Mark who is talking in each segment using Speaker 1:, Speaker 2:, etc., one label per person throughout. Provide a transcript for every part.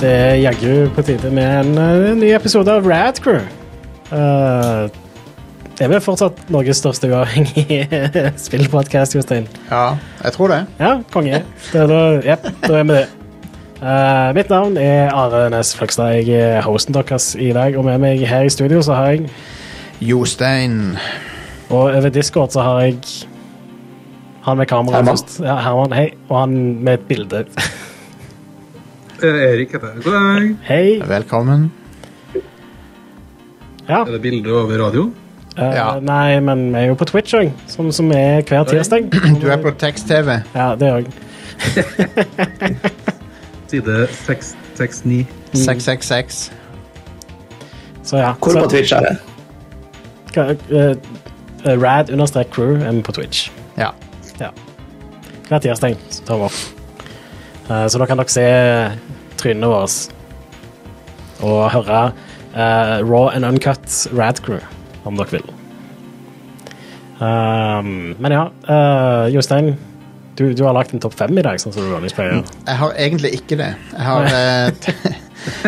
Speaker 1: Det er jaggu på tide med en, eh, ny episode av Rad Crew. Eh, det er vel fortsatt Norges største uavhengige spillpodkast, Jostein.
Speaker 2: Ja, jeg tror det.
Speaker 1: Ja, konge. Da, da, jep, da er vi det. Eh, mitt navn er Are Næss Fløgstad. Jeg er hosten deres i dag. Og med meg her i studio så har jeg
Speaker 2: Jostein.
Speaker 1: Og over Discord så har jeg han med kameraet
Speaker 2: Herman.
Speaker 1: først. Ja, Herman, hei. Og han med et bilde.
Speaker 3: Eh, Erik heter jeg. God dag.
Speaker 1: Hei.
Speaker 2: Velkommen.
Speaker 1: Ja.
Speaker 3: Er det bilde over radio?
Speaker 1: Eh,
Speaker 2: Ja.
Speaker 1: Nei, men vi er jo på Twitch òg, som, som er hver tirsdag.
Speaker 2: Du er på tekst-TV.
Speaker 1: Ja, det òg.
Speaker 3: Side 669.
Speaker 2: 666.
Speaker 1: Så ja.
Speaker 4: Mm. Hvor
Speaker 1: så,
Speaker 4: på Twitch er det?
Speaker 1: eh, eh, Rad understrek crew er vi på Twitch.
Speaker 2: Ja.
Speaker 1: Ja. Hver tirsdag så tar vi opp. Eh, så da kan dere se trynene våre og høre eh, raw and uncut Rad crew, om dere vil. Um, men ja, eh, Jostein, du, du har lagt en topp fem i dag, sånn som du vanligvis pleier.
Speaker 2: Jeg har egentlig ikke det. Jeg har eh, t-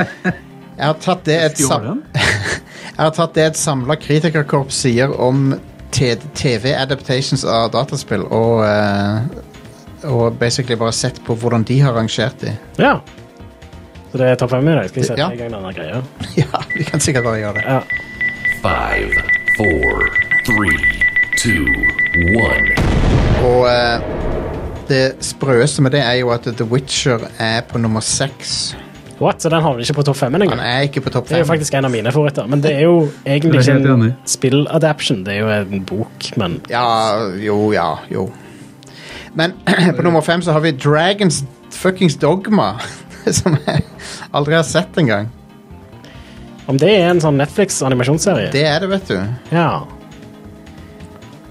Speaker 2: Jeg har tatt det et, sam
Speaker 3: Stjålen?
Speaker 2: jeg har tatt det et samla kritikerkorps sier om TV-adaptations av dataspill, og, eh, og basically bare sett på hvordan de har rangert de.
Speaker 1: Ja. Så det er topp fem i dag. Skal vi sette
Speaker 2: Ja.
Speaker 1: i gang denne greia?
Speaker 2: Ja, vi kan sikkert bare gjøre det.
Speaker 1: Ja.
Speaker 5: Five, four, three, two, one.
Speaker 2: Og eh, det sprøeste med det er jo at The Witcher er på nummer seks.
Speaker 1: What? Så den havner ikke på topp fem engang?
Speaker 2: Han er ikke på topp
Speaker 1: Det er jo
Speaker 2: fem.
Speaker 1: faktisk en av mine favoritter. Men det er jo egentlig ikke
Speaker 3: Jeg er helt
Speaker 1: en
Speaker 3: enig.
Speaker 1: spilladaption, det er jo en bok, men
Speaker 2: Ja, jo, ja, jo. Men på nummer fem så har vi Dragons fuckings Dogma. Som jeg aldri har sett engang.
Speaker 1: Om det er en sånn Netflix-animasjonsserie?
Speaker 2: Det er det, vet du.
Speaker 1: Ja.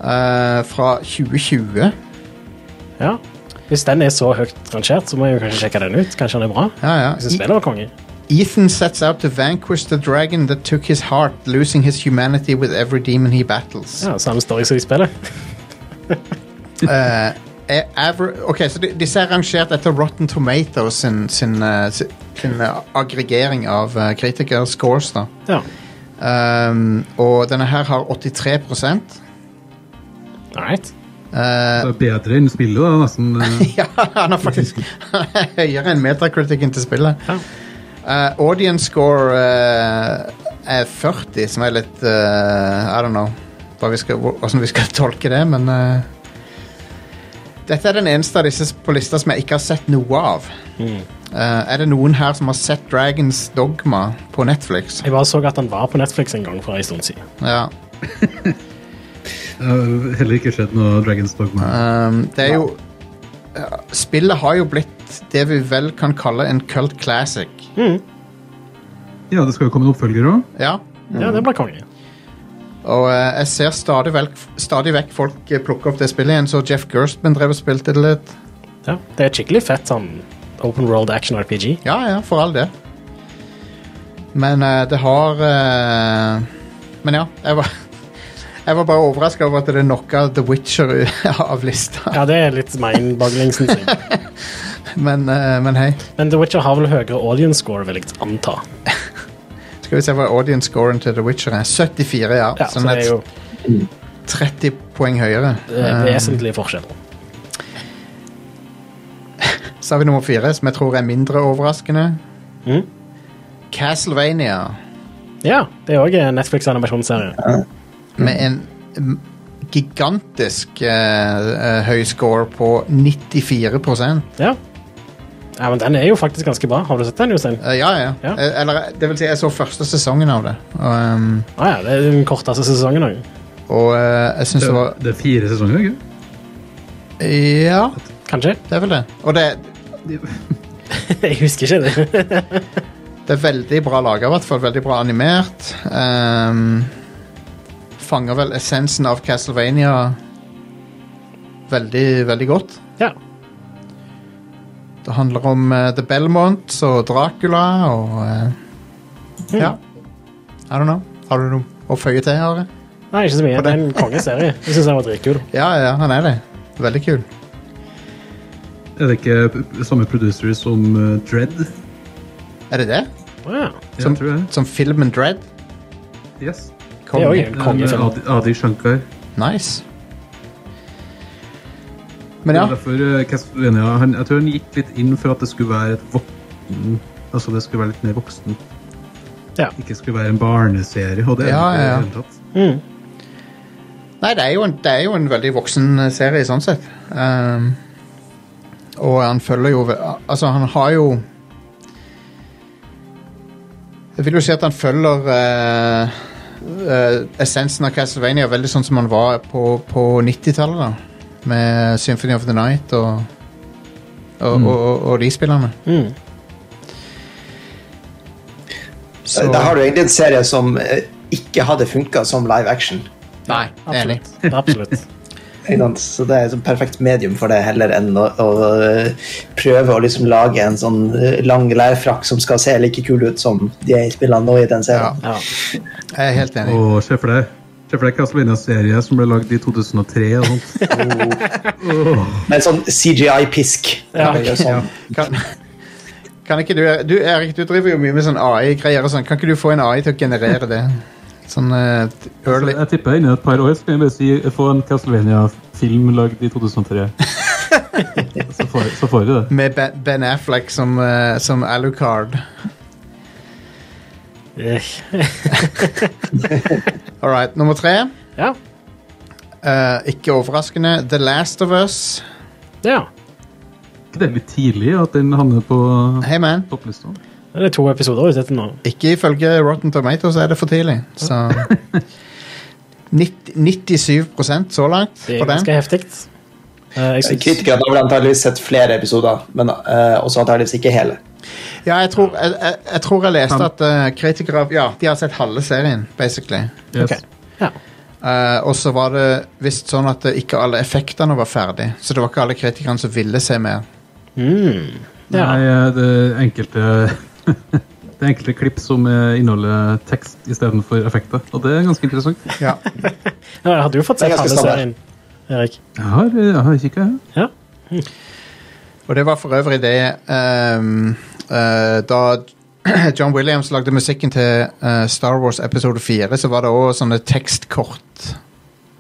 Speaker 2: Eh, fra 2020.
Speaker 1: ja. Hvis den er så høyt rangert, så må jeg jo kanskje sjekke den ut. Kanskje den er bra?
Speaker 2: Ja, ja. E-
Speaker 1: Hvis spillet var konge.
Speaker 2: Ethan sets out to vanquish the dragon that took his heart, losing his humanity with every demon he battles.
Speaker 1: Ja, Samme story som i spillet.
Speaker 2: Eh, eh, aver- ok, så de- Disse er rangert etter Rotten Tomatoes sin, sin, eh, sin, sin eh, aggregering av uh, kritikerscores. da.
Speaker 1: Ja.
Speaker 2: Ehm, og denne her har 83
Speaker 1: All right.
Speaker 2: Eh,
Speaker 3: Det er bedre enn spillet, da. Nesten. eh,
Speaker 2: Ja, han har faktisk høyere enn metakritikken til spillet.
Speaker 1: Ja.
Speaker 2: Eh, audience score eh, er 40, som er litt eh, I don't know hva vi skal, hvor- hvordan vi skal tolke det, men eh, Dette er den eneste av disse på lista som jeg ikke har sett noe av. Eh, er det noen her som har sett Dragons Dogma på Netflix?
Speaker 1: Jeg bare så at den var på Netflix en gang for en stund siden.
Speaker 2: Ja.
Speaker 3: Jeg har heller ikke sett noe Dragons Dogma.
Speaker 2: Um,
Speaker 1: Ehm,
Speaker 2: det er jo ja, Spillet har jo blitt det vi vel kan kalle en cult classic.
Speaker 1: Mm.
Speaker 3: Ja, det skal jo komme en oppfølger òg.
Speaker 2: Ja.
Speaker 1: Ja, det blir konge.
Speaker 2: Og eh, jeg ser stadig, vel, stadig vekk folk eh, plukke opp det spillet igjen, så Jeff Gerstmann drev og spilte det litt.
Speaker 1: Ja. Det er et skikkelig fett sånn open world action RPG.
Speaker 2: Ja, ja, for all det. Men eh, det har eh, Men ja, jeg var jeg var bare overraska over at det knocka The Witcher u- av lista.
Speaker 1: Ja, det er litt mind-bogglingsen sin.
Speaker 2: Men, eh, men hei.
Speaker 1: Men The Witcher har vel høyere audience score, vil jeg anta.
Speaker 2: Skal vi se hva audience scoren til The Witcher er. 74, ja.
Speaker 1: Ja, så
Speaker 2: sånn
Speaker 1: det er
Speaker 2: et
Speaker 1: jo
Speaker 2: 30 poeng høyere.
Speaker 1: eh, vesentlige forskjeller.
Speaker 2: Så har vi nummer fire, som jeg tror er mindre overraskende. Mm.
Speaker 1: Mhm.
Speaker 2: Castlevania.
Speaker 1: Ja, det er òg en Netflix-animasjonsserie.
Speaker 2: med en mm, gigantisk eh, eh, høy score på 94
Speaker 1: Ja. ja, men den er jo faktisk ganske bra. Har du sett den, Jostein?
Speaker 2: Eh, Ja, ja.
Speaker 1: Ja.
Speaker 2: Eh, Eller det vil si, jeg så første sesongen av det. Og, ehm,
Speaker 1: Ah, ja, det er den korteste sesongen òg.
Speaker 2: og eh, jeg syns
Speaker 3: Det
Speaker 2: det var
Speaker 3: det er fire sesonger, ikke
Speaker 2: Ja,
Speaker 1: Kanskje?
Speaker 2: det er vel det. Og det,
Speaker 1: Jeg husker ikke det.
Speaker 2: det er veldig bra laga, i hvert fall. Veldig bra animert. Ehm, fanger vel essensen av Castlevania veldig, veldig godt.
Speaker 1: Ja.
Speaker 2: Det handler om eh, The Belmonts og Dracula og eh, Ja. I don't know. Har du noe å føye til, Are?
Speaker 1: Nei, ikke så mye. Det er en kongeserie. Jeg syns den var dritkul.
Speaker 2: Ja, ja, han er det. Veldig kul.
Speaker 3: eh, Er det ikke p- samme producer som eh, Dread?
Speaker 2: Er det det?
Speaker 1: Ja.
Speaker 3: Jeg
Speaker 2: Som,
Speaker 3: tror det.
Speaker 2: som filmen Dread?
Speaker 3: Yes. Eh,
Speaker 1: Det er
Speaker 2: Konge.
Speaker 1: òg en kongefilm.
Speaker 3: Adi, Adi Shankar.
Speaker 2: Nice. Men ja,
Speaker 3: Det er Derfor eh, Castlevania han, Jeg tror han gikk litt inn for at det skulle være et voksen Altså det skulle være litt mer voksen.
Speaker 1: Ja.
Speaker 3: Ikke skulle være en barneserie. Og det er
Speaker 2: Ja,
Speaker 3: det ikke
Speaker 2: ja, ja.
Speaker 3: i det hele tatt.
Speaker 1: Mm.
Speaker 2: Nei, det er jo en, det er jo en veldig voksen eh, serie, sånn sett. Ehm, og han følger jo ve- Altså, han har jo Jeg vil jo si at han følger eh, eh, essensen av Castlevania veldig sånn som han var på, på 90-tallet, da. Med Symphony of the Night og, og, og, og, og de spillerne.
Speaker 1: Mm.
Speaker 2: Så-
Speaker 4: Da har du egentlig en serie som eh, ikke hadde funka som live action.
Speaker 2: Nei, enig.
Speaker 1: Absolutt. Absolutt.
Speaker 4: Ikke sant? Så det er et sånt perfekt medium for det, heller enn å, å eh, prøve å liksom lage en sånn eh, lang lærfrakk som skal se like kul ut som de er i spillene nå i den
Speaker 2: Ja,
Speaker 4: serien.
Speaker 1: Ja.
Speaker 2: jeg er helt enig.
Speaker 3: Og se for deg Se for deg Castlevania-serie som ble lagd i 2003. og sånt.
Speaker 4: Med en sånn CGI-pisk.
Speaker 1: Ja, ok.
Speaker 4: sånn.
Speaker 2: Kan, kan ikke du, du Erik, du driver jo mye med sånn AI-greier og sånn. Kan ikke du få en AI til å generere det? Sånn eh, early
Speaker 3: Så jeg tipper innen et par år skal jeg bare si få en Castlevania-film lagd i 2003. så, får, så får vi det.
Speaker 2: Med Be- Ben Affleck som, eh, som Alucard.
Speaker 1: Eh,
Speaker 2: All right, nummer tre.
Speaker 1: ja.
Speaker 2: Eh, ikke overraskende. The Last of Us.
Speaker 1: ja.
Speaker 3: Ikke det litt tidlig at den havner på
Speaker 2: Hey man.
Speaker 3: topplista?
Speaker 1: Det er to episoder ute etter nå.
Speaker 2: Ikke ifølge Rotten Tomatoes er det for tidlig, så 90, 97 så langt
Speaker 1: Det er
Speaker 2: på den.
Speaker 1: ganske heftig. Eh, jeg synes-
Speaker 4: Kritikerne har vel antageligvis sett flere episoder, men eh, også antageligvis ikke hele.
Speaker 2: Ja, jeg tror jeg, jeg, jeg, tror jeg leste
Speaker 3: Fem.
Speaker 2: at eh, kritikere av- Ja, de har sett halve serien, basically.
Speaker 3: Yes.
Speaker 1: Ok. Ja.
Speaker 2: Eh, og så var det visst sånn at eh, ikke alle effektene var ferdig. Så det var ikke alle kritikerne som ville se mer.
Speaker 1: Mm.
Speaker 3: Nei,
Speaker 1: ja.
Speaker 3: eh, det enkelte Det er enkelte klipp som eh, inneholder tekst istedenfor effekter. Og det er ganske interessant.
Speaker 2: Ja.
Speaker 1: Ja, Jeg hadde jo fått
Speaker 4: Det er
Speaker 1: sett
Speaker 4: ganske
Speaker 1: halve serien,
Speaker 4: standard.
Speaker 1: Erik.
Speaker 3: Jeg har, eh, jeg har kikka, jeg.
Speaker 1: Ja.
Speaker 2: Og det var for øvrig det ehm, eh, Da John Williams lagde musikken til eh, Star Wars episode 4, så var det òg sånne tekstkort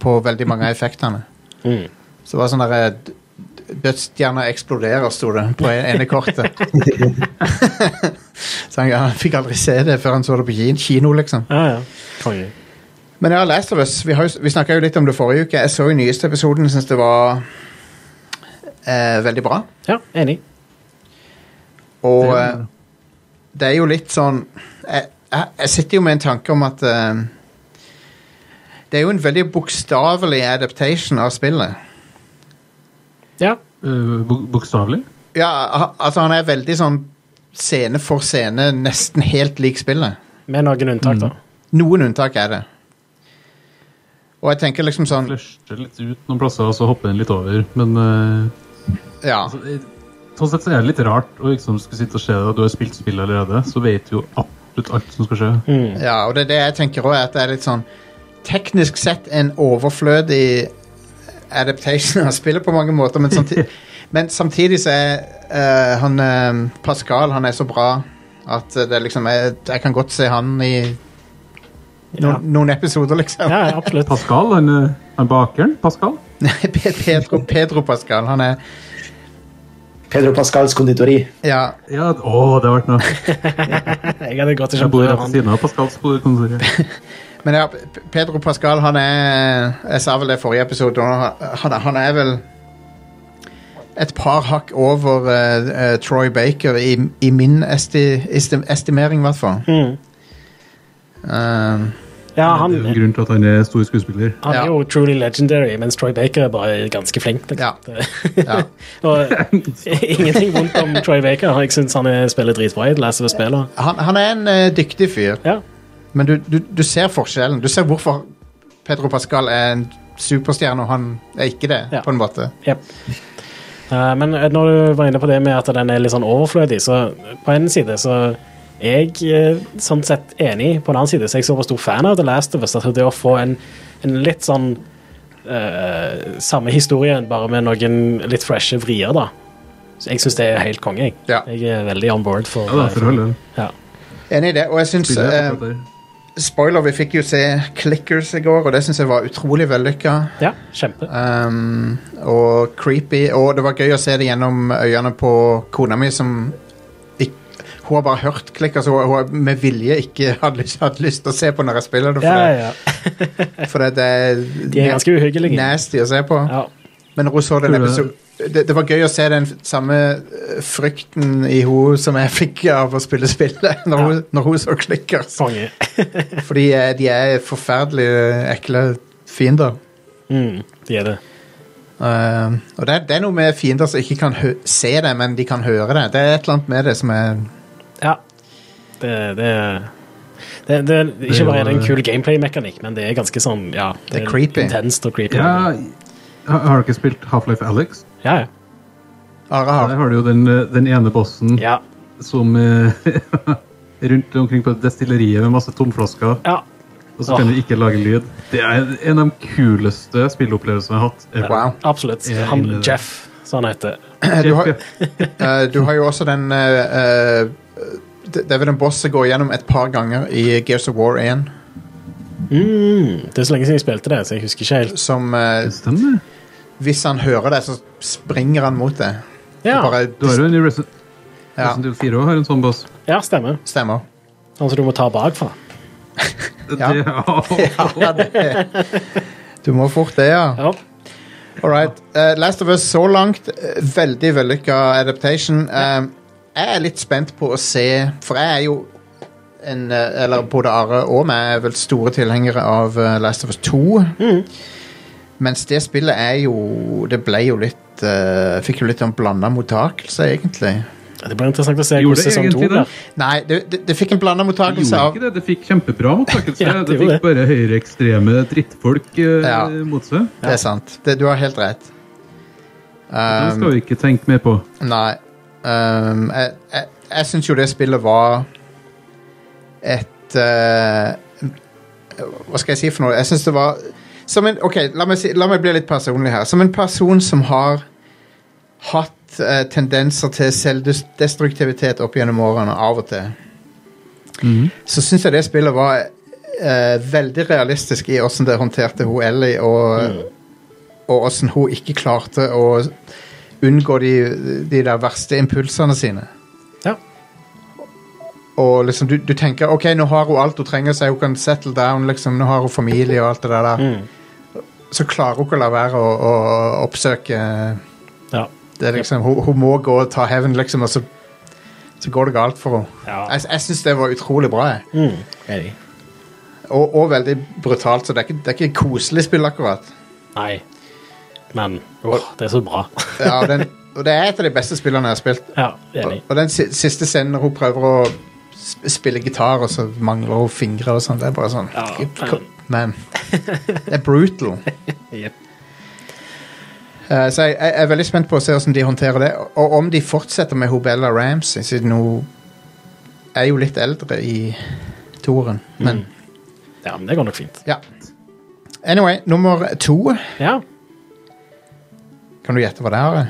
Speaker 2: på veldig mange av effektene.
Speaker 1: Mm.
Speaker 2: Så det var sånn derre Dødsstjerna eksploderer, sto det på en- ene kortet. så han, han fikk aldri se det før han så det på kin- kino, liksom.
Speaker 1: Ja, ja. Konge.
Speaker 2: Men ja, Last of Us, vi, har jo- vi snakka jo litt om det forrige uke. Jeg så jo nyeste episoden og syns det var eh, veldig bra.
Speaker 1: Ja, enig.
Speaker 2: Og eh, det
Speaker 3: Det er
Speaker 2: er,
Speaker 3: det.
Speaker 2: det er jo litt sånn jeg, jeg, jeg sitter jo med en tanke om at eh, Det er jo en veldig bokstavelig adaptation av spillet.
Speaker 1: Ja.
Speaker 3: Eh, bok- Bokstavelig.
Speaker 2: Ja, ha- altså han er veldig sånn scene for scene, nesten helt lik spillet.
Speaker 1: Med noen unntak, da.
Speaker 2: Noen unntak er det. Og jeg tenker liksom sånn
Speaker 3: Flørter litt ut noen plasser, og så hopper den litt over. Men eh,
Speaker 2: Ja.
Speaker 3: altså, eh, sånn sett så er det litt rart å liksom skulle sitte og se det, og du har spilt spillet allerede, så vet du jo absolutt alt som skal skje.
Speaker 1: Mm.
Speaker 2: Ja, og det er det jeg tenker òg, at det er litt sånn Teknisk sett en overflødig adaptation av spillet på mange måter, men samtidig, men samtidig så er eh, han eh, Pascal han er så bra at eh, det liksom er, Jeg kan godt se han i noen,
Speaker 1: Ja.
Speaker 2: noen episoder, liksom.
Speaker 1: ja, ja, absolutt.
Speaker 3: Pascal, han, eh, han bakeren, Pascal
Speaker 2: Nei, Pe- Pedro, Pedro Pascal, han er
Speaker 4: Pedro Pascals konditori.
Speaker 2: Ja,
Speaker 3: Ja, å, det har vært noe.
Speaker 1: Jeg hadde gått i
Speaker 3: Jeg bor rett ved
Speaker 1: han.
Speaker 3: siden av Pascals kontor.
Speaker 2: Men ja, P- Pedro Pascal, han er Jeg sa vel det i forrige episode, og han, han er vel et par hakk over eh, eh, Troy Baker i, i min esti, esti, estimering, i hvert fall.
Speaker 1: Mm.
Speaker 2: Um,
Speaker 1: Ja,
Speaker 3: Det
Speaker 1: han,
Speaker 3: er jo grunnen til at han er stor skuespiller.
Speaker 1: han
Speaker 2: Ja.
Speaker 1: er jo truly legendary, mens Troy Baker er bare ganske flink. liksom.
Speaker 2: Ja.
Speaker 1: Det-
Speaker 2: ja.
Speaker 1: Og ingenting vondt om Troy Baker. Jeg syns han er- spiller dritbra i det leser og spiller.
Speaker 2: han, han er en eh, dyktig fyr,
Speaker 1: Ja.
Speaker 2: men du, du, du ser forskjellen. Du ser hvorfor Pedro Pascal er en superstjerne, og han er ikke det,
Speaker 1: Ja.
Speaker 2: på en måte.
Speaker 1: Jep. Eh, men eh, når du var inne på det med at den er litt sånn overflødig, så på en side så er jeg eh, sånn sett enig. På den annen side så er jeg såpass stor fan av The Last of Us at det å få en, en litt sånn eh, samme historie, bare med noen litt freshe vrier, da, Så jeg syns det er helt konge. Jeg.
Speaker 2: Ja.
Speaker 1: jeg er veldig on board for
Speaker 3: Ja, da, for all del.
Speaker 1: Ja.
Speaker 2: Enig i det. Og jeg syns
Speaker 3: Spiller jeg
Speaker 2: eh,
Speaker 3: fortsatt der.
Speaker 2: Spoiler, vi fikk jo se Clickers i går, og det syns jeg var utrolig vellykka.
Speaker 1: ja, kjempe.
Speaker 2: Um, og creepy. Og det var gøy å se det gjennom øynene på kona mi, som ikk- hun har bare hørt Clickers, og hun har med vilje ikke hadde lyst, hatt lyst til å se på når jeg spiller det.
Speaker 1: Ja,
Speaker 2: For,
Speaker 1: ja, ja.
Speaker 2: det, for det, det
Speaker 1: De er ganske uhyggelige. liksom.
Speaker 2: nasty å se på.
Speaker 1: Ja.
Speaker 2: Men hun så den
Speaker 3: Tror du-
Speaker 2: episoden det, det var gøy å se den f- samme eh, frykten i hun som jeg fikk av å spille spillet, når,
Speaker 1: Ja.
Speaker 2: hun, når hun så Clickers.
Speaker 1: Konge.
Speaker 2: Fordi eh, de er forferdelige, ekle fiender.
Speaker 1: Mm, de er det.
Speaker 2: Eh, og det er, det er noe med fiender som ikke kan hø se det, men de kan høre det. Det er et eller annet med det som er
Speaker 1: Ja. Det, det det, det, det,
Speaker 3: er
Speaker 1: ikke bare er det en
Speaker 3: jo- eh,
Speaker 1: kul gameplay-mekanikk, men det er ganske sånn ja,
Speaker 2: Det er creepy.
Speaker 1: intenst og creepy.
Speaker 3: Ja, har har du ikke spilt Half-Life Alex?
Speaker 1: ja. ja.
Speaker 2: Are har.
Speaker 3: Der har du jo den, eh, den ene bossen
Speaker 1: ja.
Speaker 3: som eh, Rundt omkring på destilleriet med masse tomflasker,
Speaker 1: ja.
Speaker 3: og så kan du ikke lage lyd. Det er en av de kuleste spilleopplevelsene jeg har hatt. ever.
Speaker 2: Wow.
Speaker 1: Absolutt.
Speaker 3: Jeg er
Speaker 1: Han,
Speaker 3: inne i det.
Speaker 1: Jeff, som han heter.
Speaker 2: Du har,
Speaker 3: Jeff,
Speaker 2: eh, du har jo også den eh, eh, Det det er vel en boss som går gjennom et par ganger i Gears of War 1,
Speaker 1: Mm, det er så lenge siden jeg spilte det, så jeg husker ikke helt.
Speaker 2: som eh,
Speaker 3: ja. Stemmer.
Speaker 2: Hvis han hører deg, så springer han mot deg.
Speaker 1: Ja,
Speaker 2: Bare,
Speaker 3: Du har jo en i Resi-
Speaker 2: ja,
Speaker 3: Resident Evil 4 også har en sånn boss.
Speaker 1: ja stemmer.
Speaker 2: stemmer.
Speaker 1: Han som du må ta bakfra.
Speaker 2: Ja.
Speaker 3: Det,
Speaker 2: Ja, det Du må fort det, ja.
Speaker 1: Ja.
Speaker 2: All right. Eh, Last of Us så langt. eh, veldig vellykka adaptation. Eh, jeg er litt spent på å se For jeg er jo en eh, Eller både Are og meg er vel store tilhengere av eh, Last of Us 2.
Speaker 3: Mm.
Speaker 2: Mens det spillet er jo Det ble jo litt eh, Fikk jo litt sånn blanda mottakelse, egentlig.
Speaker 1: Det blir interessant å se hvordan
Speaker 3: Gjorde det
Speaker 1: sesong to
Speaker 3: egentlig det?
Speaker 1: blir.
Speaker 2: Nei, det, det, det fikk en blanda
Speaker 3: Det
Speaker 2: mottakelse
Speaker 3: gjorde
Speaker 2: av
Speaker 3: ikke det. Det fikk kjempebra mottakelse.
Speaker 1: Ja, det
Speaker 3: det
Speaker 1: gjorde
Speaker 3: fikk bare høyreekstreme drittfolk eh,
Speaker 2: Ja.
Speaker 3: mot seg.
Speaker 2: Det er sant. Det, du har helt rett.
Speaker 3: Det
Speaker 2: Um,
Speaker 3: skal vi ikke tenke mer på.
Speaker 2: Nei. Ehm, jeg jeg, jeg syns jo det spillet var et eh, Hva skal jeg si for noe? Jeg syns det var som en, Ok, la meg, si, la meg bli litt personlig her. Som en person som har hatt eh, tendenser til selvdestruktivitet opp gjennom årene, av og til, så syns jeg det spillet var eh, veldig realistisk i åssen det håndterte hun Ellie, og og åssen hun ikke klarte å unngå de, de der verste impulsene sine.
Speaker 1: Ja.
Speaker 2: Og liksom, du, du tenker ok, nå har hun alt hun trenger seg, hun kan settle down, liksom, nå har hun familie og alt det der. Så klarer hun ikke å la være å, å oppsøke
Speaker 1: Ja.
Speaker 2: det, er liksom. Hun, hun må gå og ta hevn, liksom, og så, så går det galt for henne.
Speaker 1: Ja.
Speaker 2: Jeg, jeg syns det var utrolig bra, jeg.
Speaker 1: Mm. Enig.
Speaker 2: Og, og veldig brutalt, så det er ikke, det er ikke koselig spill, akkurat.
Speaker 1: Nei. Men åh, det er så bra.
Speaker 2: Ja, den, og det er et av de beste spillene jeg har spilt.
Speaker 1: Ja, enig.
Speaker 2: Og den si- siste scenen når hun prøver å sp- spille gitar, og så mangler hun fingre og sånn, det er bare sånn
Speaker 1: Ja,
Speaker 2: k- Man. Det er brutal.
Speaker 1: Jep.
Speaker 2: Eh, så jeg, jeg er veldig spent på å se hvordan de håndterer det, og- og om de fortsetter med hun Bella Ramsey, siden hun er jo litt eldre i toren. Men
Speaker 1: Mm. Ja, men det går nok fint.
Speaker 2: ja. Anyway, nummer to.
Speaker 1: Ja.
Speaker 2: Kan du gjette hva det er?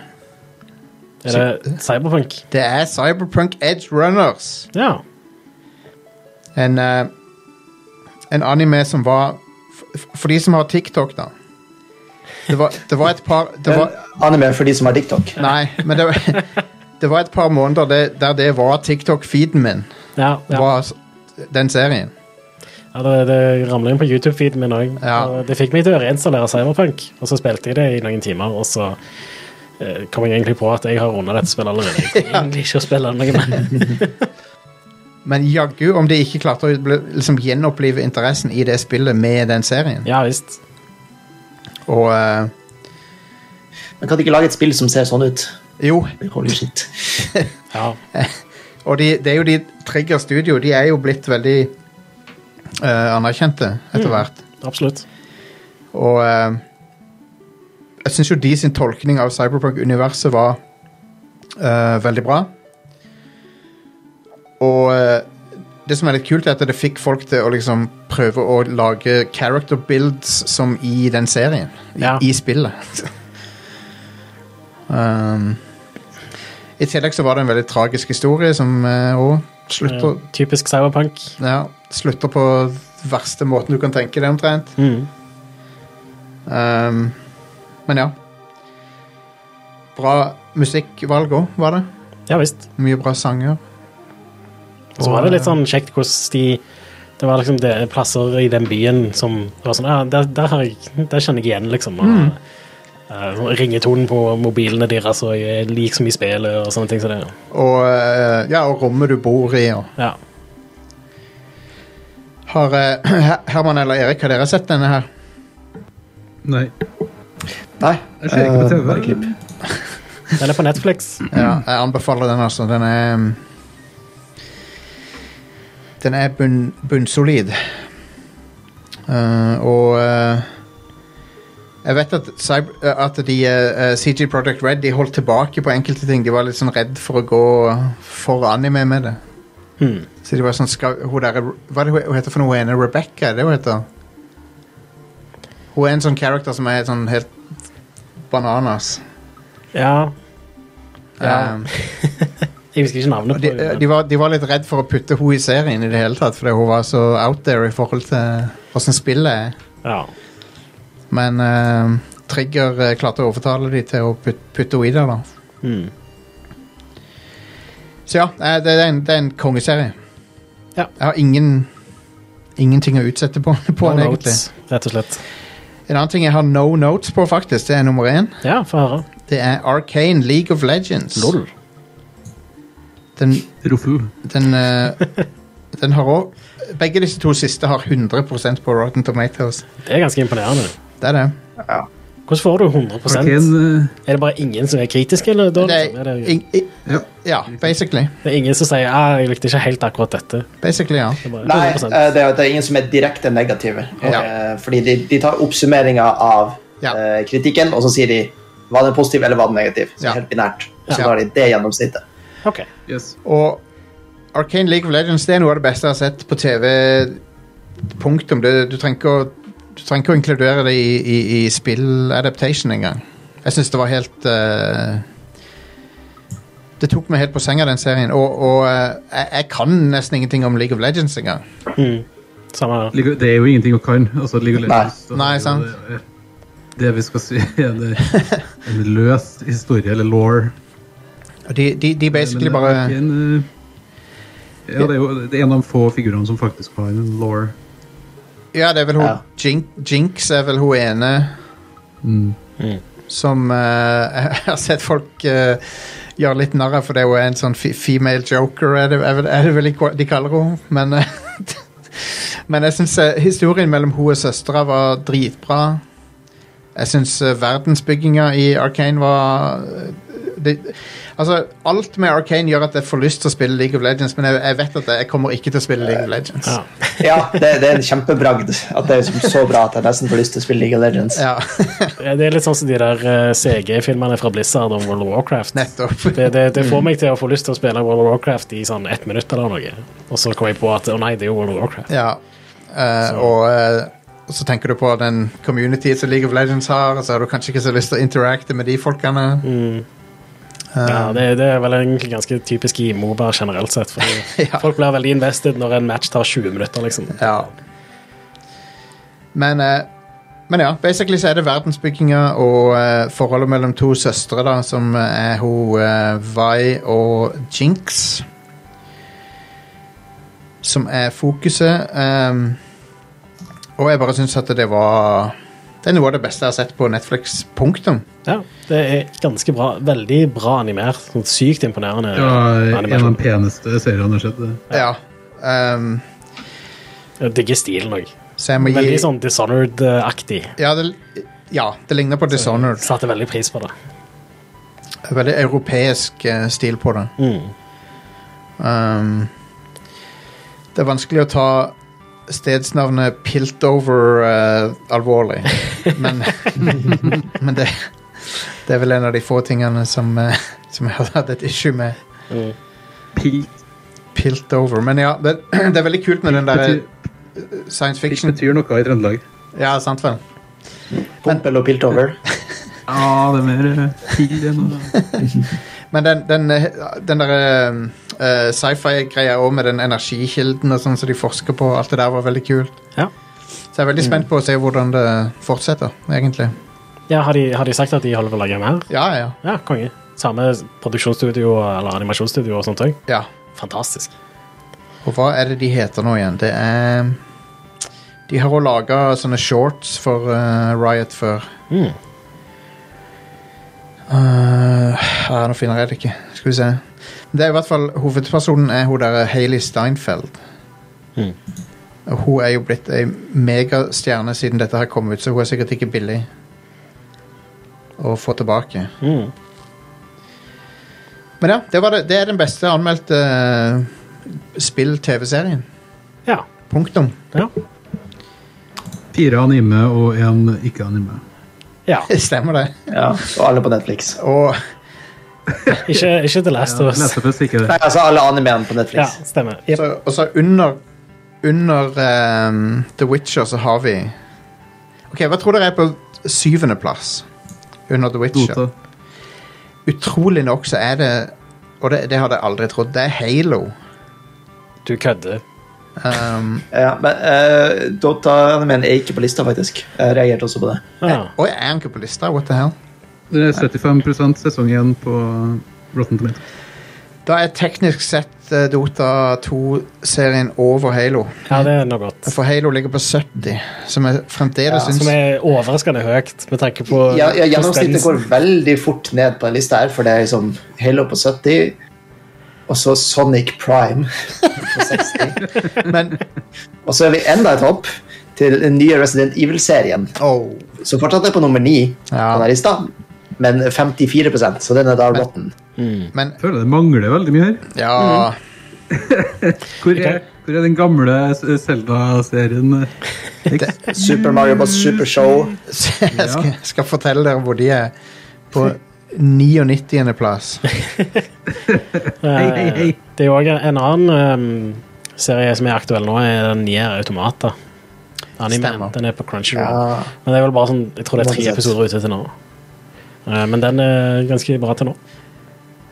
Speaker 1: Er det Cyberpunk?
Speaker 2: Det er Cyberpunk Edge Runners.
Speaker 1: Ja.
Speaker 2: En, eh, en anime som var f- For de som har TikTok, da. Det var, det var et par det var,
Speaker 4: Eh, Anime for de som har TikTok.
Speaker 2: Nei, men det var, det var et par måneder det, der det var TikTok-feeden min.
Speaker 1: Ja, ja.
Speaker 2: Var s- den serien.
Speaker 1: ja det, det ramler inn på YouTube-feeden min òg.
Speaker 2: Ja.
Speaker 1: Det fikk meg til å reinstallere Cyberpunk, og så spilte jeg det i noen timer, og så eh, kom jeg egentlig på at jeg har runda dette spillet allerede. Jeg trenger egentlig ikke å spille noe mer.
Speaker 2: Men jaggu om de ikke klarte å bli- liksom, gjenopplive interessen i det spillet med den serien.
Speaker 1: Ja visst.
Speaker 2: Og eh,
Speaker 4: Man kan ikke lage et spill som ser sånn ut.
Speaker 2: jo,
Speaker 4: Holy shit.
Speaker 1: Ja.
Speaker 2: og de, det er jo de Trigger Studio, de er jo blitt veldig eh, anerkjente etter hvert.
Speaker 1: Absolutt.
Speaker 2: Og eh, jeg syns jo de sin tolkning av Cyberpunk-universet var eh, veldig bra. Og eh, det som er litt kult, er at det fikk folk til å liksom prøve å lage character builds som i den serien. I,
Speaker 1: Ja.
Speaker 2: i spillet. um, I tillegg så var det en veldig tragisk historie som òg slutter,
Speaker 1: Eh, Typisk cyberpunk.
Speaker 2: ja, slutter på verste måten du kan tenke det, omtrent.
Speaker 1: Mm.
Speaker 2: Ehm, men ja. Bra musikkvalg òg, var det.
Speaker 1: Ja visst.
Speaker 2: Mye bra sanger.
Speaker 1: Og så var det litt sånn kjekt hvordan de Det var liksom det, plasser i den byen som det var sånn ah, der, der, har jeg, der kjenner jeg igjen, liksom. Og, eh, sånn ringetonen på mobilene deres og jeg er lik som i spillet og sånne ting. Så det,
Speaker 2: Og, eh, ja, og rommet du bor i. Og.
Speaker 1: ja.
Speaker 2: Har eh, Her- Herman eller Erik, har dere sett denne her?
Speaker 3: Nei.
Speaker 4: Nei.
Speaker 3: Jeg ser ikke på
Speaker 4: eh,
Speaker 3: TV.
Speaker 4: bare klipp.
Speaker 1: Den er på Netflix.
Speaker 2: Ja, jeg anbefaler den, altså. Den er mm, Den er bunn, bunnsolid. Eh, og eh, jeg vet at, cyber, eh, at de, eh, eh, CG Project Red de holdt tilbake på enkelte ting. De var litt sånn redd for å gå for anime med det.
Speaker 1: Hmm.
Speaker 2: Så de var sånn skal, hun der, Hva er det hun- hun heter for noe? Hun ene Rebecca? er Det hun heter Hun er en sånn character som er sånn helt bananas.
Speaker 1: Ja. Ja.
Speaker 2: Um,
Speaker 1: Jeg husker ikke navnet på
Speaker 2: Og De, eh,
Speaker 1: den.
Speaker 2: de, var, de var litt redd for å putte henne i serien i det hele tatt, fordi hun var så out there i forhold til hvordan spillet er.
Speaker 1: Ja.
Speaker 2: Men eh, Trigger eh, klarte å overtale de til å putte, putte henne i det, da.
Speaker 1: Hmm.
Speaker 2: Så ja, eh, det, er en, det er en kongeserie.
Speaker 1: Ja.
Speaker 2: Jeg har ingen ingenting å utsette på, på
Speaker 1: No
Speaker 2: den, egentlig.
Speaker 1: notes, rett og slett.
Speaker 2: En annen ting jeg har no notes på, faktisk, det er nummer én.
Speaker 1: Ja, få høre.
Speaker 2: Det er Arcane League of Legends.
Speaker 1: Lol.
Speaker 2: Den,
Speaker 3: Ruffel.
Speaker 2: den, eh, den har òg Begge disse to siste har 100 på Rotten Tomatoes.
Speaker 1: Det er ganske imponerende.
Speaker 2: Det er det.
Speaker 1: Hvordan får du 100
Speaker 3: Arken
Speaker 1: Er det bare ingen som er kritiske? Eller, da,
Speaker 3: Sånn
Speaker 2: Det
Speaker 1: liksom?
Speaker 2: er,
Speaker 1: er det,
Speaker 2: ing- i,
Speaker 3: Ja.
Speaker 2: ja, basically.
Speaker 1: det er ingen som sier ah, 'jeg likte ikke helt akkurat dette'?
Speaker 2: Basically, ja.
Speaker 1: Det er bare
Speaker 4: Nei,
Speaker 1: 100%.
Speaker 4: eh, det er, det er ingen som er direkte negative.
Speaker 2: Ja.
Speaker 4: Eh, Fordi de, de tar oppsummeringa av
Speaker 2: Ja.
Speaker 4: eh, kritikken, og så sier de var den positiv eller var den negativ. Så
Speaker 2: Ja.
Speaker 4: helt binært. Så
Speaker 2: Ja.
Speaker 4: tar de det gjennomsnittet.
Speaker 1: Ok.
Speaker 3: eh, Yes.
Speaker 2: Og Arcane League of Legends det er noe av det beste jeg har sett på TV. Punktum. Du, du trenger ikke å du trenger ikke å inkludere det i, i, i spilladaptation engang. Jeg syns det var helt eh, Det tok meg helt på senga, den serien. Og, og eh, jeg, jeg kan nesten ingenting om League of Legends engang.
Speaker 1: Mm. Samme her.
Speaker 3: Ligger- Det er jo ingenting å kan. Altså, League of Legends, så-
Speaker 2: Nei, sant.
Speaker 3: Det, er- det vi skal si, er det, en løs historie, eller law.
Speaker 2: Og De, de, de basically
Speaker 3: Men det er
Speaker 2: bare
Speaker 3: ikke en, eh, ja, det er jo det er en av de få figurene som faktisk har en law.
Speaker 2: Ja, det er vel hun
Speaker 4: Ja.
Speaker 2: Jin- Jinx er vel hun ene
Speaker 3: Mm.
Speaker 2: som eh, jeg har sett folk eh, gjøre litt narr av, for det er jo en sånn fe- female joker, er det, er vel- er det vel ikke hva de kaller henne. Men, eh, men jeg syns historien mellom hun og søstera var dritbra. Jeg syns verdensbygginga i Arkane var eh, det, altså, Alt med Arkane gjør at jeg får lyst til å spille League of Legends, men jeg, jeg vet at jeg kommer ikke til å spille League of Legends.
Speaker 1: Ja.
Speaker 4: Ja, det, det er en kjempebragd at det er liksom så bra at jeg nesten får lyst til å spille League of Legends.
Speaker 2: Ja,
Speaker 1: Det er litt sånn som de der eh, CG-filmene fra Blizzard om World of Warcraft.
Speaker 2: nettopp.
Speaker 1: Det, det, det får meg til å få lyst til å spille World of Warcraft i sånn ett minutt eller noe. Og så kom jeg på at å nei, det er jo World of Warcraft.
Speaker 2: Ja. eh, og eh, og så tenker du på den community som League of Legends har, og så har du kanskje ikke så lyst til å interacte med de folkene. Eh,
Speaker 1: Ja, det, det er vel egentlig ganske typisk i Moba generelt sett. Fordi
Speaker 2: Ja.
Speaker 1: Folk blir veldig invested når en match tar 20 minutter, liksom.
Speaker 2: Ja. Men, eh, men ja, basically så er det verdensbygginga og eh, forholdet mellom to søstre, da, som eh, er hun eh, Vi og Jinx. Som er fokuset. ehm, og jeg bare syns at det var Det er noe av det beste jeg har sett på Netflix. Punktum.
Speaker 1: Ja, det er ganske bra. Veldig bra animert. Sånn sykt imponerende
Speaker 3: Ja, en av
Speaker 1: animasjon.
Speaker 3: de peneste seriene jeg har sett. det.
Speaker 2: Ja. ehm,
Speaker 1: Jeg digger stilen òg.
Speaker 2: så jeg må gi
Speaker 1: Veldig sånn Dishonored-aktig.
Speaker 2: ja det, ja, det ligner på Dishonored.
Speaker 1: Satte veldig pris på det.
Speaker 2: Veldig europeisk eh, stil på det.
Speaker 1: Mm.
Speaker 2: Um, det er vanskelig å ta stedsnavnet Piltover eh, alvorlig, men, men det, det er vel en av de få tingene som, eh, som jeg har hatt et issue med.
Speaker 1: Mm.
Speaker 3: Pilt
Speaker 2: Piltover. Men ja, det, det er veldig kult med den der
Speaker 3: betyr,
Speaker 2: science
Speaker 3: pilt
Speaker 2: fiction.
Speaker 3: betyr noe i Trøndelag.
Speaker 2: Ja, sant vel?
Speaker 4: Pompel og Piltover.
Speaker 3: Ja, det er mer eh, pill enn noe.
Speaker 2: Men den, den, eh, den der eh, sci-fi-greia òg med den energikilden og sånn som de forsker på, alt det der var veldig kult.
Speaker 1: Ja.
Speaker 2: Så jeg er veldig spent på å se hvordan det fortsetter, egentlig.
Speaker 1: Ja, har, de, har de sagt at de holder på å lage mer?
Speaker 2: Ja, ja.
Speaker 1: Ja, konge. Samme produksjonsstudio eller animasjonsstudio og sånt òg.
Speaker 2: ja.
Speaker 1: Fantastisk.
Speaker 2: Og hva er det de heter nå igjen? Det er De har òg laga sånne shorts for eh, Riot før.
Speaker 1: Mm.
Speaker 2: Eh, ja, nå finner jeg det ikke. Skal vi se. Det er i hvert fall Hovedpersonen er hun der Hayley Steinfeld.
Speaker 1: Mm.
Speaker 2: Og hun er jo blitt ei megastjerne siden dette her kom ut, så hun er sikkert ikke billig å få tilbake.
Speaker 1: Mm.
Speaker 2: Men ja, det, var det, det er den beste anmeldte eh, spill-TV-serien.
Speaker 1: Ja.
Speaker 2: Punktum.
Speaker 1: ja.
Speaker 3: Fire anime og én ikke-anime.
Speaker 1: ja.
Speaker 2: Stemmer det.
Speaker 4: Ja, og alle på Netflix.
Speaker 2: Og
Speaker 1: Ikke, ikke The Last of Us.
Speaker 3: Nettopp ikke det.
Speaker 4: Nei, altså alle animeene på
Speaker 1: Ja,
Speaker 4: Netflix.
Speaker 1: stemmer. Jep.
Speaker 2: Så, og så under, under ehm, The Witcher så har vi Ok, Hva tror dere er på syvende plass under The Witcher?
Speaker 3: Dota.
Speaker 2: Utrolig nok så er det Og det, det hadde jeg aldri trodd. Det er Halo.
Speaker 1: Du kødder.
Speaker 2: Ehm,
Speaker 4: Ja, men uh, Dota-animeen er ikke på lista, faktisk. Jeg reagerte også på det.
Speaker 1: Ja.
Speaker 2: Oi, er han ikke på lista? What the hell?
Speaker 3: Det er 75 sesong igjen på Rotten Tomato.
Speaker 2: Da er teknisk sett eh, Dota 2-serien over Halo.
Speaker 1: ja, det er noe godt.
Speaker 2: For Halo ligger på 70, som jeg fremdeles syns
Speaker 1: Som er overraskende høyt med tanke på
Speaker 4: Ja, ja,
Speaker 1: hvordan den-
Speaker 4: gjennomsnittet går veldig fort ned på den lista her, for det er liksom Halo på 70, og så Sonic Prime på 60.
Speaker 2: Men
Speaker 4: Og så er vi enda et hopp til den nye Resident Evil-serien,
Speaker 2: oh,
Speaker 4: som fortsatt er på nummer 9
Speaker 2: Ja.
Speaker 4: på den lista, men 54 så den er da rotten.
Speaker 2: Men
Speaker 3: Jeg føler det mangler veldig mye her.
Speaker 2: ja
Speaker 1: Mhm.
Speaker 3: Hvor er, hvor er den gamle Selda-serien?
Speaker 4: Super Mario Bros. Super Show.
Speaker 2: Jeg skal, skal fortelle dere hvor de er. På 99. plass.
Speaker 1: Eh,
Speaker 3: Hei, hei, hei.
Speaker 1: Det er jo òg en annen um, serie som er aktuell nå, er den nye Automata. Anime.
Speaker 2: Stemmer.
Speaker 1: Den er på Crunchyroll.
Speaker 4: Ja.
Speaker 1: Men det er vel bare sånn, jeg tror det er tre
Speaker 4: Uansett.
Speaker 1: episoder ute til nå. Eh, Men den er ganske bra til nå.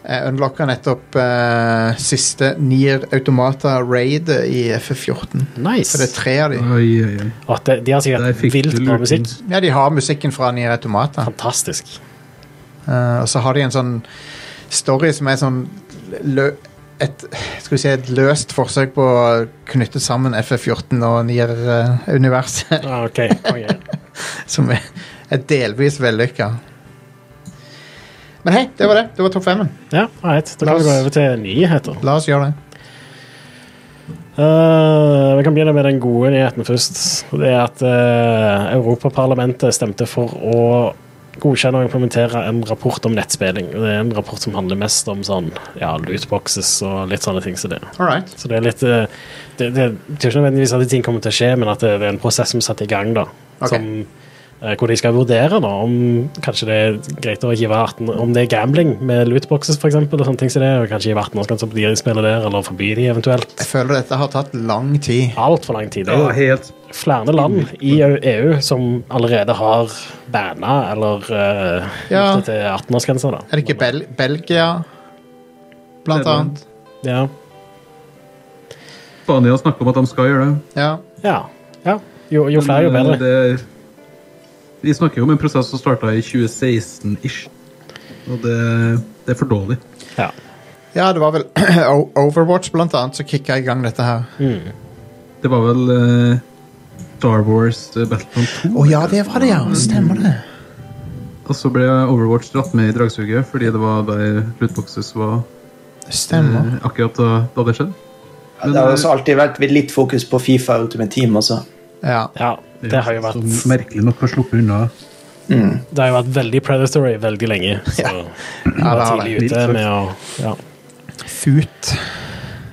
Speaker 2: Jeg unlocka nettopp eh, siste Nier Automata Raid i FF14. Så det er
Speaker 1: Nice.
Speaker 2: tre av de.
Speaker 3: Oi, oi, oi.
Speaker 1: Og de, de har
Speaker 3: Der
Speaker 1: sikkert
Speaker 3: fikk du
Speaker 1: vilt bra
Speaker 3: lurt
Speaker 1: musikk.
Speaker 3: den.
Speaker 2: Ja, de har musikken fra Nier Automata.
Speaker 1: Fantastisk.
Speaker 2: Eh, og så har de en sånn story som er sånn lø et, skal vi si, et løst forsøk på å knytte sammen FF14 og Nier-universet.
Speaker 1: Ah, ok, konge.
Speaker 2: som er, er delvis vellykka. Men hei, det var det. Det var topp femmen.
Speaker 1: Ja, right. Da kan vi gå over til nyheter.
Speaker 2: La oss gjøre det.
Speaker 1: Eh, vi kan begynne med den gode nyheten først. Og Det er at eh, Europaparlamentet stemte for å godkjenne og implementere en rapport om nettspilling. Og Det er en rapport som handler mest om sånn, ja, lootboxes og litt sånne ting som det.
Speaker 2: All right.
Speaker 1: Så det er litt eh, Det, det betyr ikke nødvendigvis at ting kommer til å skje, men at det, det er en prosess som er satt i gang, da.
Speaker 2: Ok.
Speaker 1: Som, eh, hvor de skal vurdere da, om kanskje det er greit å gi 18 Om det er gambling med lootboxes, for eksempel, og sånne ting som det, og kanskje gi 18-årsgrense på de spiller der, eller forby de eventuelt.
Speaker 2: Jeg føler dette har tatt lang tid.
Speaker 1: Altfor lang tid. Det
Speaker 3: Ja,
Speaker 1: er jo
Speaker 3: helt
Speaker 1: flere land i EU som allerede har banna eller uh,
Speaker 2: Ja.
Speaker 1: gjort det til 18-årsgrense, da.
Speaker 2: Er det ikke Bel Belgia, blant
Speaker 3: Nederland.
Speaker 2: annet?
Speaker 1: Ja.
Speaker 3: Spania snakker om at de skal gjøre det.
Speaker 2: Ja.
Speaker 1: ja. ja. Jo, jo flere, jo
Speaker 3: Men, eh,
Speaker 1: bedre.
Speaker 3: det er- Vi snakker jo om en prosess som starta i 2016-ish. Og det, det er for dårlig.
Speaker 1: Ja.
Speaker 2: ja, det var vel O- Overwatch, blant annet, som kicka i gang dette her. Å
Speaker 3: Det var vel eh, Star Wars eh, Battlefront 2.
Speaker 2: ja, det var det, ja. Stemmer det.
Speaker 3: Og så ble Overwatch dratt med i dragsuget fordi det var der lootboxes var
Speaker 2: Stemmer.
Speaker 3: eh, akkurat da, da det skjedde.
Speaker 4: Det har også alltid vært litt fokus på Fifa Ultimate Team også.
Speaker 2: Ja.
Speaker 1: ja. Det har jo vært
Speaker 3: Som merkelig nok har sluppet unna.
Speaker 1: Det har jo vært veldig predatory veldig lenge. Så vi
Speaker 2: Ja,
Speaker 1: var
Speaker 2: det har
Speaker 1: tidlig
Speaker 3: det.
Speaker 1: ute med å ja.
Speaker 2: Fut.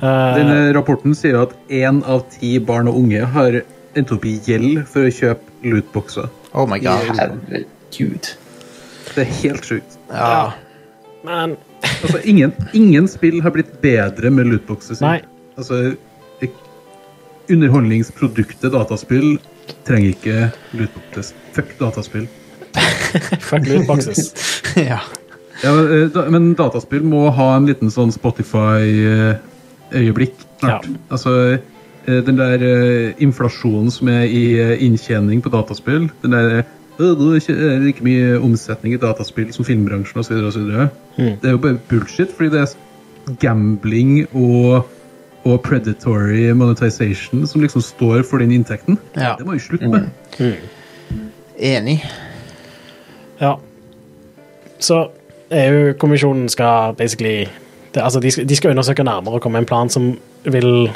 Speaker 1: Eh,
Speaker 3: Denne rapporten sier jo at én av ti barn og unge har endt opp i gjeld for å kjøpe lootboxer.
Speaker 2: Oh my god.
Speaker 4: Herregud.
Speaker 3: Det er helt sjukt.
Speaker 2: Ja.
Speaker 1: Eh, Men
Speaker 3: Altså, ingen, ingen spill har blitt bedre med lootboxer. sier.
Speaker 1: Nei.
Speaker 3: Altså, ik- underholdningsproduktet dataspill trenger ikke lootboxes. Fuck dataspill.
Speaker 1: fuck lootboxes.
Speaker 2: ja.
Speaker 3: Ja, men, eh, da, men dataspill må ha en liten sånn Spotify-øyeblikk snart.
Speaker 1: Ja.
Speaker 3: Altså, eh, den der eh, inflasjonen som er i eh, inntjening på dataspill Den der eh, «Å, nå er det like mye omsetning i dataspill som filmbransjen osv.
Speaker 1: Mm.
Speaker 3: Det er jo bare bullshit, fordi det er s- gambling og, og predatory monetization som liksom står for den inntekten.
Speaker 2: Ja.
Speaker 3: Det må vi slutte med.
Speaker 2: Enig.
Speaker 1: Ja. Så EU-kommisjonen skal basically det, altså de, skal, de skal undersøke nærmere og komme med en plan som vil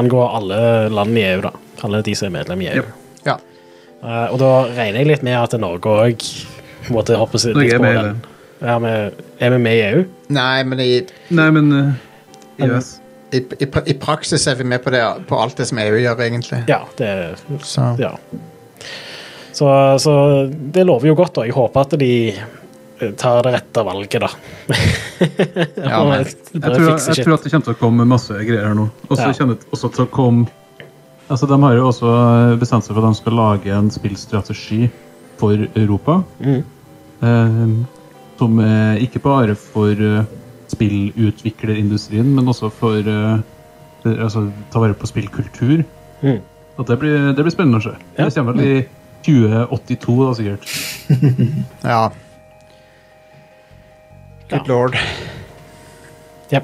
Speaker 1: angå alle land i EU, da. Alle de som er medlem i EU.
Speaker 3: Yep.
Speaker 2: Ja.
Speaker 1: Eh, og da regner jeg litt med at Norge òg måtte hoppe seg
Speaker 3: Norge
Speaker 1: litt
Speaker 3: er
Speaker 1: på
Speaker 3: med i
Speaker 1: den. Ja, men er vi med i E EU?
Speaker 2: Nei, men i,
Speaker 3: Nei, men eh, EØS.
Speaker 2: i, i, pra- i praksis er vi med på, det, på alt det som EU gjør, egentlig.
Speaker 1: Ja, det
Speaker 2: Så.
Speaker 1: Ja. Så, så det lover jo godt, og jeg håper at de eh, tar det rette valget, da.
Speaker 2: Ja,
Speaker 1: Og bare
Speaker 2: men-
Speaker 3: Jeg tror,
Speaker 1: fikser
Speaker 3: jeg
Speaker 1: shit.
Speaker 3: tror at det kommer til å komme masse greier her nå. Og så
Speaker 1: Ja.
Speaker 3: kommer det også til å komme Altså, De har jo også bestemt seg for at de skal lage en spillstrategi for Europa.
Speaker 1: Mm.
Speaker 3: Eh, som er ikke bare for eh, spillutviklerindustrien, men også for eh, eh, altså, ta vare på spillkultur.
Speaker 1: Mm.
Speaker 3: At det, blir, det blir spennende å se.
Speaker 1: Ja. Mm.
Speaker 3: Det kommer vel i 2082, da, sikkert.
Speaker 2: Ja. Good lord.
Speaker 1: Ja.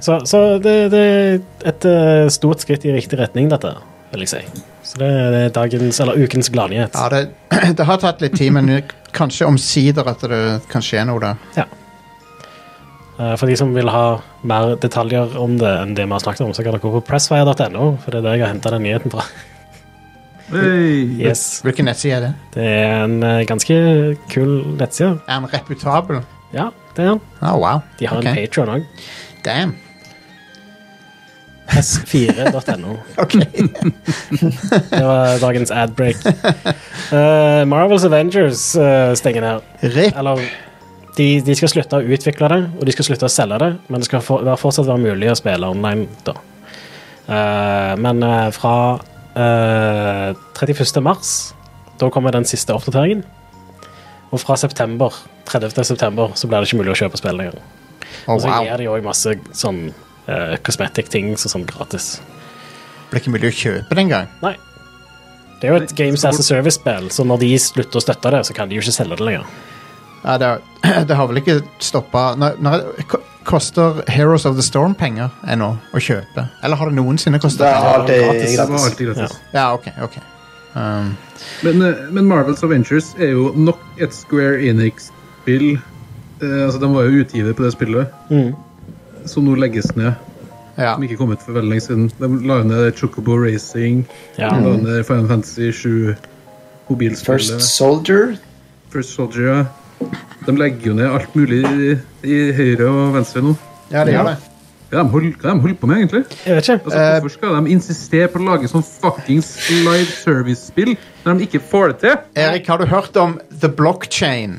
Speaker 1: Så, så det, det er et eh, stort skritt i riktig retning, dette, vil jeg si. Så det, det er dagens, eller ukens gladnyhet.
Speaker 2: Ja, det, det har tatt litt tid, men nå- kanskje omsider at det kan skje noe der.
Speaker 1: Ja. Eh, For de som vil ha mer detaljer om det enn det vi har snakket om, så kan dere gå på pressfire.no, for det er der jeg har henta den nyheten fra.
Speaker 3: Hey.
Speaker 1: Yes.
Speaker 2: Hvilken nettside er det?
Speaker 1: Det er en eh, ganske kul nettside.
Speaker 2: Er den reputabel?
Speaker 1: Ja, det er den.
Speaker 2: Ah, wow.
Speaker 1: De har
Speaker 2: Ok.
Speaker 1: en Patreon òg.
Speaker 2: Damn.
Speaker 1: S4.no.
Speaker 2: Ok.
Speaker 1: Det var dagens adbreak. Eh, Marvels Avengers eh, stenger ned.
Speaker 2: Rip.
Speaker 1: Eller de, de skal slutte å utvikle det, og de skal slutte å selge det, men det skal for, være, fortsatt være mulig å spille online da. Eh, men eh, fra eh, 31. mars, da kommer den siste oppdateringen. Og fra september, 30. september så blir det ikke mulig å kjøpe spill lenger.
Speaker 2: Oh,
Speaker 1: Og så
Speaker 2: wow.
Speaker 1: gir de òg masse sånn uh, cosmetic ting så sånn gratis.
Speaker 2: Blir ikke mulig å kjøpe den gang.
Speaker 1: Nei. Det er jo et Games as a Service-spill, så når de slutter å støtte det, så kan de jo ikke selge det lenger.
Speaker 2: Ja, det, har- det har vel ikke stoppa når, når, ko- Koster Heroes of the Storm penger ennå å kjøpe? Eller har det noensinne kosta
Speaker 4: Det er
Speaker 2: penger?
Speaker 4: alltid
Speaker 3: Det var
Speaker 4: gratis.
Speaker 3: alltid gratis.
Speaker 2: Ja, ok, ok. Um,
Speaker 3: Men, eh, men Marvels Avengers er jo nok et Square Enix-spill. Eh, altså, De var jo utgiver på det spillet, som nå legges ned.
Speaker 2: ja.
Speaker 3: Som ikke kom ut for veldig lenge siden. De la jo ned Chocobo Racing,
Speaker 1: Ja.
Speaker 3: de la ned Final Fantasy 7, mobilspillet
Speaker 4: First
Speaker 3: First,
Speaker 4: Soldier.
Speaker 3: Soldier. ja. De legger jo ned alt mulig i, i høyre og venstre nå.
Speaker 2: ja, det gjør det.
Speaker 3: Hva er det de holder- hva er det de holder på med, egentlig?
Speaker 1: Jeg vet ikke.
Speaker 3: Altså, Hvorfor skal de insistere på å lage sånn fuckings live service-spill når de ikke får det til?
Speaker 2: Erik, har du hørt om The Blockchain?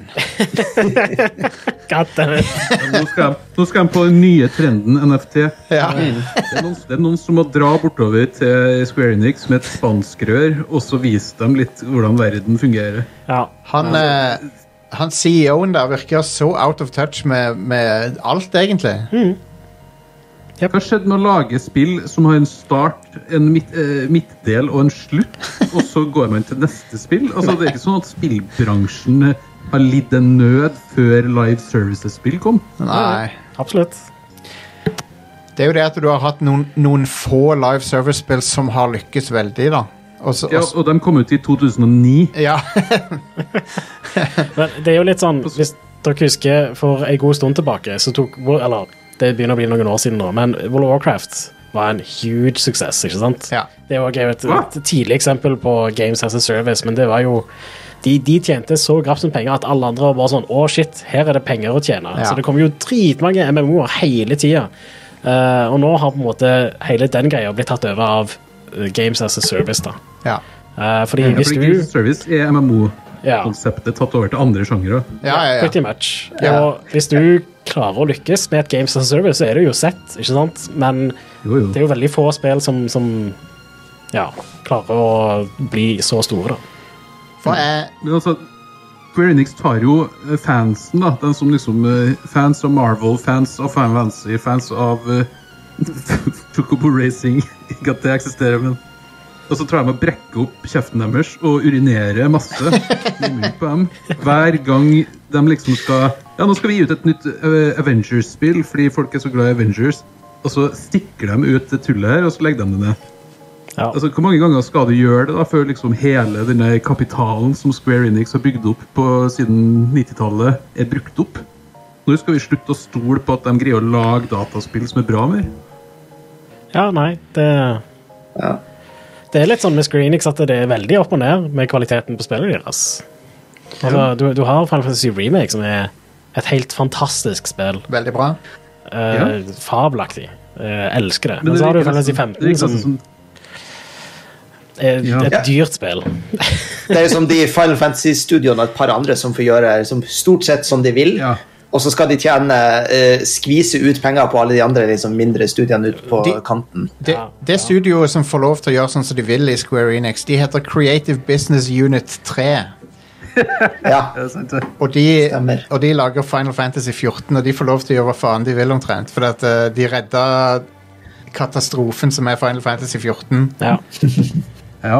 Speaker 1: God damn it.
Speaker 3: Nå skal, de, nå skal de på den nye trenden NFT.
Speaker 2: Ja.
Speaker 3: Det, er noen, det er noen som må dra bortover til Square Enix med et spanskrør og så vise dem litt hvordan verden fungerer.
Speaker 1: Ja.
Speaker 2: Han, eh, han CEO-en der virker så out of touch med, med alt, egentlig.
Speaker 1: Mm.
Speaker 3: Hva skjedde med å lage spill som har en start, en midt, eh, midtdel og en slutt, og så går man til neste spill? Altså, det er ikke sånn at spillbransjen eh, har lidd en nød før Live Services-spill kom.
Speaker 2: Nei.
Speaker 1: Absolutt.
Speaker 2: Det er jo det at du har hatt noen, noen få live service-spill som har lykkes veldig, da. Og så-
Speaker 3: Ja,
Speaker 2: og så-
Speaker 3: og de kom ut i 2009.
Speaker 2: ja.
Speaker 1: Men det er jo litt sånn, hvis dere husker for en god stund tilbake, så tok Eller det begynner å bli noen år siden nå, men World of Warcraft var en huge suksess, ikke sant?
Speaker 2: Ja.
Speaker 1: Det var jo et,
Speaker 3: Hva?
Speaker 1: et tidlig eksempel på Games as a Service, men det var jo de, de tjente så grafsen penger at alle andre var bare sånn Å, shit, her er det penger å tjene.
Speaker 2: Ja.
Speaker 1: Så det kommer jo dritmange MMO-er hele tida. Eh, og nå har på en måte hele den greia blitt tatt over av eh, Games as a Service, da.
Speaker 2: ja.
Speaker 1: Eh, fordi
Speaker 3: Ja,
Speaker 1: hvis
Speaker 3: fordi
Speaker 1: du
Speaker 3: Games Service er MMO-konseptet tatt over til andre sjangere.
Speaker 2: Ja, ja, ja.
Speaker 1: Pretty much.
Speaker 2: Ja.
Speaker 1: Og hvis du klarer å lykkes med et Games as a Service, så er det jo sett, ikke sant? Men
Speaker 3: Jo, jo.
Speaker 1: det er jo veldig få spill som, som ja, klarer å bli så store, da.
Speaker 2: For eh, jeg
Speaker 3: Men altså, Square Enix tar jo eh, fansen, da. Den som liksom eh, Fans av Marvel, fans av Final Fantasy, fans av eh, Chocobo Racing. Ikke at det eksisterer, men Og så tar de og brekker opp kjeften deres og urinerer masse i munnen på dem hver gang de liksom skal Ja, nå skal vi gi ut et nytt eh, Avengers-spill fordi folk er så glad i Avengers. Og så stikker de ut det tullet her, og så legger de det ned.
Speaker 1: Ja.
Speaker 3: Altså, Hvor mange ganger skal du gjøre det da, før liksom hele denne kapitalen som Square Enix har bygd opp på siden 90-tallet, er brukt opp? Når skal vi slutte å stole på at de greier å lage dataspill som er bra mer?
Speaker 1: ja, nei, det
Speaker 4: Ja.
Speaker 1: Det er litt sånn med Square Enix at det er veldig opp og ned med kvaliteten på spillet deres. Altså, du, du har Final Fantasy Remake, som er et helt fantastisk spill.
Speaker 2: Veldig bra.
Speaker 1: Eh, Fabelaktig. Eh, elsker det. Men,
Speaker 3: det
Speaker 1: så har du
Speaker 3: virker
Speaker 1: Final Fantasy 15,
Speaker 3: nesten- det virker
Speaker 1: som
Speaker 3: nesten sånn-
Speaker 1: er
Speaker 3: Ja.
Speaker 1: et dyrt spill.
Speaker 4: Det er jo som de Final Fantasy-studioene og et par andre som får gjøre liksom, stort sett som de vil.
Speaker 3: Ja.
Speaker 4: Og så skal de tjene eh, skvise ut penger på alle de andre liksom, mindre studiene ute på
Speaker 2: De-
Speaker 4: kanten.
Speaker 2: Det,
Speaker 1: Ja,
Speaker 2: det studioet som får lov til å gjøre sånn som de vil i Square Enix, de heter Creative Business Unit 3.
Speaker 4: Ja.
Speaker 3: Ja, sant det.
Speaker 2: Og de,
Speaker 4: Stemmer.
Speaker 2: og de lager Final Fantasy 14, og de får lov til å gjøre hva faen de vil omtrent. For at, eh, de redda katastrofen som er Final Fantasy 14.
Speaker 1: Ja.
Speaker 3: ja.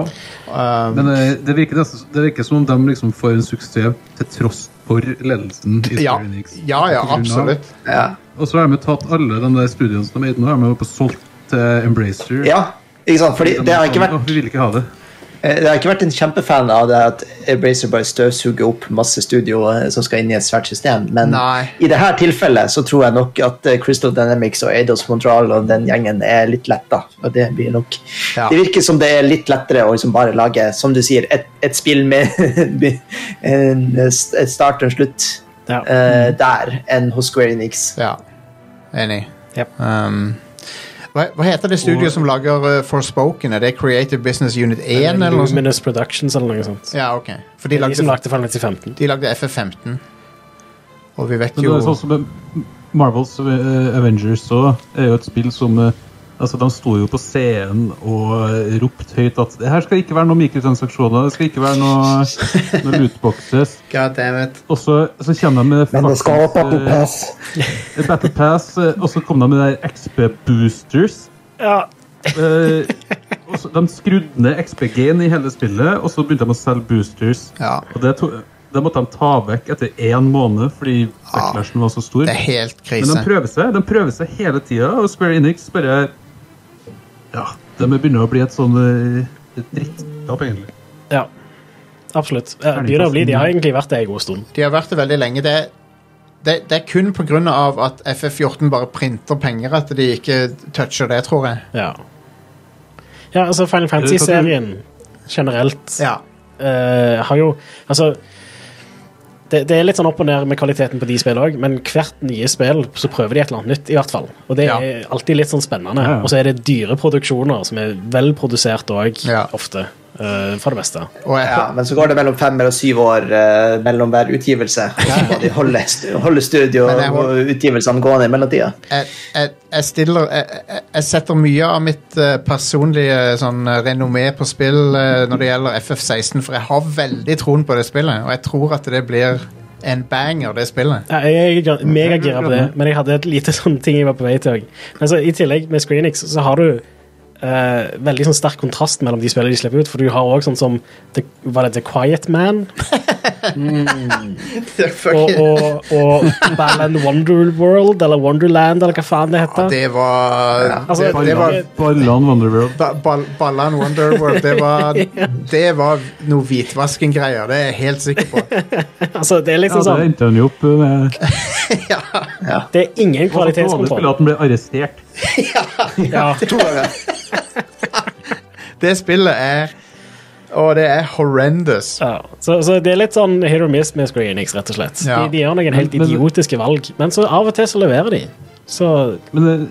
Speaker 2: Um,
Speaker 3: Men eh, det virker, nesten, det virker som om de liksom får en suksess til tross for ledelsen i Square
Speaker 2: ja,
Speaker 3: Enix.
Speaker 2: ja, ja,
Speaker 3: På grunn av-
Speaker 2: absolutt.
Speaker 4: Ja.
Speaker 3: Og så har de jo tatt alle de der studiene som de er i nå, har de jo på solgt til Embracer.
Speaker 4: ja. Ikke sant? Fordi det har ikke vært
Speaker 3: Åh, Vi vil ikke ha det.
Speaker 4: Eh, Jeg har ikke vært en kjempefan av det at Bracer bare støvsuger opp masse studio eh, som skal inn i et svært system, men
Speaker 2: Nei.
Speaker 4: i dette tilfellet så tror jeg nok at eh, Crystal Dynamics og Eidos Montreal og den gjengen er litt letta. Og det blir nok
Speaker 2: Ja.
Speaker 4: Det virker som det er litt lettere å liksom bare lage, som du sier, et, et spill med en, et start og en slutt
Speaker 1: Ja.
Speaker 4: eh, der enn hos Square Enix.
Speaker 2: Ja, enig.
Speaker 1: Yep.
Speaker 2: Um, hva, hva heter det studioet
Speaker 3: Og-
Speaker 2: som lager uh, Forspoken? Er det Creative Business Unit 1? eller noe sånt?
Speaker 1: Luminous Productions eller noe sånt.
Speaker 2: Ja, ok. For de
Speaker 1: De som lagde
Speaker 2: lagde,
Speaker 1: Final Fantasy 15.
Speaker 2: de lagde FF15. Og vi vet
Speaker 3: Men det
Speaker 2: jo
Speaker 3: er sånn som eh, Marvels eh, Avengers også er jo et spill som eh, Altså, De sto jo på scenen og eh, ropte høyt at det her skal ikke være noen mikrotransaksjoner, det skal ikke være noe, noe lootboxes.
Speaker 2: God damn it.
Speaker 3: Og så, så kommer de med
Speaker 4: Men det skal
Speaker 3: faktisk,
Speaker 4: opp at du
Speaker 3: eh,
Speaker 4: pass.
Speaker 3: Battle Pass, eh, og så kom de med der XP Boosters.
Speaker 1: Ja.
Speaker 3: Eh, og så, de skrudde ned XPG-en i hele spillet, og så begynte de å selge boosters.
Speaker 2: Ja.
Speaker 3: Og det, to, det måtte de ta vekk etter én måned fordi backlashen var så stor.
Speaker 2: Det er helt
Speaker 3: Men
Speaker 2: krise.
Speaker 3: de prøver seg de prøver seg hele tida, og Square Enix bare Ja, de begynner å bli et sånn eh, et drittskap, egentlig.
Speaker 1: ja. Absolutt. Eh, Begynner å bli. De har egentlig vært det en god stund.
Speaker 2: De har vært det veldig lenge. Det, det, det er kun pga. at FF14 bare printer penger at de ikke toucher det, tror jeg.
Speaker 1: Ja. Ja, altså Final Fantasy-serien generelt
Speaker 2: Ja.
Speaker 1: eh, har jo Altså det, det er litt sånn opp og ned med kvaliteten på de spillene òg, men hvert nye spill så prøver de et eller annet nytt, i hvert fall. Og det
Speaker 2: Ja.
Speaker 1: er alltid litt sånn spennende.
Speaker 3: Ja, ja.
Speaker 1: Og så er det dyre produksjoner som er velprodusert òg,
Speaker 2: Ja.
Speaker 1: ofte. eh, for det meste.
Speaker 2: Og jeg,
Speaker 4: Ja, men så går det mellom fem og syv år eh, mellom hver utgivelse. Og så må de holde, st- holde studio
Speaker 2: Men jeg hold-
Speaker 4: og utgivelsene gående i mellomtida.
Speaker 2: jeg, jeg, jeg stiller jeg, jeg- jeg setter mye av mitt eh, personlige sånn, eh, renommé på spill eh, når det gjelder FF16, for jeg har veldig troen på det spillet, og jeg tror at det blir en banger, det spillet.
Speaker 1: Ja, Jeg er gra- megagira på det, men jeg hadde et lite sånn ting jeg var på vei til òg. Men så, I tillegg med Screenix så har du eh, veldig sånn sterk kontrast mellom de spillene de slipper ut, for du har òg sånn som The, Var det The Quiet Man? Og, og, og Balan Wonder World, eller Wonderland, eller hva faen det heter.
Speaker 2: Det var
Speaker 1: Altså,
Speaker 2: det, det var
Speaker 1: det-
Speaker 3: Ballan Wonderworld.
Speaker 2: ba, ball- Ballan Wonderworld. Det var, det var noe hvitvaskengreier, det er jeg helt sikker på.
Speaker 1: Altså, det er
Speaker 3: Ja,
Speaker 1: liksom
Speaker 3: det
Speaker 1: sånn
Speaker 3: endte han jo opp med.
Speaker 1: Det er ingen
Speaker 3: Det var så dårlig spill
Speaker 1: kvalitetskontroll.
Speaker 3: at han ble arrestert.
Speaker 1: Ja,
Speaker 2: Det spillet er Og det er horrendous.
Speaker 1: ja. Så, så det er litt sånn hit or miss med Screenix, rett og slett.
Speaker 2: Ja.
Speaker 1: De, de gjør noen helt
Speaker 3: Men- men-
Speaker 1: idiotiske valg, men så av og til så leverer de. Så
Speaker 3: Men eh,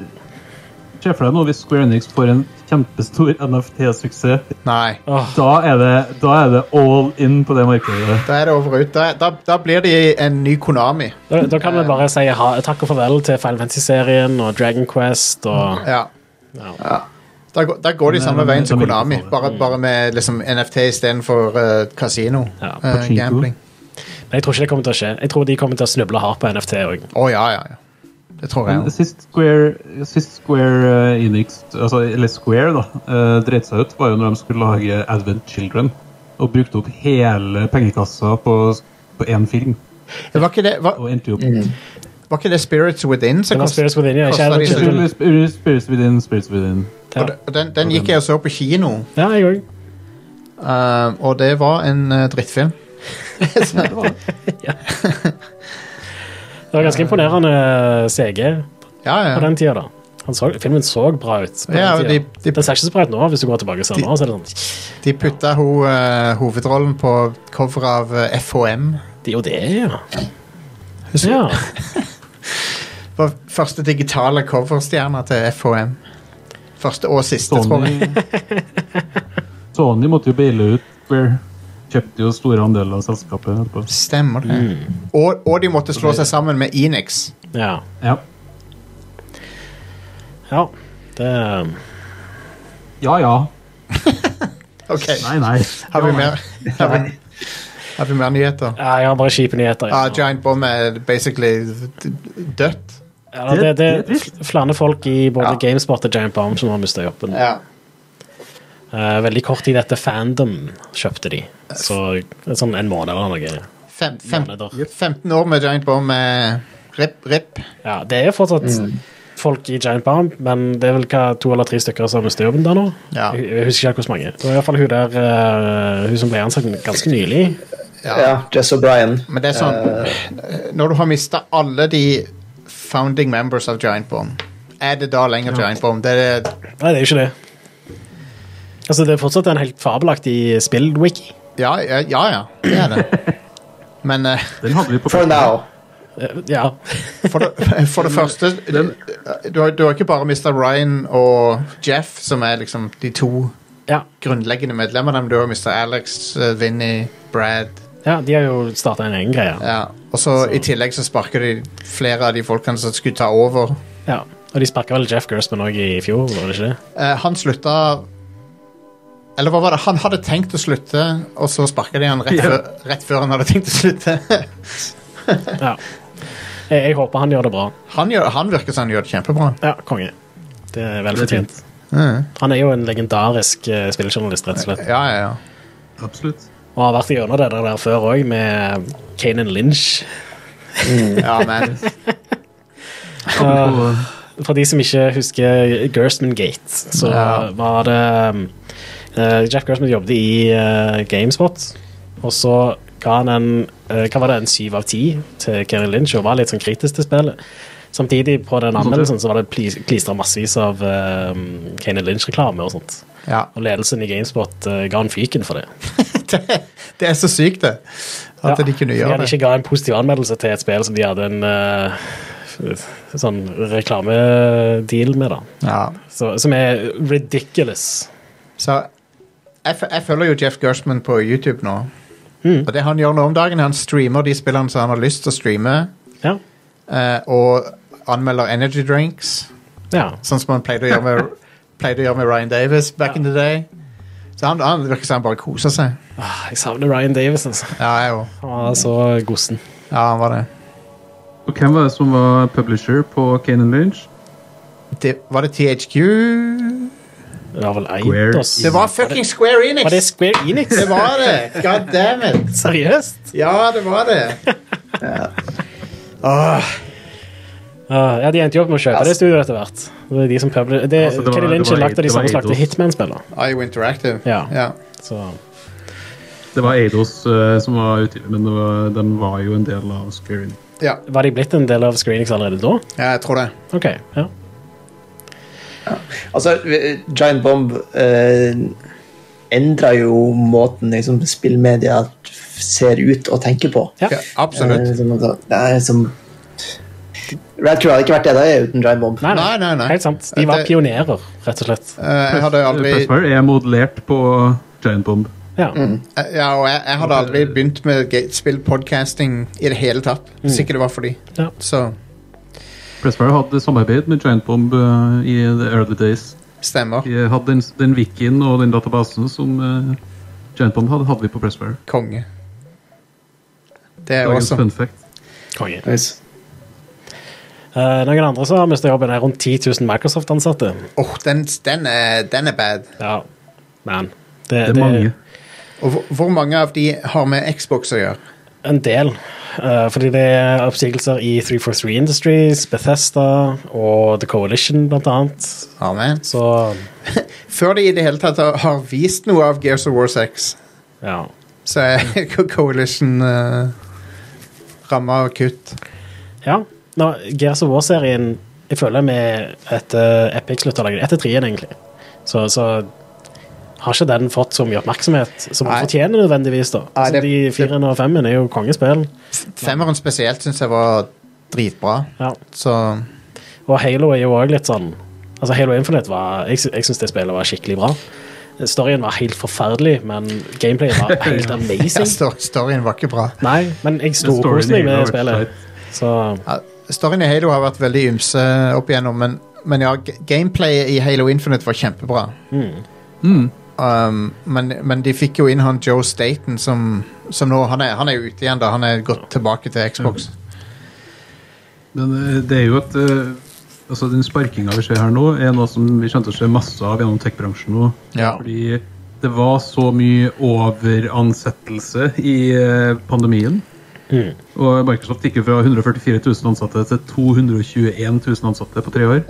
Speaker 3: se for deg nå hvis Square Enix får en kjempestor NFT-suksess.
Speaker 2: Nei.
Speaker 1: åh,
Speaker 3: Da, er det- da er det all in på det markedet.
Speaker 2: Da er det over og ut. Da, da, da blir de en ny Konami.
Speaker 1: Da, da kan vi bare si ha, takk og farvel til Final Fantasy-serien og Dragon Quest og
Speaker 2: Ja.
Speaker 1: Ja.
Speaker 2: Da, går- da går de
Speaker 3: Nei,
Speaker 2: samme
Speaker 3: men-
Speaker 2: veien som
Speaker 3: men-
Speaker 2: Konami, bare, bare med liksom NFT istedenfor uh, kasino.
Speaker 1: Ja,
Speaker 2: eh,
Speaker 3: pachinko.
Speaker 2: gambling.
Speaker 1: Men jeg tror ikke det kommer til å skje. Jeg tror de kommer til å snuble hardt på NFT òg.
Speaker 2: Å ja, ja, ja. Det tror jeg.
Speaker 3: Men
Speaker 2: også.
Speaker 3: sist Square, sist Square eh, Enix, altså, eller Square, da, eh, dreit seg ut, var jo når de skulle lage Advent Children. Og brukte opp hele pengekassa på, på én film.
Speaker 2: Var ikke det, var,
Speaker 3: Og endte jo opp
Speaker 4: Eh,
Speaker 2: var ikke det Spirits Within som
Speaker 1: Det var
Speaker 2: kost-
Speaker 1: Spirits Within, ja, ikke
Speaker 2: kostet
Speaker 1: Advent
Speaker 2: de så-
Speaker 1: Children.
Speaker 3: Spirits Spirits Within, Spirits Within.
Speaker 1: Ja.
Speaker 2: Og de- og den, den gikk jeg og så på kino,
Speaker 1: Ja, jeg òg.
Speaker 2: eh, og det var en eh, drittfilm.
Speaker 3: Ja, det var det.
Speaker 1: Det var ganske imponerende CG
Speaker 2: Ja, ja.
Speaker 1: på den tida, da. Han så, filmen så bra ut. På
Speaker 2: Ja,
Speaker 1: den
Speaker 2: og
Speaker 1: tida.
Speaker 2: de- de-
Speaker 1: den ser ikke så bra ut nå, hvis du går tilbake i sommer. så er det sånn,
Speaker 2: De putta ho, eh, hovedrollen på cover av eh, FHM.
Speaker 1: det er jo det, ja. ja.
Speaker 2: Var første digitale coverstjerna til FHM. Første og siste, tror jeg.
Speaker 3: Sony, Sony måtte jo baile ut Square. Kjøpte jo store andeler av selskapet. etterpå.
Speaker 2: Stemmer det. Og, og de måtte slå seg sammen med Enix.
Speaker 1: Ja.
Speaker 3: Ja.
Speaker 1: ja. Det,
Speaker 3: ja ja.
Speaker 2: Ok,
Speaker 3: Nei, nei.
Speaker 2: Har vi mer, har vi, har vi mer nyheter?
Speaker 1: ja, jeg har bare kjipe nyheter.
Speaker 2: Ja,
Speaker 1: Ja.
Speaker 2: Giant Bomb er basically d- dødt.
Speaker 1: Ja, det, det,
Speaker 3: Det er trist.
Speaker 1: er flere folk i både
Speaker 2: Ja.
Speaker 1: GameSpot og Giant Bomb som har mista jobben. Eh, veldig kort tid etter Fandom kjøpte de. Så det er sånn en måned eller noe.
Speaker 2: Fem, fem,
Speaker 1: Måneder.
Speaker 2: 15 år med Giant Bomb er rip, rip.
Speaker 1: Ja, det er fortsatt folk i Giant Bomb, men det er vel hva, to eller tre stykker som har mistet jobben der nå.
Speaker 2: Ja.
Speaker 1: Jeg, jeg husker ikke hvor mange. Det var i hvert fall hun der eh, hun som ble ansatt ganske nylig.
Speaker 4: Ja, Jess O'Brien.
Speaker 2: Men det er sånn Når du har mista alle de founding members av Giant Bomb, er det da lenger Giant Bomb? Det er,
Speaker 1: Nei, det er jo ikke det. Altså, det er fortsatt en helt fabelaktig spill-wiki.
Speaker 2: ja, ja, ja, ja, det er det. Men eh,
Speaker 3: Den hadde vi på
Speaker 4: For now.
Speaker 1: Eh, ja.
Speaker 2: for, det, for det første eh, Du har, du har ikke bare mista Ryan og Jeff, som er liksom de to
Speaker 1: ja.
Speaker 2: grunnleggende medlemmene, men du har mista Alex, eh, Vinny, Brad
Speaker 1: Ja, de har jo starta en egen greie.
Speaker 2: ja. Og så i tillegg så sparker de flere av de folkene som skulle ta over.
Speaker 1: Ja. Og de sparka vel Jeff Gerstmann òg i fjor, var det ikke det?
Speaker 2: Eh, han slutta Eller hva var det? Han hadde tenkt å slutte, og så sparka de han rett,
Speaker 3: Ja.
Speaker 2: før, rett før han hadde tenkt å slutte.
Speaker 1: Ja. Jeg, jeg håper han gjør det bra.
Speaker 2: Han, gjør, han virker som han gjør det kjempebra.
Speaker 1: Ja, konge. Det er vel
Speaker 3: Det er
Speaker 1: fortjent. Han er jo en legendarisk eh, spilljournalist, rett og slett.
Speaker 2: Ja, ja, ja.
Speaker 3: Absolutt.
Speaker 1: Og har vært gjennom det der før òg, med Kanan Lynch.
Speaker 2: ja men,
Speaker 3: Og
Speaker 1: eh, For de som ikke husker Gerstman Gate, så
Speaker 2: Ja.
Speaker 1: var det um, eh, Jeff Gerstman jobbet i eh, GameSpot, og så ga han en eh, hva var det, en syv av ti til Kanan Lynch, og var litt sånn kritisk til spillet. Samtidig, på den anmeldelsen, så var det klistra massevis av uh, Kanan Lynch-reklame og sånt.
Speaker 2: ja.
Speaker 1: Og ledelsen i GameSpot eh, ga han fyken for det.
Speaker 2: Det, det er så sykt, det. At de kunne
Speaker 1: Fordi
Speaker 2: gjøre
Speaker 1: han
Speaker 2: det.
Speaker 1: ikke ga en positiv anmeldelse til et spill som de hadde en eh, f- sånn reklamedeal med, da.
Speaker 2: Ja.
Speaker 1: Så, som er ridiculous.
Speaker 2: Så jeg, f- jeg følger jo Jeff Gershman på YouTube nå.
Speaker 1: Mm.
Speaker 2: Og det han gjør nå om dagen, han streamer de spillene som han har lyst til å streame,
Speaker 1: Ja.
Speaker 2: eh, og anmelder energy drinks.
Speaker 1: ja.
Speaker 2: Sånn som han pleide å gjøre med, pleide å gjøre med Ryan Davis back in the day. Så han, han virker som han bare koser seg.
Speaker 1: Ah, Jeg savner Ryan Davis, altså.
Speaker 2: Ja, jeg òg.
Speaker 1: Han var så gossen.
Speaker 2: Ja, han var det.
Speaker 3: hvem var det som var publisher på Kanan Lynch?
Speaker 2: det. Var det THQ
Speaker 1: Det var vel
Speaker 3: Square
Speaker 1: eid oss.
Speaker 2: Det var fucking Square Enix!
Speaker 1: Var det Square Enix?
Speaker 2: Det var det! God damn it!
Speaker 1: Seriøst?
Speaker 2: Ja, det var det. Åh,
Speaker 1: Ah, ja, De endte jo opp med å kjøpe
Speaker 4: Altså-
Speaker 1: det studioet etter hvert. Det er de som publi det,
Speaker 3: Altså, det var-
Speaker 1: Kenny Lynch er
Speaker 3: det var-
Speaker 1: lagt av de
Speaker 3: det var
Speaker 1: samme som lagde
Speaker 3: Eidos.
Speaker 1: Hitman-spiller.
Speaker 2: IO Interactive.
Speaker 1: Ja.
Speaker 2: ja.
Speaker 1: Så
Speaker 3: Det var Eidos eh, som var utgiver, men det var, den var jo en del av Square Enix.
Speaker 2: Ja,
Speaker 1: Var de blitt en del av Square Enix allerede da?
Speaker 2: ja jeg tror det.
Speaker 1: OK. ja.
Speaker 4: Altså, eh, Giant Bomb eh, endra jo måten liksom, spillmedia ser ut og tenker på.
Speaker 1: Ja.
Speaker 2: Ja, absolutt.
Speaker 4: Eh, som at- det er som Radcrew hadde ikke vært det det er uten Giant Bomb.
Speaker 1: Nei, nei.
Speaker 2: Nei, nei, nei.
Speaker 1: Helt sant. De var
Speaker 2: Det-
Speaker 1: pionerer, rett og slett.
Speaker 2: Eh, Jeg hadde aldri
Speaker 3: Pressfire er modellert på Giant Bomb.
Speaker 1: Ja.
Speaker 2: Mm. eh, Ja, og jeg, jeg hadde aldri begynt med ga- spillpodcasting i det hele tatt. Hvis ikke det var for de.
Speaker 1: Mm. Ja.
Speaker 2: Så
Speaker 3: Pressfire hadde samarbeid med Giant Bomb eh, i the early days.
Speaker 2: stemmer.
Speaker 3: Vi hadde den, den wikien og den databasen som eh, Giant Bomb hadde, hadde vi på Pressfire.
Speaker 2: Konge. Det er
Speaker 3: Dagens
Speaker 2: awesome.
Speaker 3: fun fact.
Speaker 1: Konge.
Speaker 4: Nice.
Speaker 1: Eh, noen andre som har mistet jobben, er rundt 10 000 Microsoft-ansatte.
Speaker 2: Åh, den, den, er, den er bad.
Speaker 1: Ja, man. Det,
Speaker 3: Det er mange.
Speaker 2: Og hvor, hvor mange av de har med Xbox å gjøre?
Speaker 1: En del. eh, fordi det er oppsigelser i 343 Industries, Bethesda og The Coalition, blant annet.
Speaker 2: Amen.
Speaker 1: Så
Speaker 2: Før de i det hele tatt har- har vist noe av Gears of War 6,
Speaker 1: ja.
Speaker 2: så
Speaker 1: Mm.
Speaker 2: er Coalition uh, ramma og kutt.
Speaker 1: ja. Nå, Gears of War-serien Jeg føler vi etter Epic slutta å lage den, etter trien, egentlig, så, så har ikke den fått så mye oppmerksomhet som
Speaker 2: Nei.
Speaker 1: den fortjener nødvendigvis. da.
Speaker 2: Nei, det-
Speaker 1: så de fireren og femmen er jo kongespill.
Speaker 2: Femmeren spesielt syns jeg var dritbra,
Speaker 1: Ja.
Speaker 2: så
Speaker 1: Og Halo er jo òg litt sånn Altså Halo Infinite var Jeg, sy- jeg syns det spillet var skikkelig bra. Storyen var helt forferdelig, men gameplayet var helt
Speaker 2: ja,
Speaker 1: amazing.
Speaker 2: stor- storyen var ikke bra.
Speaker 1: Nei, men jeg
Speaker 3: Men storyen
Speaker 1: storkoste meg
Speaker 3: i
Speaker 1: med
Speaker 3: Halo er
Speaker 1: spillet.
Speaker 3: tight.
Speaker 1: Så
Speaker 2: Ja, storyen i Halo har vært veldig ymse opp igjennom, men, men ja, g- gameplayet i Halo Infinite var kjempebra.
Speaker 3: Mm.
Speaker 2: Um, men, men de fikk jo inn han Joe Staten, som, som nå han er, han er jo ute igjen, da. Han er gått tilbake til Xbox.
Speaker 3: Men eh, det er jo at eh, altså den sparkinga vi ser her nå, er noe som vi kommer til å se masse av gjennom tech-bransjen nå.
Speaker 2: Ja.
Speaker 3: Fordi det var så mye overansettelse i eh, pandemien.
Speaker 1: Mhm.
Speaker 3: Og Microsoft gikk jo fra 144 000 ansatte til 221 000 ansatte på tre år.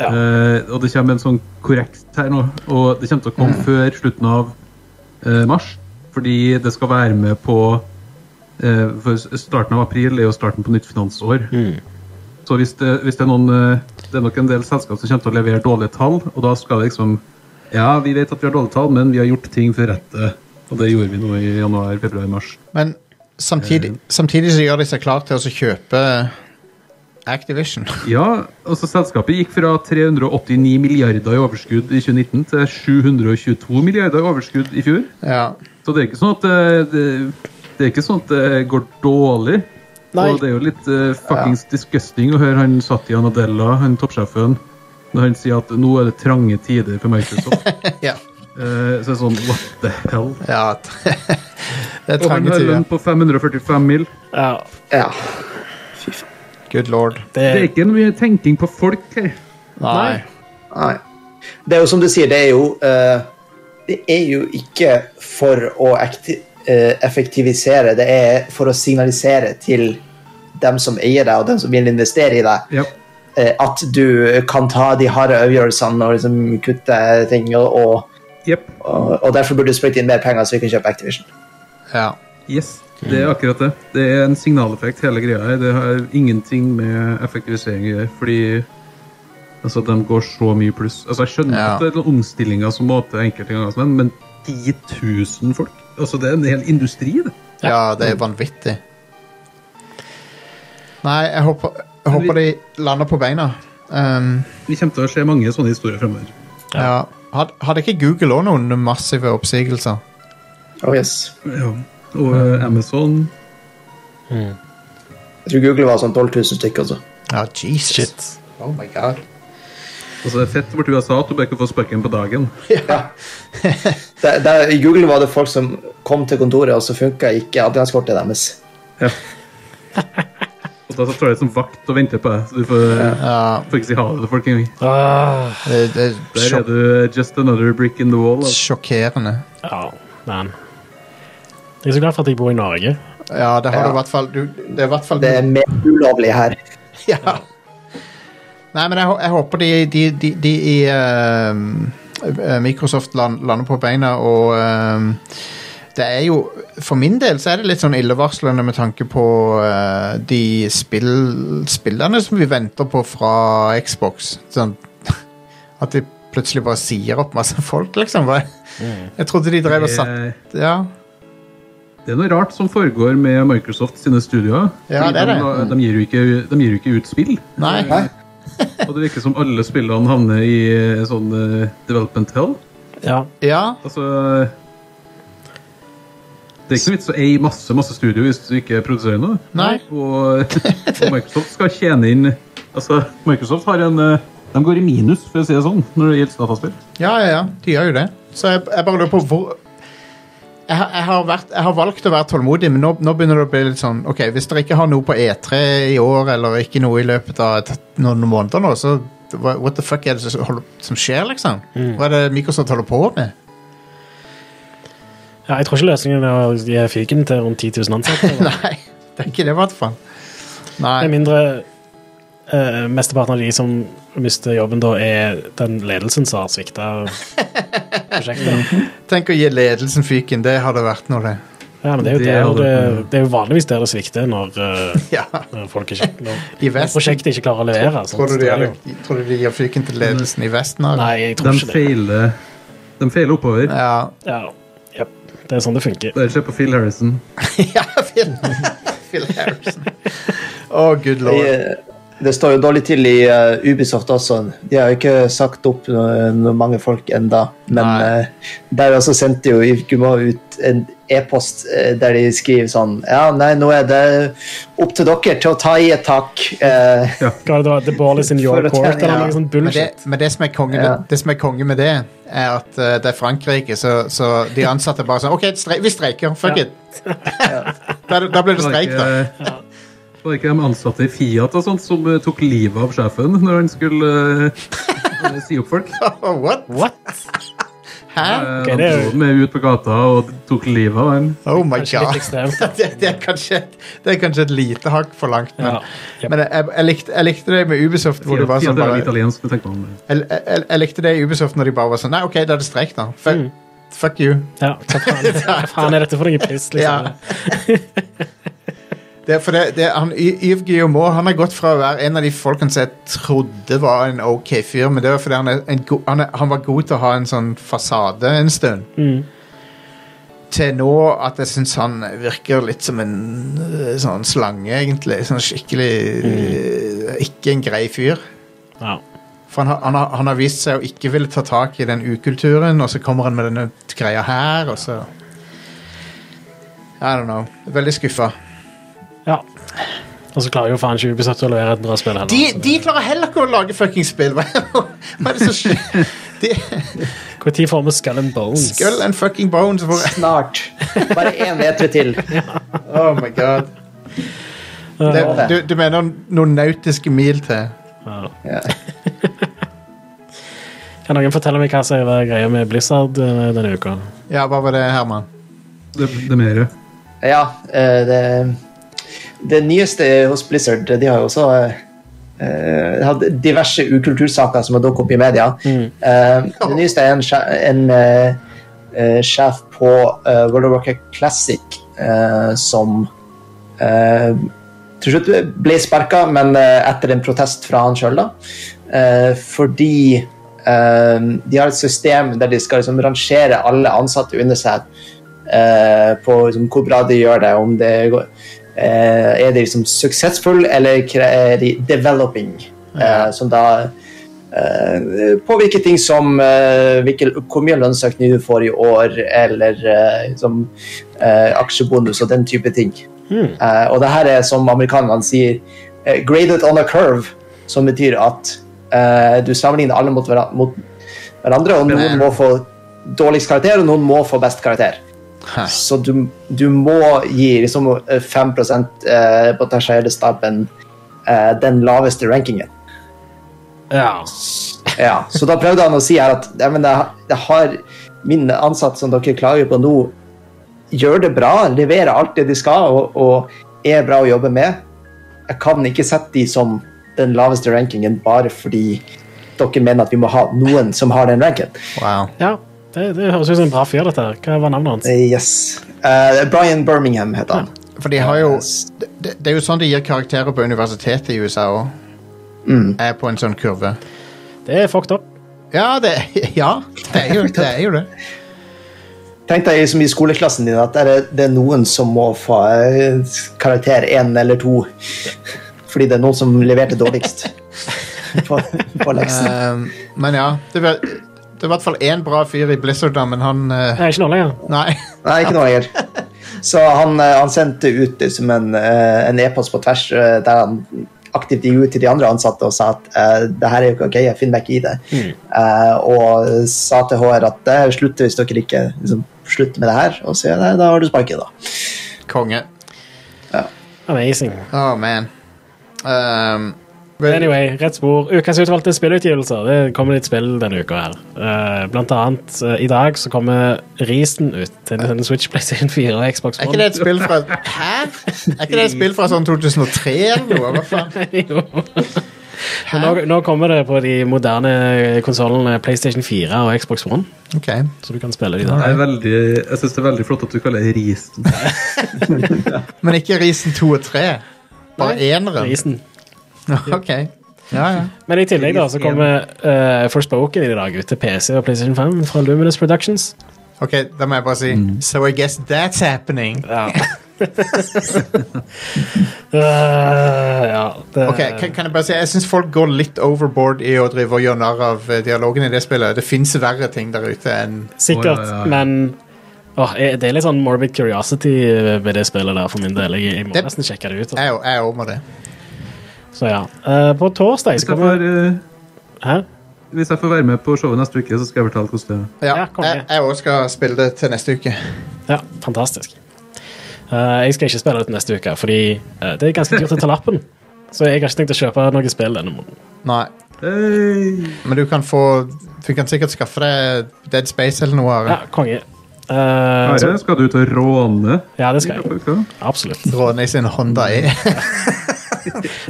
Speaker 1: Ja.
Speaker 3: Eh, og det kommer en sånn korrekt her nå, og det kommer til å komme før slutten av eh, mars. Fordi det skal være med på eh, for Starten av april er jo starten på nytt finansår.
Speaker 1: Mhm.
Speaker 3: Så hvis det, hvis det er noen eh, Det er nok en del selskap som kommer til å levere dårlige tall, og da skal det liksom Ja, vi vet at vi har dårlige tall, men vi har gjort ting for rette. Og det gjorde vi nå i januar, februar, mars.
Speaker 2: Men samtidig, samtidig så gjør de seg klar til å så kjøpe Activision.
Speaker 3: Ja, altså selskapet gikk fra 389 milliarder i overskudd i 2019 til 722 milliarder i overskudd i fjor.
Speaker 2: ja.
Speaker 3: Så det er ikke sånn at eh, det, det er ikke sånn at det går dårlig.
Speaker 1: Nei.
Speaker 3: Og det er jo litt uh, fuckings disgusting å høre han Satya Nadella, han toppsjefen, når han sier at nå er det trange tider for Microsoft.
Speaker 2: ja.
Speaker 3: Eh, så er det sånn what the hell?
Speaker 2: ja. det er
Speaker 3: Og han
Speaker 2: trange
Speaker 3: har lønn
Speaker 2: tider.
Speaker 3: på 545 mil.
Speaker 1: ja,
Speaker 4: Ja.
Speaker 2: Good lord.
Speaker 1: det,
Speaker 3: Det er ikke mye tenking på folk her.
Speaker 2: Nei.
Speaker 4: Nei. Det er jo som du sier, det er jo eh, Det er jo ikke for å ekti eh, effektivisere, det er for å signalisere til dem som eier deg, og dem som vil investere i deg,
Speaker 3: Ja.
Speaker 4: eh, at du kan ta de harde avgjørelsene og liksom kutte ting, og, og,
Speaker 3: Jepp.
Speaker 4: og, og derfor burde du sprøyte inn mer penger så vi kan kjøpe Activision.
Speaker 2: Ja.
Speaker 3: Yes, det er akkurat det. Det er en signaleffekt, hele greia her. Det har ingenting med effektivisering å gjøre, fordi altså, de går så mye pluss. Altså, jeg skjønner
Speaker 2: Ja.
Speaker 3: at det er noen omstillinger som må til enkelte ganger, og sånn, men 10 000 folk? Altså, det er en hel industri, det.
Speaker 2: ja, det er vanvittig. Nei, jeg håper, jeg
Speaker 3: Men vi-
Speaker 2: håper de lander på beina. Um,
Speaker 3: Vi kommer til å se mange sånne historier fremover.
Speaker 2: ja. Had- Hadde ikke Google òg noen massive oppsigelser?
Speaker 4: Oh, yes.
Speaker 3: Ja. Og eh, Amazon
Speaker 4: Jeg tror Google var sånn 12 000 stykker også.
Speaker 2: Ja, Jesus.
Speaker 1: Shit.
Speaker 2: Oh my god.
Speaker 3: Altså, det er fett borti USA at du bare kan få sparken på dagen.
Speaker 4: Ja. Der, der, I Google var det folk som kom til kontoret, og så funka ikke adgangskortet deres.
Speaker 3: Ja. Og da så står det som vakt og venter på deg, så du får,
Speaker 2: Ja,
Speaker 3: får ikke si ha det til folk engang.
Speaker 1: Ah,
Speaker 2: det, det er
Speaker 3: Der er
Speaker 2: sjok
Speaker 3: du eh, just another brick in the wall. Altså.
Speaker 2: sjokkerende.
Speaker 1: ja, man. Jeg er så glad for at jeg bor i Norge.
Speaker 2: Ja, det har
Speaker 4: Ja.
Speaker 2: du i hvert fall. Du, det er i hvert fall
Speaker 4: Det er mer ulovlig her.
Speaker 2: Ja. Nei, men jeg, hå- jeg håper de, de, de, de i eh, eh, Microsoft land, lander på beina, og eh, det er jo For min del så er det litt sånn illevarslende med tanke på eh, de spill, spillene som vi venter på fra Xbox. Sånn at de plutselig bare sier opp masse folk, liksom. Hva- Jeg trodde de drev og satt
Speaker 3: Eh,
Speaker 2: Ja.
Speaker 3: Det er noe rart som foregår med Microsoft sine studioer.
Speaker 2: Ja,
Speaker 3: Fordi
Speaker 2: det er det.
Speaker 3: De, de, gir jo ikke, de gir jo ikke ut spill.
Speaker 2: Nei.
Speaker 3: Og det virker som alle spillene havner i eh, sånn eh, development hell.
Speaker 1: Ja.
Speaker 2: Ja.
Speaker 3: Altså Det er ikke noe vits å eie masse masse studio hvis du ikke produserer noe.
Speaker 2: Nei.
Speaker 3: Og, og Microsoft skal tjene inn Altså, Microsoft har en eh, De går i minus, for å si det sånn, når det gjelder dataspill.
Speaker 2: Ja, ja, ja. De gjør jo det. Så jeg, jeg bare lurer på hvor jeg, har- jeg, har vært, jeg har valgt å være tålmodig, men nå, nå begynner det å bli litt sånn Ok, hvis dere ikke har noe på E3 i år, eller ikke noe i løpet av et, noen måneder nå, så hva- What the fuck er det som, holder, som skjer, liksom?
Speaker 1: Mm.
Speaker 2: Hva er det Microsoft holder på med?
Speaker 1: Ja, jeg tror ikke løsningen er å gi fiken til rundt 10 000 ansatte. da.
Speaker 2: Nei, det er ikke det, i hvert fall.
Speaker 1: Med
Speaker 2: Nei.
Speaker 1: mindre eh, mesteparten av de som mister jobben, da er den ledelsen som har svikta prosjektet.
Speaker 2: Tenk å gi ledelsen fyken. Det hadde vært noe, det.
Speaker 1: Ja, men det er jo,
Speaker 3: Det
Speaker 1: der,
Speaker 3: hadde-
Speaker 1: det, det er jo vanligvis der det svikter, når, eh,
Speaker 2: Ja.
Speaker 1: når, folk ikke, når,
Speaker 2: I
Speaker 1: når
Speaker 2: Vesten.
Speaker 1: prosjektet ikke klarer å levere. sant?
Speaker 2: Tror du de,
Speaker 1: Det er
Speaker 2: hadde,
Speaker 1: jo-
Speaker 2: tror du de gir fyken til ledelsen i Vesten? Are?
Speaker 1: Nei, jeg tror
Speaker 3: De
Speaker 1: ikke det.
Speaker 3: feiler, de feiler oppover.
Speaker 2: Ja.
Speaker 1: Ja, jep. Det er sånn det funker.
Speaker 3: Bare se på Phil Harrison.
Speaker 2: ja Phil, Phil Harrison. Oh, good lord.
Speaker 4: Jeg, eh, det står jo dårlig til i eh, Ubisoft også. De har jo ikke sagt opp noe, noe mange folk enda Men
Speaker 2: Nei.
Speaker 4: eh, der også sendte jo Irkuma ut en e-post eh, der de skriver sånn Ja, nei, nå er det opp til dere til å ta i et tak. Eh,
Speaker 1: Hva er det da? The ball is in your
Speaker 4: For å
Speaker 1: court,
Speaker 4: tjene-
Speaker 1: eller
Speaker 4: ja.
Speaker 1: noe sånt sånn
Speaker 2: Men, det,
Speaker 1: bullshit?
Speaker 2: men det, som er konge,
Speaker 4: Ja.
Speaker 2: det som er konge med det, er at eh, det er Frankrike, så, så de ansatte bare sånn OK, stre vi streiker. Fuck
Speaker 1: Ja.
Speaker 2: it. da, da blir det
Speaker 3: Var
Speaker 2: streik, da.
Speaker 3: ikke, var ikke de ansatte i Fiat og sånt som eh, tok livet av sjefen når han skulle eh, si opp folk?
Speaker 2: Oh, what?
Speaker 1: What?
Speaker 2: Hæ?
Speaker 3: Eh,
Speaker 1: Ok,
Speaker 3: han
Speaker 1: det er jo-
Speaker 3: dro med ut på gata og tok livet av han.
Speaker 2: Oh my
Speaker 1: Kanskje litt
Speaker 2: god.
Speaker 1: ekstremt. da.
Speaker 2: Det, det, er kanskje, det er kanskje et lite hakk for langt, men,
Speaker 1: Ja. Jep.
Speaker 2: men jeg, jeg, likte, jeg likte det med Ubisoft hvor det
Speaker 3: Fiat,
Speaker 2: var sånn
Speaker 3: Fiat er
Speaker 2: bare
Speaker 3: vel italiensk, men tenk på om
Speaker 2: jeg, jeg, jeg likte det i Ubisoft når de bare var sånn Nei, OK, da er det streik, da. Fuck,
Speaker 1: Mm.
Speaker 2: fuck you.
Speaker 1: Ja, hva faen, hva faen er dette for noe piss, liksom?
Speaker 2: Det er for det, det, han, Y- Yves Guillemot han har gått fra å være en av de folkene som jeg trodde var en ok fyr, men det var fordi han, er en go, han, er, han var god til å ha en sånn fasade en stund. Til nå at jeg syns han virker litt som en øh, sånn slange, egentlig. Sånn skikkelig øh, Ikke en grei fyr.
Speaker 1: Ja.
Speaker 2: For han, har- han, har, han har vist seg å ikke ville ta tak i den ukulturen, og så kommer han med denne greia her, og så I don't know. Veldig skuffa.
Speaker 1: ja. Og så klarer jo faen ikke Ubisoft å levere et bra spill heller. altså.
Speaker 2: De,
Speaker 1: så
Speaker 2: de klarer heller ikke å lage fucking spill! Hva hva er det som skjer? De,
Speaker 1: det- Hvor tid får vi Skull and Bones?
Speaker 2: skull and fucking bones. Hvor,
Speaker 4: snart. Bare én meter til.
Speaker 2: oh my god. Det, du, du mener noen nautiske mil til?
Speaker 1: Ja.
Speaker 4: Ja.
Speaker 1: Kan noen fortelle meg hva som er greia med Blizzard eh, denne uka?
Speaker 2: Ja, hva var det, Herman?
Speaker 3: det, det mer.
Speaker 4: Ja, eh, det, det nyeste hos Blizzard De har jo også eh, hatt diverse ukultursaker som har dukket opp i media. Eh, det nyeste er en, sje- en eh, eh, sjef på eh, World of Warcraft Classic eh, som eh, til slutt ble sparka, men eh, etter en protest fra han sjøl, da. Eh, fordi eh, de har et system der de skal liksom rangere alle ansatte under seg eh, på liksom, hvor bra de gjør det. Om det går, eh, er de liksom successful, eller kre- er de developing? Eh, som da eh, påvirker ting som eh, hvilken, hvor mye lønnsøkning du får i år, eller eh, liksom, eh, aksjebonus og den type ting.
Speaker 1: Hmm.
Speaker 4: Eh, og det her er som amerikanerne sier eh, graded on a curve, som betyr at eh, du sammenligner alle mot, hveran- mot hverandre, og noen må få dårligst karakter, og noen må få best karakter.
Speaker 2: Hæ.
Speaker 4: Så du, du må gi liksom eh, 5 eh, på tertiærstaben eh, den laveste rankingen.
Speaker 1: Ja.
Speaker 4: Ja, så da prøvde han å si her at «Nei, men jeg, jeg har min ansatt som dere klager på nå, gjør det bra, leverer alt det de skal og, og er bra å jobbe med. Jeg kan ikke sette de som den laveste rankingen bare fordi dere mener at vi må ha noen som har den ranken.
Speaker 2: Wow.
Speaker 1: ja. Det, det høres ut som en bra fyr, dette. her. Hva var navnet hans?
Speaker 4: Eh, Yes. Eh, Brian Birmingham heter han.
Speaker 2: For de har jo det, det- det er jo sånn de gir karakterer på universitetet i USA òg. Er på en sånn kurve.
Speaker 1: Det er fucked up.
Speaker 2: Ja, det, ja, det, er, jo, det er jo det.
Speaker 4: Tenk deg liksom i skoleklassen din at det er, det er noen som må få eh, karakter én eller to. Fordi det er noen som leverte dårligst på, på leksen.
Speaker 2: Um, men ja. Det var, det var i hvert fall én bra fyr i Blizzard, da, men han eh,
Speaker 1: Det er ikke noe lenger.
Speaker 2: Nei.
Speaker 4: Nei, ikke noe lenger. Så han, eh, han sendte ut liksom en eh, en e-post på tvers eh, der han aktivt gikk ut til de andre ansatte og sa at eh, det her er jo ikke ok, jeg finner meg ikke i det. Eh, og sa til HR at det slutter hvis dere ikke liksom, slutter med det her. Og så sier jeg nei, da har du sparket, da.
Speaker 2: Konge.
Speaker 1: Amazing.
Speaker 2: Oh, man. Um, vel-
Speaker 1: Anyway, rett spor. Ukas utvalgte spillutgivelser. Det kommer litt spill denne uka her. Eh, blant annet eh, i dag så kommer Risen ut til Nintendo Switch, PlayStation 4 og Xbox
Speaker 2: er ikke det et spill fra Hæ? Er ikke det et spill fra sånn 2003 eller noe? Hva faen?
Speaker 1: Jo. Men nå, nå kommer det på de moderne konsollene PlayStation 4 og Xbox One,
Speaker 2: Ok.
Speaker 1: så du kan spille de der.
Speaker 3: Jeg, er veldig, jeg syns det er veldig flott at du kaller det risen.
Speaker 2: Men ikke Risen 2 og 3? Bare eneren?
Speaker 1: Risen.
Speaker 2: Ok. Ja, ja.
Speaker 1: Men i tillegg da, så kommer uh, Forspoken i dag ut til PC og PlayStation 5 fra Luminous Productions.
Speaker 2: Ok, Da må jeg bare si So I guess that's happening.
Speaker 1: Eh, ja, det,
Speaker 2: Ok, kan, kan Jeg bare si Jeg syns folk går litt overboard i å drive og gjøre narr av eh, dialogen i det spillet. Det fins verre ting der ute enn
Speaker 1: Sikkert,
Speaker 3: Å, ja, ja, ja.
Speaker 1: men åh, eh, det er litt sånn morbid curiosity eh, ved det spillet der for min del. Jeg, jeg må
Speaker 2: Det-
Speaker 1: nesten sjekke det ut.
Speaker 2: Jeg er òg med det.
Speaker 1: altså. Så ja. Eh, på torsdag
Speaker 3: Hvis
Speaker 1: så
Speaker 3: jeg,
Speaker 1: kommer
Speaker 3: får, eh,
Speaker 1: Hæ?
Speaker 3: hvis jeg får være med på showet neste uke, så skal jeg fortelle hvordan det
Speaker 2: Ja,
Speaker 1: Ja, konge.
Speaker 2: jeg jeg òg skal spille det til neste uke.
Speaker 1: Ja, fantastisk. Eh, jeg skal ikke spille det til neste uke, fordi eh, det er ganske dyrt å ta lappen. Så jeg har ikke tenkt å kjøpe noe spill denne måneden.
Speaker 2: Nei,
Speaker 3: er. Hey.
Speaker 2: men du kan få Du kan sikkert skaffe deg Dead Space eller noe. Are.
Speaker 1: Ja, konge. Eh, så,
Speaker 3: Are, skal du ut og råne?
Speaker 1: ja, det skal jeg.
Speaker 3: Skal.
Speaker 1: Absolutt.
Speaker 2: Råne i sin Honda E.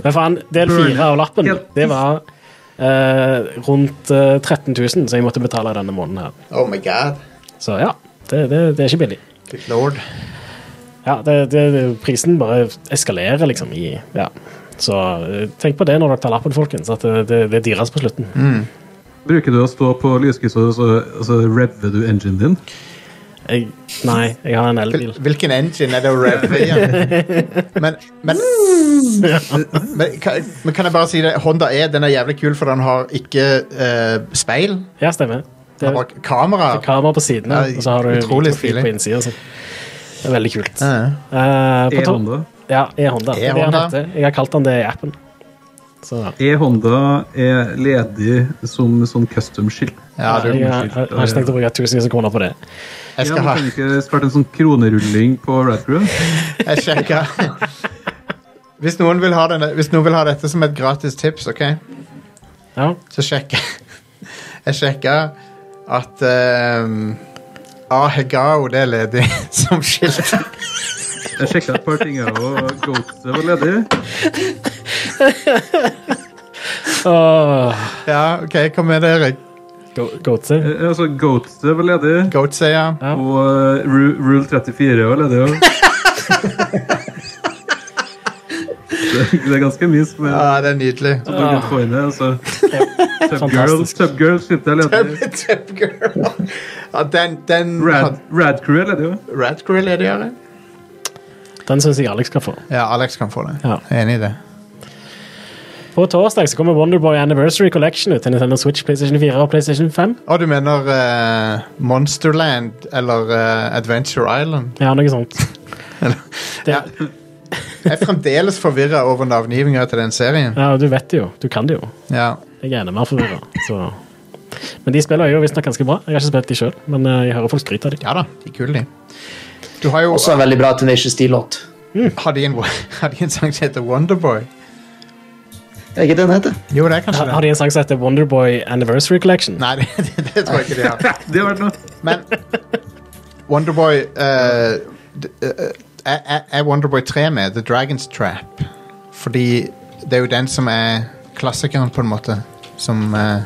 Speaker 1: Men faen, del fire av lappen, det var eh, rundt eh, 13 000 som jeg måtte betale denne måneden her.
Speaker 2: oh my god.
Speaker 1: Så ja, det, det, det er ikke billig.
Speaker 2: Good lord.
Speaker 1: Ja, det, det, det- prisen bare eskalerer, liksom. I, ja. Så eh, tenk på det når dere tar lappen, folkens. At eh, det, det, det er dyrest på slutten.
Speaker 2: Mm.
Speaker 3: Bruker du å stå på lyskryssa og så, og så rever du enginen din?
Speaker 1: Jeg, nei, jeg har en elbil.
Speaker 2: Hvil- Hvilken engine er det å revve igjen? Men, men, men, kan, men kan jeg bare si det? Honda E den er jævlig kul, for den har ikke eh, speil.
Speaker 1: Ja, stemmer. Det
Speaker 2: Den
Speaker 1: er
Speaker 2: har bare kamera.
Speaker 1: kamera på siden,
Speaker 2: Ja,
Speaker 1: og så har du
Speaker 2: utrolig
Speaker 1: mikrofil
Speaker 2: stilig.
Speaker 1: på innsida. så Det er veldig kult.
Speaker 2: Ja, ja.
Speaker 1: Eh, på topp-
Speaker 3: E-Honda.
Speaker 1: Ja, E-Honda. Det er det han
Speaker 2: E-Honda.
Speaker 1: heter. Jeg har kalt han det i appen. Så
Speaker 3: E-Honda er ledig som sånn custom-skilt.
Speaker 2: Ja, du,
Speaker 1: jeg, har- har har ikke tenkt å bruke tusenvis av kroner på det.
Speaker 2: jeg
Speaker 3: Ja,
Speaker 2: skal
Speaker 3: men
Speaker 2: ha
Speaker 3: kan du ikke starte en sånn kronerulling på Radcrew?
Speaker 2: Jeg sjekker. Hvis noen, vil ha denne, hvis noen vil ha dette som et gratis tips, ok?
Speaker 1: Ja.
Speaker 2: så sjekka Jeg sjekka at um, Ahegao, det er ledig som skilt.
Speaker 3: Jeg sjekka et par ting, jeg òg. og Goatse var ledig.
Speaker 1: Åh,
Speaker 2: Ja, OK, kom med det, Erik.
Speaker 1: go- Goatse.
Speaker 3: Eh, Altså, Goatse var ledig.
Speaker 2: Goat, sier jeg.
Speaker 1: Ja.
Speaker 3: Og eh, Ru- Rule 34 var ledig òg. Det det er ganske mye som er
Speaker 2: Ja, det er nydelig.
Speaker 3: som du kan få inn her. altså. Tub Girls,
Speaker 1: Fantastisk.
Speaker 3: Tub Girls sitter der ledig.
Speaker 2: Tøpgirl. Ja, den, den
Speaker 3: Rad, Radcrew er ledig òg.
Speaker 2: Radcrew er ledig, eller?
Speaker 1: Den syns jeg Alex skal få.
Speaker 2: Ja, Alex kan få det.
Speaker 1: Ja.
Speaker 2: Jeg er enig i det.
Speaker 1: På torsdag så kommer Wonderboy Anniversary Collection ut til Nintendo Switch, PlayStation 4 og PlayStation 5.
Speaker 2: Og du mener eh, Monsterland eller eh, Adventure Island?
Speaker 1: Ja, noe sånt. Det,
Speaker 2: Jeg er fremdeles forvirra over navngivninga til den serien.
Speaker 1: ja, du vet det jo. Du kan det jo.
Speaker 2: Ja.
Speaker 1: Jeg er enda mer forvirra. så. Men de spiller jo visstnok ganske bra. Jeg har ikke spilt de sjøl, men eh, jeg hører folk skryte av de.
Speaker 2: ja da, de er kule, de. Du har jo
Speaker 4: Også en veldig bra Tenacious D-låt.
Speaker 2: Har de en, har de en sang som heter Wonderboy?
Speaker 4: Er ikke det den heter?
Speaker 2: Jo, det er kanskje
Speaker 1: Har har
Speaker 2: det.
Speaker 1: de en sang som heter Wonderboy Anniversary Collection?
Speaker 2: Nei, det, det, det tror jeg ikke de har.
Speaker 3: Det har vært noe.
Speaker 2: Men Wonderboy eh, d- eh, er, er- er Wonderboy 3 med? The Dragon's Trap. Fordi det er jo den som er klassikeren, på en måte. Som eh,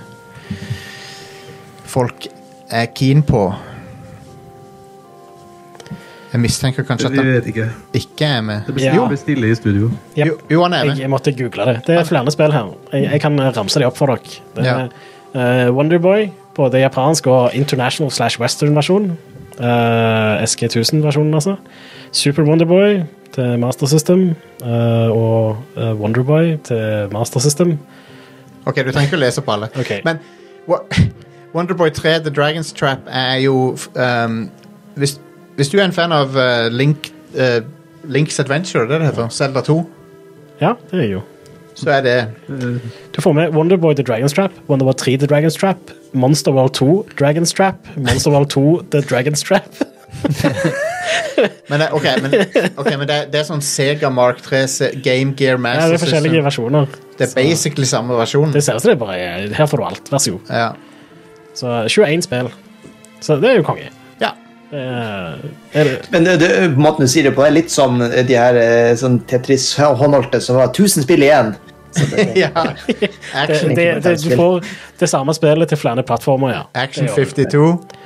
Speaker 2: folk er keen på. Jeg mistenker kanskje at
Speaker 3: Vi
Speaker 2: han
Speaker 3: vet ikke.
Speaker 2: ikke er med.
Speaker 1: Ja.
Speaker 3: Det blir stille i studio.
Speaker 1: Jep.
Speaker 2: Jo, jo han er
Speaker 1: Jeg,
Speaker 2: med.
Speaker 1: jeg måtte google det. Det er flere spill her. Jeg, jeg kan eh, ramse de opp for dere. Det er eh, Wonderboy, både japansk og international slash western versjon. Eh, SG1000-versjonen, altså. Super Wonderboy til Master System. eh, og eh, Wonderboy til Master System.
Speaker 2: Ok, du trenger ikke å lese opp alle.
Speaker 1: Ok.
Speaker 2: Men Wo- Wonderboy 3, The Dragon's Trap, er jo f- um, hvis, hvis du er en fan av uh, Link, uh, Link's Adventure, det er det det heter, Zelda 2,
Speaker 1: Ja, det er jo.
Speaker 2: så er det
Speaker 1: Du får med Wonderboy The Dragon's Trap, Wonderboy 3 The Dragon's Trap, Monster World 2 Dragon's Trap, Monster World 2 The Dragon's Trap.
Speaker 2: Men, det, ok, men, ok, men det, det er sånn Sega Mark 3, Se- Game Gear
Speaker 1: Ja,
Speaker 2: Master
Speaker 1: det er forskjellige
Speaker 2: System.
Speaker 1: versjoner.
Speaker 2: Det er basically samme versjon.
Speaker 1: Det ser ut som det er bare er Her får du alt, vær så god.
Speaker 2: Ja.
Speaker 1: Så 21 spill. Så det er jo konge.
Speaker 2: ja.
Speaker 1: Det er, er det,
Speaker 4: Men det, det, måten du sier det på, er litt som de her eh, sånn Tetris-håndholdte som var 1000 spill igjen. Så det,
Speaker 2: ja.
Speaker 1: det,
Speaker 2: Action,
Speaker 1: det, det, du får det samme spillet til flere plattformer, ja.
Speaker 2: Action
Speaker 1: Det gjør du.
Speaker 2: 52.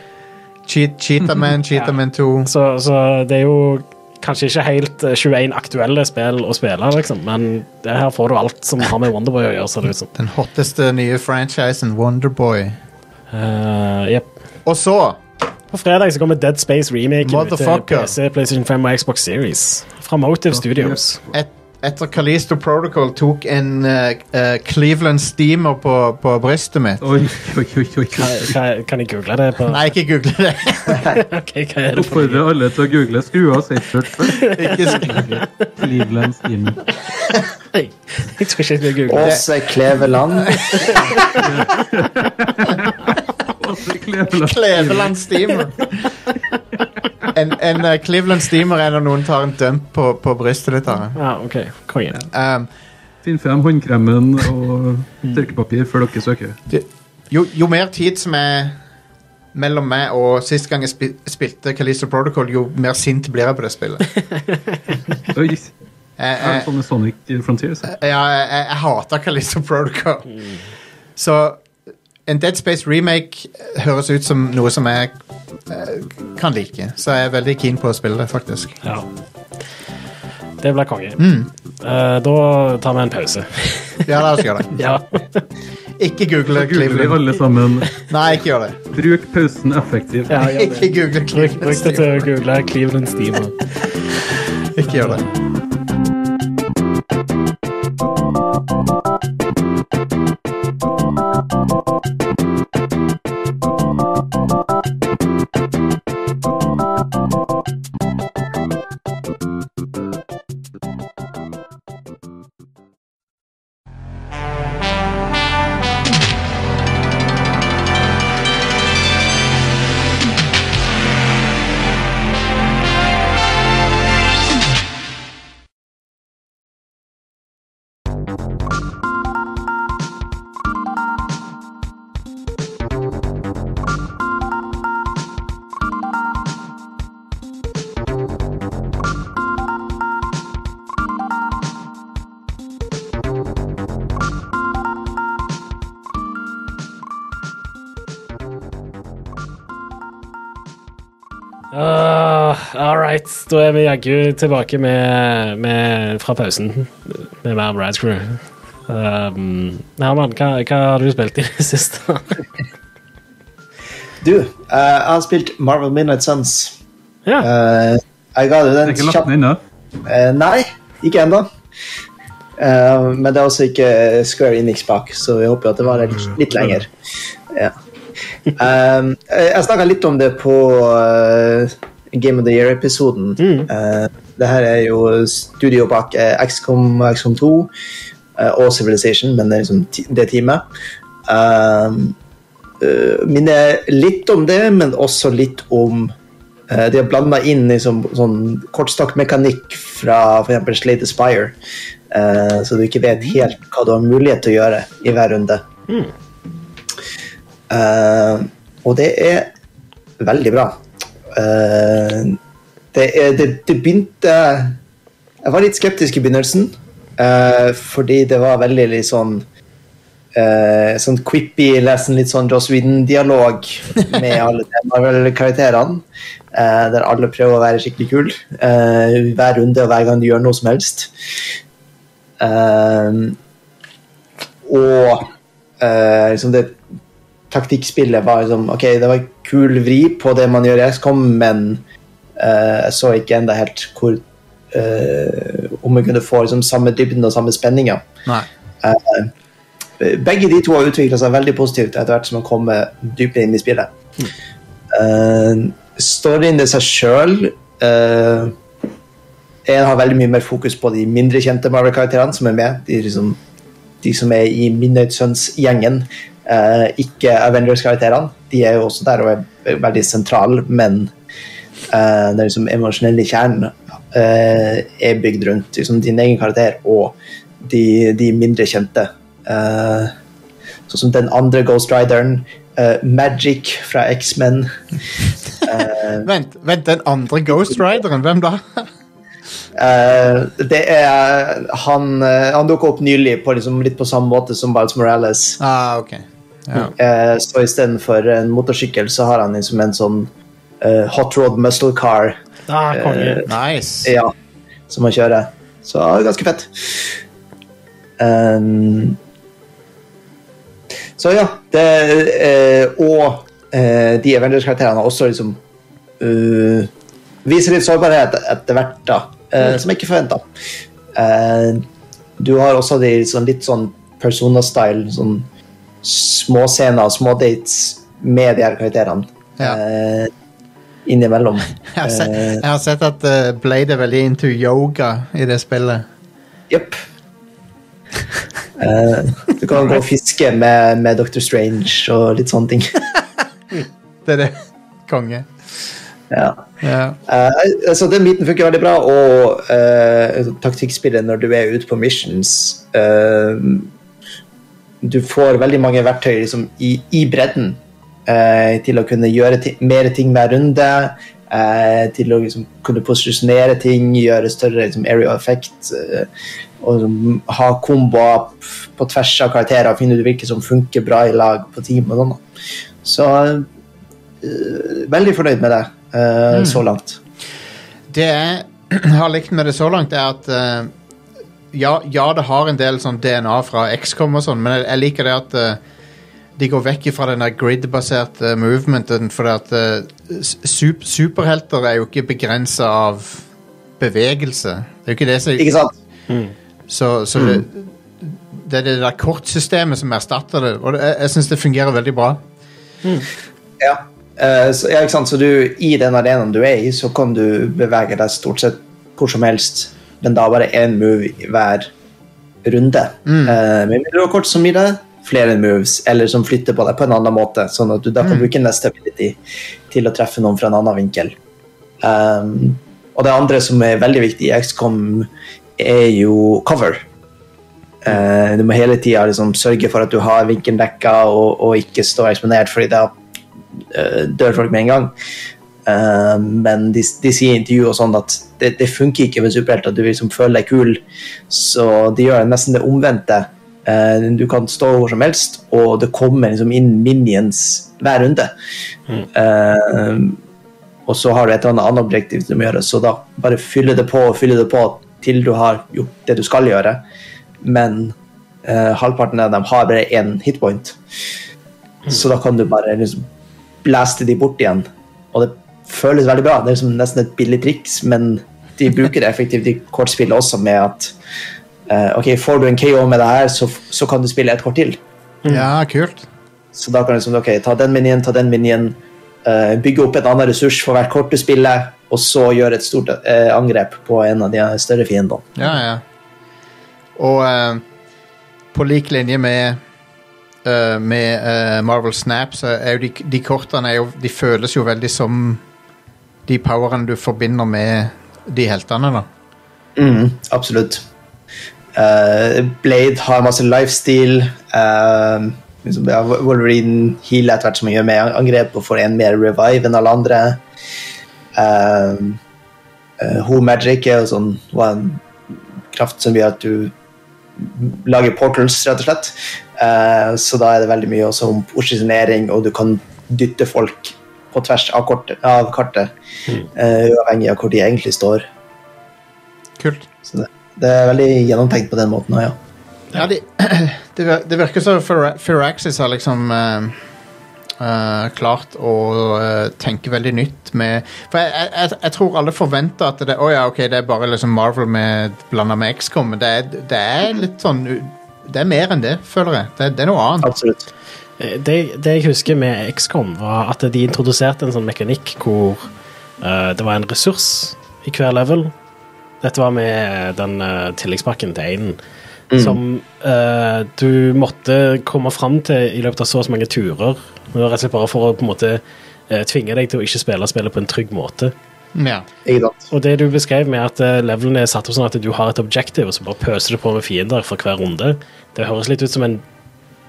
Speaker 2: Cheat, Cheetah Man, Cheetah Man 2.
Speaker 1: Så, så det er jo kanskje ikke helt eh, 21 aktuelle spill å spille, liksom, men det her får du alt som har med Wonderboy å gjøre, ser det ut som.
Speaker 2: Den hotteste nye franchisen, Wonderboy.
Speaker 1: Eh, jep.
Speaker 2: Og så
Speaker 1: På fredag så kommer Dead Space Remake ut til
Speaker 2: Motherfucker.
Speaker 1: PC, PlayStation 5 og Xbox Series. Fra Motive Studios.
Speaker 2: et, Etter Kalisto Protocol tok en eh, eh, Cleveland Steamer på, på brystet mitt
Speaker 3: Oi, oi, oi. oi, oi.
Speaker 1: Hva- Kan jeg google det? på?
Speaker 2: Nei, ikke google det.
Speaker 1: Ok, hva er det for noe?
Speaker 3: Oppfordrer alle til å google 'skru av safesearch' først.
Speaker 2: Ikke, s-
Speaker 3: Cleveland Steam.
Speaker 1: Nei, Jeg tror ikke jeg skal google det.
Speaker 4: Åse Kleveland.
Speaker 3: Åse Kleveland.
Speaker 2: Cleveland Steamer. En, en eh, Cleveland Steamer er når noen tar en dump på, på brystet ditt. da.
Speaker 1: Ja, ok, konge.
Speaker 2: Um,
Speaker 3: Finn frem håndkremen og
Speaker 1: Mm.
Speaker 3: tørkepapir før dere søker.
Speaker 2: det, jo, jo mer tid som er mellom meg og sist gang jeg spi- spilte Kalisto Protocol, jo mer sint blir jeg på det spillet. Eh,
Speaker 3: Oi, jeg
Speaker 2: Jeg,
Speaker 1: Eh.
Speaker 3: er
Speaker 2: jeg,
Speaker 3: sånn med Sonic Frontiers. jeg.
Speaker 2: ja, jeg, jeg, jeg hater Kalisto Protocol. Så en Dead Space remake høres ut som noe som jeg eh, kan like. Så jeg er veldig keen på å spille det, faktisk.
Speaker 1: Ja. Det blir konge. Eh, da tar vi en pause.
Speaker 2: Ja, la oss gjøre det.
Speaker 1: ja.
Speaker 2: Ikke google
Speaker 3: Da googler vi
Speaker 2: Cleveland.
Speaker 3: alle sammen.
Speaker 2: Nei, ikke gjør det.
Speaker 3: Bruk pausen effektivt.
Speaker 1: ja, gjør det.
Speaker 2: Ikke google
Speaker 1: Bruk, bruk det
Speaker 2: Cleveland.
Speaker 1: til å google Cleveland Steamer.
Speaker 2: Ikke gjør det.
Speaker 1: Uh, all right, da er vi jaggu tilbake med, med, fra pausen med mer Rad Crew. Um, Herman, hva, hva har du spilt i det siste?
Speaker 4: Du, eh, jeg har spilt Marvel Midnight Suns.
Speaker 1: ja,
Speaker 4: Eh, jeg ga det
Speaker 3: Jeg har
Speaker 4: den
Speaker 3: ikke lagt
Speaker 4: kjapt
Speaker 3: den ennå.
Speaker 4: Eh, nei, ikke ennå. Eh, men det er også ikke Square Enix bak, så vi håper at det varer litt, litt lenger. Ja. Eh, jeg snakka litt om det på eh, Game of the Year-episoden. Eh, det her er jo studio bak eh, XCOM, XCOM 2 eh, og Civilization, men det er liksom ti- det teamet. Eh, eh, minner litt om det, men også litt om eh, De har blanda inn liksom, sånn kortstokkmekanikk fra f.eks. Slate Aspire, eh, så du ikke vet helt hva du har mulighet til å gjøre i hver runde. Eh, og det er veldig bra. Eh, det, er, det, det begynte Jeg var litt skeptisk i begynnelsen, eh, fordi det var veldig litt sånn eh, sånn quippy, lesen litt sånn Joss Whedon-dialog med alle de Marvel-karakterene. eh, der alle prøver å være skikkelig kul eh, i hver runde og hver gang de gjør noe som helst. Eh, og eh, liksom det taktikkspillet var liksom Ok, det var kul vri på det man gjør i XCOM, men eh, jeg så ikke enda helt hvor eh, Om vi kunne få liksom, samme dybden og samme spenninga.
Speaker 2: Nei.
Speaker 4: Eh, Begge de to har utvikla seg veldig positivt etter hvert som man kommer dypere inn i spillet. Eh, storyen i seg sjøl uh, har veldig mye mer fokus på de mindre kjente Marvel-karakterene som er med. De liksom de som er i Midnight Suns-gjengen, eh, ikke Avengers-karakterene. De er jo også der og er- er veldig sentrale, men eh, den liksom emosjonelle kjernen eh, er bygd rundt liksom, din egen karakter og de, de mindre kjente. Eh, sånn som den andre Ghost Rideren, eh, Magic fra X-Men.
Speaker 2: Vent, vent, den andre Ghost Rideren, hvem da?
Speaker 4: Eh, det er Han, eh, han dukka opp nylig på liksom litt på samme måte som Biles Morales.
Speaker 2: Ah, ok. Ja.
Speaker 4: Eh, så istedenfor en motorsykkel, så har han liksom en sånn eh, hot rod muscle car
Speaker 1: Ah, konge. eh,
Speaker 2: Nice.
Speaker 4: ja, som han kjører. Så ja, det er ganske fett. Ehm, så ja, det eh, Og eh, de Avengers-karakterene har også liksom eh, Viser litt sårbarhet etter hvert, da. eh, som jeg ikke forventa. du har også de sånn, litt sånn Persona-style, sånn småscener, smådates med de her karakterene.
Speaker 2: Ja.
Speaker 4: eh, innimellom.
Speaker 2: Jeg har, sett,
Speaker 4: Eh,
Speaker 2: jeg har sett at eh, Blade er veldig into yoga i det spillet.
Speaker 4: Jepp. Eh, du kan gå og fiske med, med Dr. Strange og litt sånne ting.
Speaker 2: Det er det. Konge.
Speaker 4: ja.
Speaker 2: Ja.
Speaker 4: Eh, så den biten funker veldig bra, og eh, taktikkspillet når du er ute på missions eh, Du får veldig mange verktøy liksom, i, i bredden eh, til å kunne gjøre ti mer ting hver runde. eh, til å liksom, kunne posisjonere ting, gjøre større liksom, area effect. eh, og liksom, ha komboer p- på tvers av karakterer, finne ut hvilke som funker bra i lag på team. og sånn. da. Så eh, veldig fornøyd med det eh, så langt.
Speaker 2: Det jeg har likt med det så langt, er at eh, ja, ja, det har en del sånn DNA fra XCOM og sånn, men jeg, jeg liker det at eh, de går vekk fra den der grid-baserte eh, movementen, for at eh, s- sup superhelter er jo ikke begrensa av bevegelse. Det er jo ikke det som
Speaker 4: Ikke sant? Mm.
Speaker 2: Så, så det, det er det der kortsystemet som erstatter det, og det, jeg, jeg syns det fungerer veldig bra.
Speaker 4: Ja. Eh, så, ja, ikke sant? så du, i den arenaen du er i, så kan du bevege deg stort sett hvor som helst, men da bare én move i hver runde. Mm. med mindre du har kort som gir deg flere moves, eller som flytter på deg på en annen måte, sånn at du da kan bruke neste ability til å treffe noen fra en annen vinkel. Um, og det andre som er veldig viktig i XCOM, er jo cover. Eh, du må hele tida liksom sørge for at du har vinkelen dekka og, og ikke stå eksponert, fordi da eh, dør folk med en gang. Eh, men de, de sier i intervju og sånn at det, det funker ikke med superhelter. Du vil liksom føle deg kul, så de gjør nesten det omvendte. Eh, du kan stå hvor som helst, og det kommer liksom inn minions hver runde. Eh, og så har du et eller annet annet objektiv du må gjøre, så da bare fylle det på og fylle det på til du har gjort det du skal gjøre. Men eh, halvparten av dem har bare én hitpoint, så da kan du bare liksom blaste de bort igjen. Og det føles veldig bra. Det er liksom nesten et billig triks, men de bruker det effektivt i kortspillet også med at eh, ok, får du en KO med det her, så, så kan du spille et kort til.
Speaker 2: Ja, kult.
Speaker 4: Så da kan du liksom, ok, ta den minien, ta den minien, eh, bygge opp en annen ressurs for hvert kort du spiller, og så gjøre et stort eh, angrep på en av de større fiendene.
Speaker 2: Ja, ja. Og eh, på lik linje med eh, med eh, Marvel Snap, så er jo de, de kortene er jo, de føles jo veldig som de powerne du forbinder med de heltene, da.
Speaker 4: Mm, absolutt. Eh, Blade har masse lifestyle. eh, liksom, ja, Wolverine healer etter hvert som han gjør mer angrep og får en mer revive enn alle andre. Uh, Magic er jo sånn var en kraft som gjør at du lager portals, rett og slett. Eh, så da er det veldig mye også om posisjonering, og du kan dytte folk på tvers av, kortet, av kartet, eh, uavhengig av hvor de egentlig står.
Speaker 2: Kult.
Speaker 4: Så det, det er veldig gjennomtenkt på den måten òg, ja.
Speaker 2: Ja, de, det vir- det virker som Phira- Firaxis har liksom eh, eh, klart å eh, tenke veldig nytt med For jeg, jeg, jeg- jeg tror alle forventer at det, å ja, ok, det er bare liksom Marvel med, blanda med XCOM, men det er, det er litt sånn u- Det er mer enn det, føler jeg. Det, det er noe annet.
Speaker 4: Absolutt.
Speaker 1: Eh, Det, det jeg husker med XCOM, var at de introduserte en sånn mekanikk hvor eh, det var en ressurs i hver level. Dette var med den eh, tilleggspakken til Einen. som eh, du måtte komme fram til i løpet av så og så mange turer. Det var Rett og slett bare for å på en måte eh, tvinge deg til å ikke spille spillet på en trygg måte.
Speaker 2: Ja.
Speaker 4: Ikke sant?
Speaker 1: Og det du beskrev med at eh, levelene er satt opp sånn at du har et objective, og så bare pøser du på med fiender for hver runde, det høres litt ut som en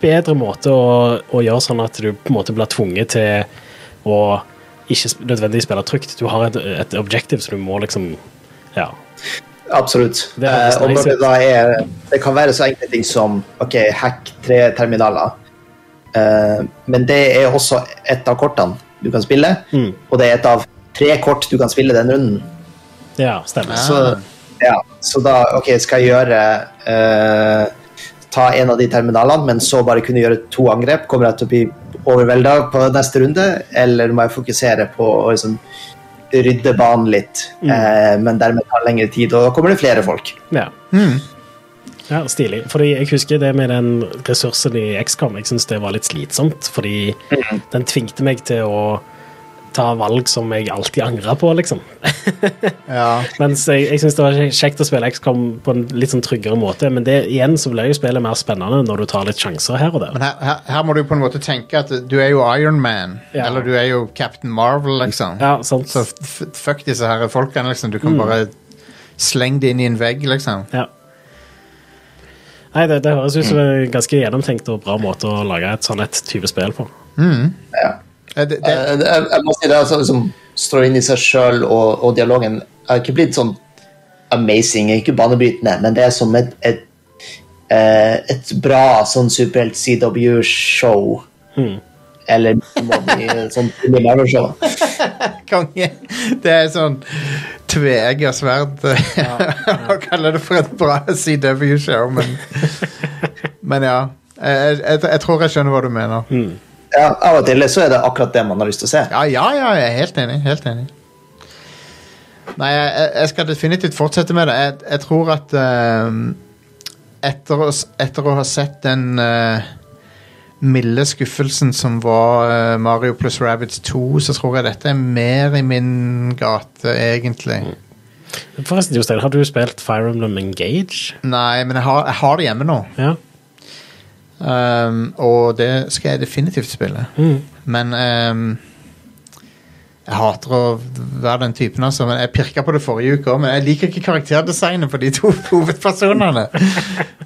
Speaker 1: bedre måte å, å gjøre sånn at du på en måte blir tvunget til å ikke sp- nødvendigvis spille trygt. Du har et, et objective, så du må liksom Ja.
Speaker 4: Absolutt.
Speaker 1: Det høres
Speaker 4: Eh, og når
Speaker 1: nice
Speaker 4: det,
Speaker 1: ut.
Speaker 4: da er, det kan være så enkle ting som ok, hack tre terminaler. Eh, men det er også et av kortene du kan spille,
Speaker 1: Mm.
Speaker 4: og det er et av tre kort du kan spille den runden.
Speaker 1: ja stemmer.
Speaker 4: Så, ja, så da ok, skal jeg gjøre eh, ta en av de terminalene, men så bare kunne gjøre to angrep. Kommer jeg til å bli overvelda på neste runde, eller må jeg fokusere på å liksom, rydde banen litt, eh, men dermed ta lengre tid, og da kommer det flere folk.
Speaker 1: Ja. ja, stilig. Fordi jeg husker det med den ressursen i XCOM. Jeg syns det var litt slitsomt, fordi den tvingte meg til å ta valg som jeg alltid angra på, liksom.
Speaker 2: ja.
Speaker 1: Mens jeg, jeg syns det var kjekt å spille XCOM på en litt sånn tryggere måte, men det igjen så ble jo spillet mer spennende når du tar litt sjanser her og der.
Speaker 2: Men her, her, her må du på en måte tenke at du er jo Iron Man,
Speaker 1: Ja.
Speaker 2: eller du er jo Captain Marvel, liksom.
Speaker 1: Ja, Mm. sant.
Speaker 2: Så f- f- fuck disse her folkene, liksom. Du kan bare slenge det inn i en vegg, liksom.
Speaker 1: Ja. Nei, det, det høres ut som en ganske gjennomtenkt og bra måte å lage et sånn et type spill på.
Speaker 4: Ja.
Speaker 2: Eh, Det, det,
Speaker 4: Jeg, jeg, jeg må si det altså, som står inn i seg sjøl og, og dialogen. Jeg har ikke blitt sånn amazing, jeg er ikke banebrytende, men det er som et, et, eh, et bra sånn superhelt-CW-show.
Speaker 1: Hmm.
Speaker 4: Eller Molly, sånn Billy Marrow-show.
Speaker 2: konge. Det er sånn tveegga sverd. eh, Å kalle det for et bra CW-show, men Men ja. Jeg, jeg, jeg tror jeg skjønner hva du mener.
Speaker 4: Ja, av og til så er det akkurat det man har lyst til å se.
Speaker 2: Ja, ja, ja, jeg er helt enig. Helt enig. Nei, jeg, jeg- jeg skal definitivt fortsette med det. Jeg, jeg tror at ehm, etter, å, s- etter å ha sett den eh, milde skuffelsen som var eh, Mario pluss Rabbids 2, så tror jeg dette er mer i min gate, egentlig.
Speaker 1: Forresten, Jostein, har du spilt Fire Emblem Engage?
Speaker 2: Nei, men jeg har, jeg har det hjemme nå.
Speaker 1: Ja.
Speaker 2: Ehm, og det skal jeg definitivt spille.
Speaker 1: Mm.
Speaker 2: Men ehm, Jeg hater å være den typen, altså. Men jeg pirka på det forrige uke òg, men jeg liker ikke karakterdesignet på de to hovedpersonene.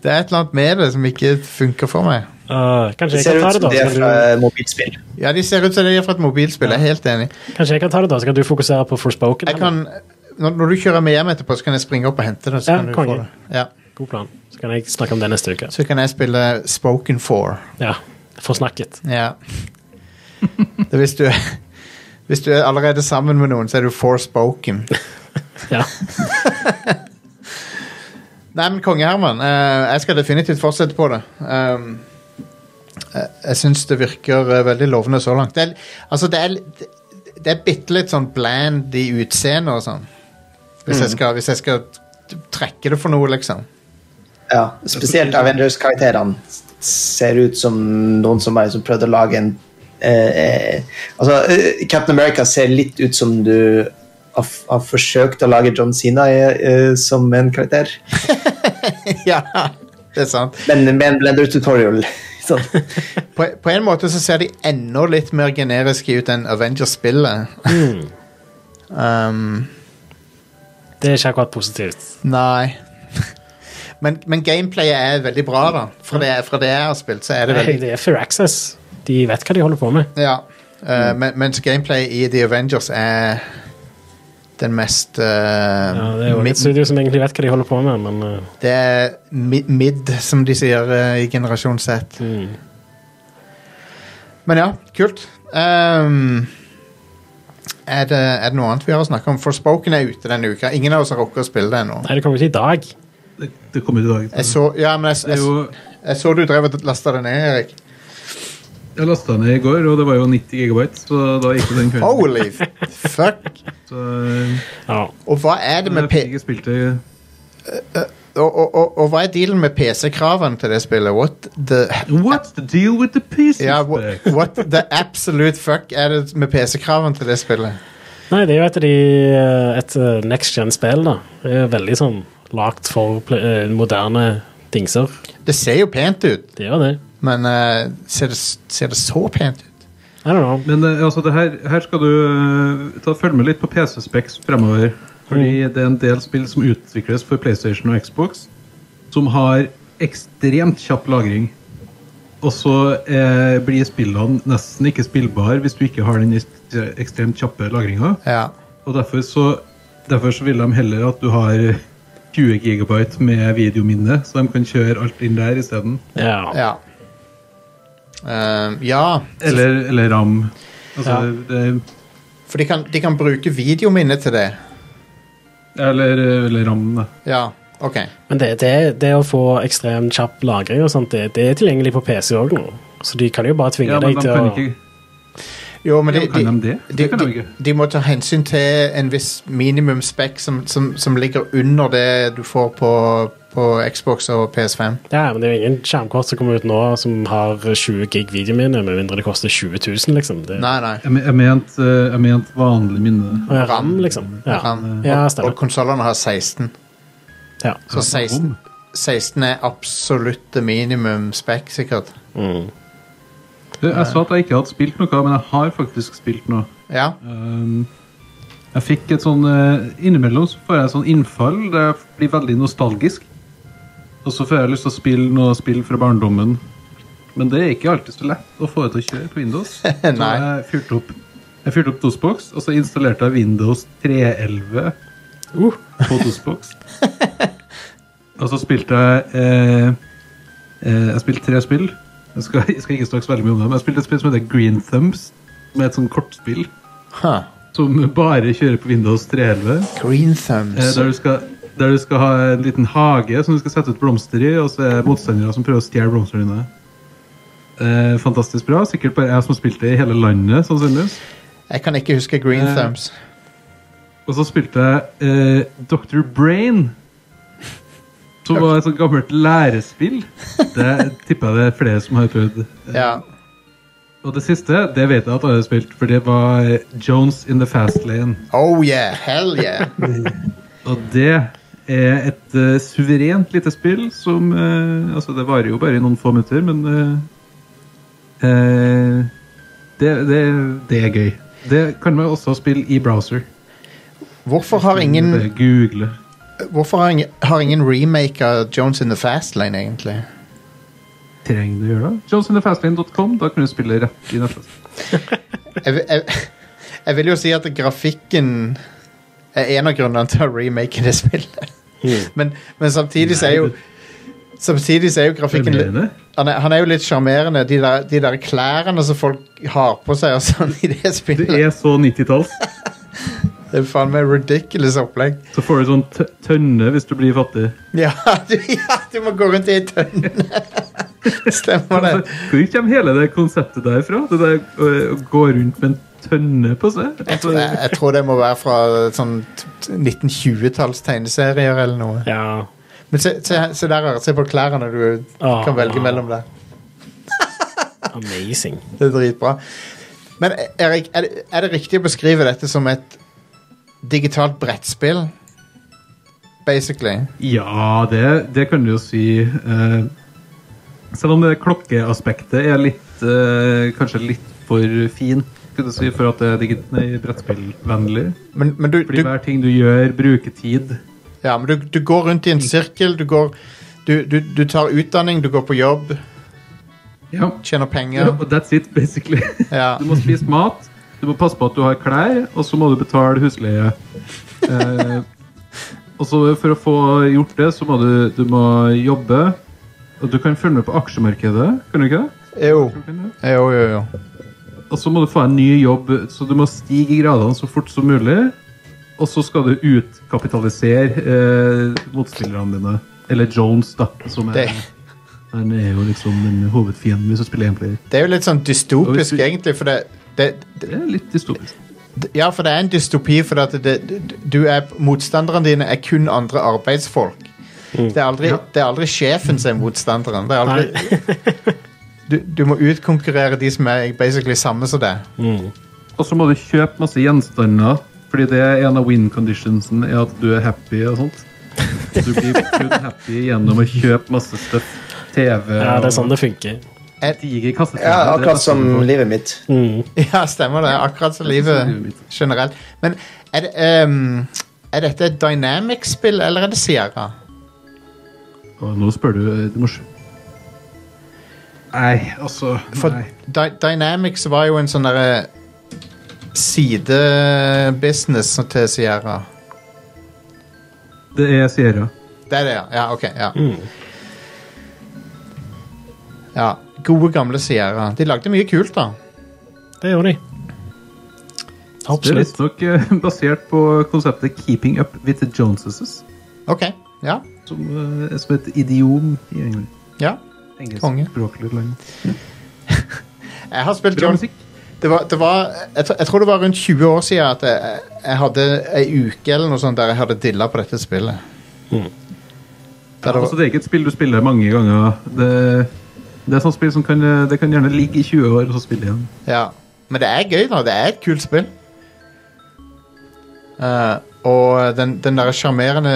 Speaker 2: Det er et eller annet med det som ikke funker for meg.
Speaker 1: Uh, kanskje,
Speaker 4: Det
Speaker 1: jeg kan
Speaker 4: ser
Speaker 1: ta det,
Speaker 4: ut som
Speaker 1: da, så
Speaker 4: det er
Speaker 1: kan
Speaker 4: fra
Speaker 1: du,
Speaker 4: mobilspill.
Speaker 2: Ja, de ser ut som de er fra et mobilspill. Jeg er helt enig.
Speaker 1: kanskje jeg kan ta det, da, så kan du fokusere på Forspoken.
Speaker 2: Jeg kan, når, når du kjører meg hjem etterpå, så kan jeg springe opp og hente det. Så
Speaker 1: Ja,
Speaker 2: kan, du få
Speaker 1: konge.
Speaker 2: det. Ja.
Speaker 1: God plan. Så kan jeg snakke om det neste uke.
Speaker 2: så kan jeg spille Spoken for.
Speaker 1: Ja, Forsnakket.
Speaker 2: Ja. Det er hvis du Hvis du er allerede sammen med noen, så er du forspoken.
Speaker 1: Ja.
Speaker 2: Nei, men konge Herman, eh, jeg skal definitivt fortsette på det. Um, jeg jeg syns det virker eh, veldig lovende så langt. Det er, altså, det er, det- det er bitte litt sånn bland i utseendet og sånn. Hvis, jeg skal, hvis jeg skal t- trekke det for noe, liksom.
Speaker 4: Ja, spesielt Avengers-karakterene ser ut som noen som har liksom prøvd å lage en eh, eh, altså, eh, Captain America ser litt ut som du har, f- har forsøkt å lage John Cena eh, eh, som en karakter,
Speaker 2: ja, det er sant.
Speaker 4: men med en blender tutorial. Sånn.
Speaker 2: På, på en måte så ser de enda litt mer generiske ut enn Avengers-spillet. um,
Speaker 1: Det er ikke akkurat positivt.
Speaker 2: Nei. Men, men gameplayet er veldig bra, da. Fra det, fra det jeg har spilt, så er det
Speaker 1: Nei,
Speaker 2: veldig
Speaker 1: Det er Fair Access. De vet hva de holder på med.
Speaker 2: Ja. eh,
Speaker 1: Mm.
Speaker 2: men, mens gameplayet i The Avengers er den mest eh,
Speaker 1: Ja, det er jo
Speaker 2: mid,
Speaker 1: et studio som egentlig vet hva de holder på med, men uh,
Speaker 2: Det er mi- mid, som de sier eh, i generasjon Z.
Speaker 1: Mm.
Speaker 2: Men ja, kult. Ehm, er, det, er det noe annet vi har å snakke om? Forspoken er ute denne uka. Ingen av oss har rukket å spille det ennå.
Speaker 1: Nei, det kommer ikke i dag.
Speaker 3: Det, det kom ut i dag.
Speaker 2: Jeg så, ja, men jeg,
Speaker 3: Det er
Speaker 2: jeg,
Speaker 3: jo,
Speaker 2: jeg så du drev og lasta det ned, Erik.
Speaker 3: jeg lasta ned i går, og det var jo 90 gigabyte, så da gikk det den kvelden.
Speaker 2: Holy f- fuck!
Speaker 3: Så
Speaker 1: Ja.
Speaker 2: Og hva er det med
Speaker 3: jeg
Speaker 2: P...
Speaker 3: fikk ikke spilt det
Speaker 2: Og, og, og, og hva er dealen med PC-kravene til det spillet? What the
Speaker 3: What's the deal with the pieces?
Speaker 2: ja, what, what the absolute fuck er det med PC-kravene til det spillet?
Speaker 1: Nei, det er jo et, av de, eh, uh, et uh, next gen-spill, da. Det er jo veldig sånn lagt for pl- uh, eh, moderne dingser.
Speaker 2: Det ser jo pent ut,
Speaker 1: Det gjør det.
Speaker 2: men eh, ser, det, s- ser det så pent ut?
Speaker 1: I don't know.
Speaker 3: Men eh, altså, det her, her skal du eh, ta, følge med litt på PC-specs fremover. Fordi det er en del spill som utvikles for PlayStation og Xbox, som har ekstremt kjapp lagring. Og så eh, blir spillene nesten ikke spillbare hvis du ikke har den ekst- ekstremt kjappe lagringa.
Speaker 2: Ja.
Speaker 3: Og derfor så, derfor så vil de heller at du har 20 gigabyte med videominne, så de kan kjøre alt inn der isteden.
Speaker 1: Ja.
Speaker 2: Ja. Eh, ja,
Speaker 3: Eller, eller RAM. Altså, det
Speaker 2: for de kan, de kan bruke videominnet til det.
Speaker 3: Eller, eh, eller RAM, da.
Speaker 2: Ja, OK.
Speaker 1: Men det, det, det å få ekstremt kjapp lagring og sånt, det, det er tilgjengelig på PC òg nå. Så de kan jo bare tvinge
Speaker 3: Ja, men
Speaker 1: deg
Speaker 3: de
Speaker 1: til
Speaker 3: kan
Speaker 1: å
Speaker 3: ikke
Speaker 2: Jo, men
Speaker 3: Ja,
Speaker 2: de,
Speaker 3: kan de det? Det
Speaker 2: de,
Speaker 3: kan de
Speaker 2: de,
Speaker 3: ikke.
Speaker 2: de må ta hensyn til en viss minimumspekk som, som, som ligger under det du får på, på Xbox og PS5.
Speaker 1: Ja, men det er jo ingen skjermkort som kommer ut nå som har 20 gig videominne, med mindre det koster 20 000, liksom. Det,
Speaker 2: Nei, nei.
Speaker 3: Jeg, men- jeg mente eh, ment vanlig minne.
Speaker 1: Og RAM,
Speaker 2: RAM.
Speaker 1: liksom. Ja,
Speaker 2: RAM.
Speaker 1: ja
Speaker 2: Og
Speaker 1: stemmer.
Speaker 2: konsollene har 16.
Speaker 1: Ja.
Speaker 2: Så 16, 16 er absolutte minimumspekk, sikkert.
Speaker 1: Mm.
Speaker 3: Du, Jeg sa at jeg ikke hadde spilt noe, men jeg har faktisk spilt noe.
Speaker 2: Ja.
Speaker 3: Um, jeg fikk et sånn eh, Innimellom så får jeg et sånn innfall der jeg blir veldig nostalgisk. Og så får jeg lyst til å spille noe spill fra barndommen. Men det er ikke alltid så lett å få det til å kjøre på Windows. Så
Speaker 2: Nei.
Speaker 3: jeg fyrte opp, jeg fyrte opp DOSBox, og så installerte jeg Windows 311
Speaker 1: Uh,
Speaker 3: på DOSBox. Og så spilte jeg eh, eh, Jeg spilte tre spill. Jeg skal, jeg skal ikke snakke så veldig mye om det, men jeg spilte et spill som heter Green Thumbs. Som er et sånn kortspill
Speaker 2: Huh.
Speaker 3: som bare kjører på Windows 311.
Speaker 2: Green
Speaker 3: Eh,
Speaker 2: thumbs.
Speaker 3: der, du skal, der du skal ha en liten hage som du skal sette ut blomster i, og så er det motstandere som prøver å stjele blomstene dine. Eh, fantastisk bra. Sikkert bare jeg som har spilt det i hele landet. sannsynligvis.
Speaker 2: Jeg kan ikke huske green
Speaker 3: Eh.
Speaker 2: thumbs.
Speaker 3: Og så spilte jeg eh, Dr. Brain. Som var et sånt gammelt lærespill. Det tipper jeg det er flere som har prøvd.
Speaker 2: Ja.
Speaker 3: Og det siste det vet jeg at alle har spilt, for det var eh, Jones in the Fast Lane.
Speaker 2: Oh yeah! Hell yeah!
Speaker 3: Og det er et eh, suverent lite spill som eh, Altså, det varer jo bare i noen få minutter, men eh, eh, det, det, det er gøy. Det kan man også spille i browser.
Speaker 2: Hvorfor har
Speaker 3: Bare
Speaker 2: ingen,
Speaker 3: Google.
Speaker 2: hvorfor har ingen, har ingen remake av Jones in the Fast Lane, egentlig?
Speaker 3: Trenger du å gjøre det? Johnsonthefastlane.com. Da kan du spille rett i nettet.
Speaker 2: jeg, vil- jeg, jeg vil jo si at grafikken er en av grunnene til å remake det spillet. Men, men samtidig så er jo Samtidig så er jo grafikken litt-
Speaker 3: Sjarmerende.
Speaker 2: han er, han er jo litt sjarmerende. De, der- de der klærne som folk har på seg og sånn i det
Speaker 3: Det
Speaker 2: spillet.
Speaker 3: er så 90-talls.
Speaker 2: Det er faen meg ridiculous opplegg.
Speaker 3: Så får du sånn tø- tønne hvis du blir fattig.
Speaker 2: Ja, du, ja, du må gå rundt i ei tønne! Stemmer det.
Speaker 3: Altså, Hvor kommer hele det konseptet der fra? Det der å, å gå rundt med en tønne på seg?
Speaker 2: Jeg, tror- jeg, jeg tror det må være fra sånn t- t- 1920-talls tegneserier eller noe.
Speaker 1: ja.
Speaker 2: Men se, se, se der, Are. se på klærne du
Speaker 1: Ah.
Speaker 2: kan velge mellom der.
Speaker 1: Amazing.
Speaker 2: Det er dritbra. Men Erik, er det, er det riktig å beskrive dette som et digitalt brettspill? Basically.
Speaker 3: Ja, det, det kan du jo si. Eh, selv om det klokkeaspektet er litt eh, Kanskje litt for fin skulle du si, for at det er digit- nei, brettspillvennlig.
Speaker 2: Men, men, du,
Speaker 3: Fordi
Speaker 2: du,
Speaker 3: hver ting du gjør, bruker tid.
Speaker 2: ja, men du, du går rundt i en sirkel. Du, går, du, du, du tar utdanning, du går på jobb,
Speaker 3: Ja.
Speaker 2: tjener
Speaker 3: Ja,
Speaker 2: penger.
Speaker 3: og That's it, basically.
Speaker 2: Ja.
Speaker 3: Du må spise mat, du må passe på at du har klær, og så må du betale husleie. Eh, og så for å få gjort det, så må du, du må jobbe. Og du kan følge med på aksjemarkedet, kan du ikke det?
Speaker 2: Jo. Jo, jo, jo.
Speaker 3: Og så må du få en ny jobb, så du må stige i gradene så fort som mulig. Og så skal du utkapitalisere eh, motspillerne dine. Eller Jones, da. Som er,
Speaker 2: Det,
Speaker 3: han er jo liksom den hovedfienden hvis du spiller én player.
Speaker 2: det er jo litt sånn
Speaker 3: Og hvis
Speaker 2: dystopisk,
Speaker 3: du-
Speaker 2: egentlig, for det, det,
Speaker 3: Det er litt dystopisk.
Speaker 2: det Ja, for det er en dystopi, for at det, det, du er Motstanderne dine er kun andre arbeidsfolk. Det er aldri, det er aldri sjefen som er motstanderen. Det er aldri,
Speaker 1: Nei.
Speaker 2: du, du må utkonkurrere de som er basically samme som deg.
Speaker 3: Og så må du kjøpe masse gjenstander, fordi det er en av win conditionsen, er at du er happy og sånt. Du blir kun happy gjennom å kjøpe masse stuff. TV
Speaker 1: Ja, det er sånn det funker.
Speaker 3: og diger kassetrenger.
Speaker 4: Ja,
Speaker 3: Det er
Speaker 4: akkurat som
Speaker 3: absolutt-
Speaker 4: livet mitt.
Speaker 1: Mm.
Speaker 2: Ja, stemmer det. Akkurat som
Speaker 3: som livet
Speaker 2: livet
Speaker 3: mitt.
Speaker 2: generelt. Men er, det, ehm, er dette et Dynamic-spill, eller er det Sierra?
Speaker 3: Og nå spør du eh, det morsomme. Nei, altså
Speaker 2: For
Speaker 3: nei.
Speaker 2: Dy Dynamics var jo en sånn derre sidebusiness til Sierra.
Speaker 3: Det er Sierra.
Speaker 2: Det er det, ja. Ja, ok. Ja.
Speaker 3: Mm.
Speaker 2: ja. Gode, gamle Sierra. De lagde mye kult, da.
Speaker 1: Det gjorde de.
Speaker 3: Det er
Speaker 1: Absolutt.
Speaker 3: visstnok eh, basert på konseptet 'Keeping Up With The Joneses',
Speaker 2: Ok. Ja.
Speaker 3: som, eh, er som et idiom i England.
Speaker 2: ja. Konge.
Speaker 3: Engelskspråklig land.
Speaker 2: Jeg har spilt
Speaker 3: Bra
Speaker 2: John
Speaker 3: musikk.
Speaker 2: det var, det var, jeg, tr- jeg tror det var rundt 20 år siden at jeg, jeg hadde ei uke eller noe sånt der jeg hadde dilla på dette spillet.
Speaker 3: Ja,
Speaker 2: Der det
Speaker 3: altså,
Speaker 2: var,
Speaker 3: det er ikke et spill du spiller mange ganger. Det, det er et sånt spill som kan, eh, det kan gjerne ligge i 20 år, og så spille igjen.
Speaker 2: ja. Men det er gøy, da. Det er et kult spill. Eh, og den, den derre sjarmerende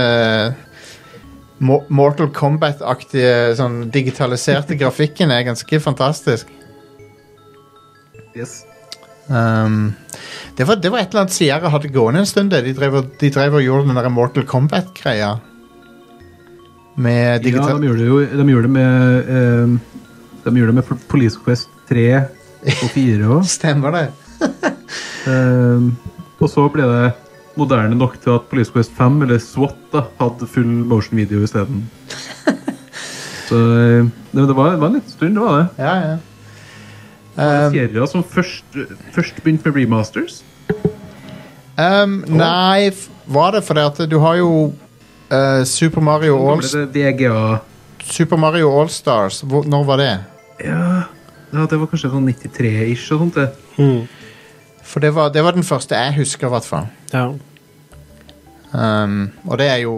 Speaker 2: Mo- Mortal Kombat-aktige sånn digitaliserte grafikken er ganske fantastisk.
Speaker 3: Yes.
Speaker 2: Ehm, det, var, det var et eller annet Sierra hadde gående en stund. det. De drev, og- de drev og gjorde den der Mortal Kombat-greia. Med
Speaker 3: Ja,
Speaker 2: digital...
Speaker 3: de gjorde det jo de gjorde det med eh, De gjorde det med Pol- Police Quest 3 og 4 òg.
Speaker 2: Stemmer det.
Speaker 3: Eh, og så ble det moderne nok til at Police Quest 5, eller SWAT, da, hadde full motion video isteden. Så eh, det, det, var, det var en liten stund, det var det.
Speaker 2: Ja, ja.
Speaker 3: Um,
Speaker 2: Ehm,
Speaker 3: Sierra som først, først begynte med remasters.
Speaker 2: ehm, nei, f- var det fordi at du har jo eh, Super Mario
Speaker 3: Så
Speaker 2: All
Speaker 3: ble det VGA.
Speaker 2: Super Mario Allstars. Hvor, når var det?
Speaker 3: Ja, ja, det var kanskje sånn 93-ish og sånt. det.
Speaker 1: Mm.
Speaker 2: For det var, det var den første jeg husker, i hvert fall.
Speaker 1: Ja.
Speaker 2: Ehm, og det er jo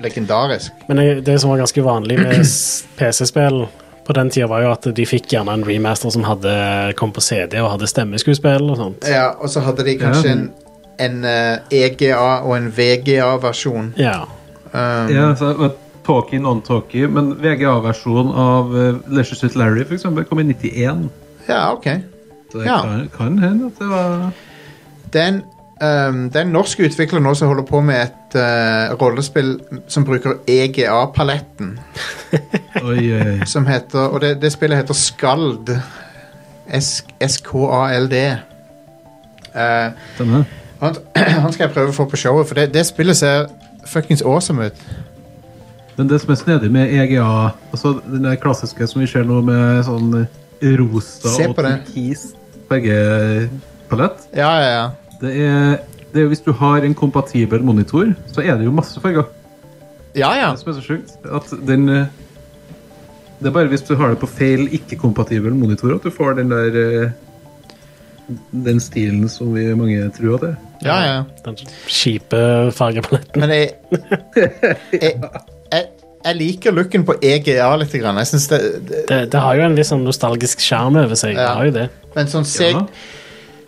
Speaker 2: legendarisk.
Speaker 1: Men det- det som var ganske vanlig med s- PC-spill på den tida, var jo at de fikk gjerne en remaster som hadde, kom på CD og hadde stemmeskuespill og sånt.
Speaker 2: Ja, og så hadde de
Speaker 3: Ja.
Speaker 2: kanskje en, en eh, EGA og en VGA-versjon.
Speaker 1: Ja.
Speaker 2: Um,
Speaker 3: Ja, så det var Talkie, non-talkie, men VGA-versjonen av uh, Leisure Suit Larry for eksempel, kom i 91.
Speaker 2: ja, ok.
Speaker 3: Så det
Speaker 2: Ja.
Speaker 3: kan, kan hende at det var
Speaker 2: Det er en, um, det er en norsk utvikler nå som holder på med et eh, rollespill som bruker E EGA-paletten.
Speaker 3: Oi, oi, oi.
Speaker 2: Som heter, og det, det spillet heter Skald. S- S-K-A-L-D. Eh,
Speaker 3: Stemmer.
Speaker 2: han, han skal jeg prøve å få på showet, for det, det spillet ser fuckings awesome ut.
Speaker 3: Men det som er snedig med EGA, altså den der klassiske som vi ser nå med sånn eh, rosa
Speaker 2: Se
Speaker 3: og
Speaker 2: på det.
Speaker 3: turkis begge palett,
Speaker 2: Ja, ja, ja.
Speaker 3: det er, det er jo hvis du har en kompatibel monitor, så er det jo masse farger.
Speaker 2: Ja, ja.
Speaker 3: Det som er så sjukt, at den eh, Det er bare hvis du har det på feil ikke-kompatibel monitor at du får den der eh, Den stilen som vi mange tror at det er.
Speaker 2: ja, ja.
Speaker 1: Den kjipe fargepaletten.
Speaker 2: Men jeg jeg, jeg, jeg liker looken på EGA litt. Grann. Jeg synes det, det,
Speaker 1: Det, det har jo en litt sånn nostalgisk sjarm over seg. Det
Speaker 2: Ja.
Speaker 1: har jo det.
Speaker 2: men sånn C,
Speaker 3: Ja.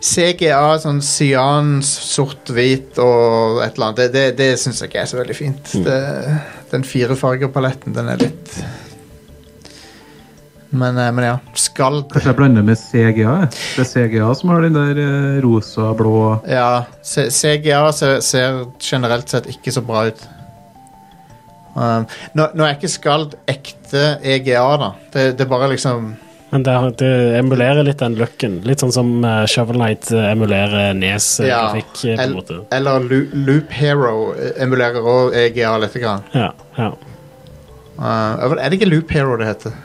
Speaker 2: CGA, sånn cyan, sort-hvit og et eller annet, det, det, det syns jeg ikke er så veldig fint. Det, den firefargerpaletten, den er litt men, eh, men ja. Skald.
Speaker 3: Kanskje jeg blander med CGA? jeg. Det er CGA som har den der eh, rosa, blå
Speaker 2: Ja. C- CGA ser, ser generelt sett ikke så bra ut. Um, nå, nå er ikke skald ekte EGA, da. Det, det er bare liksom
Speaker 1: Men det, har- det emulerer litt den looken. Litt sånn som eh, Shovel Knight eh, emulerer Nes-grafikk, eh, på en
Speaker 2: el-
Speaker 1: måte.
Speaker 2: Eller Lu- Loop Hero eh, emulerer også EGA litt. Grann.
Speaker 1: Ja, ja.
Speaker 2: Uh, er det ikke Loop Hero det heter?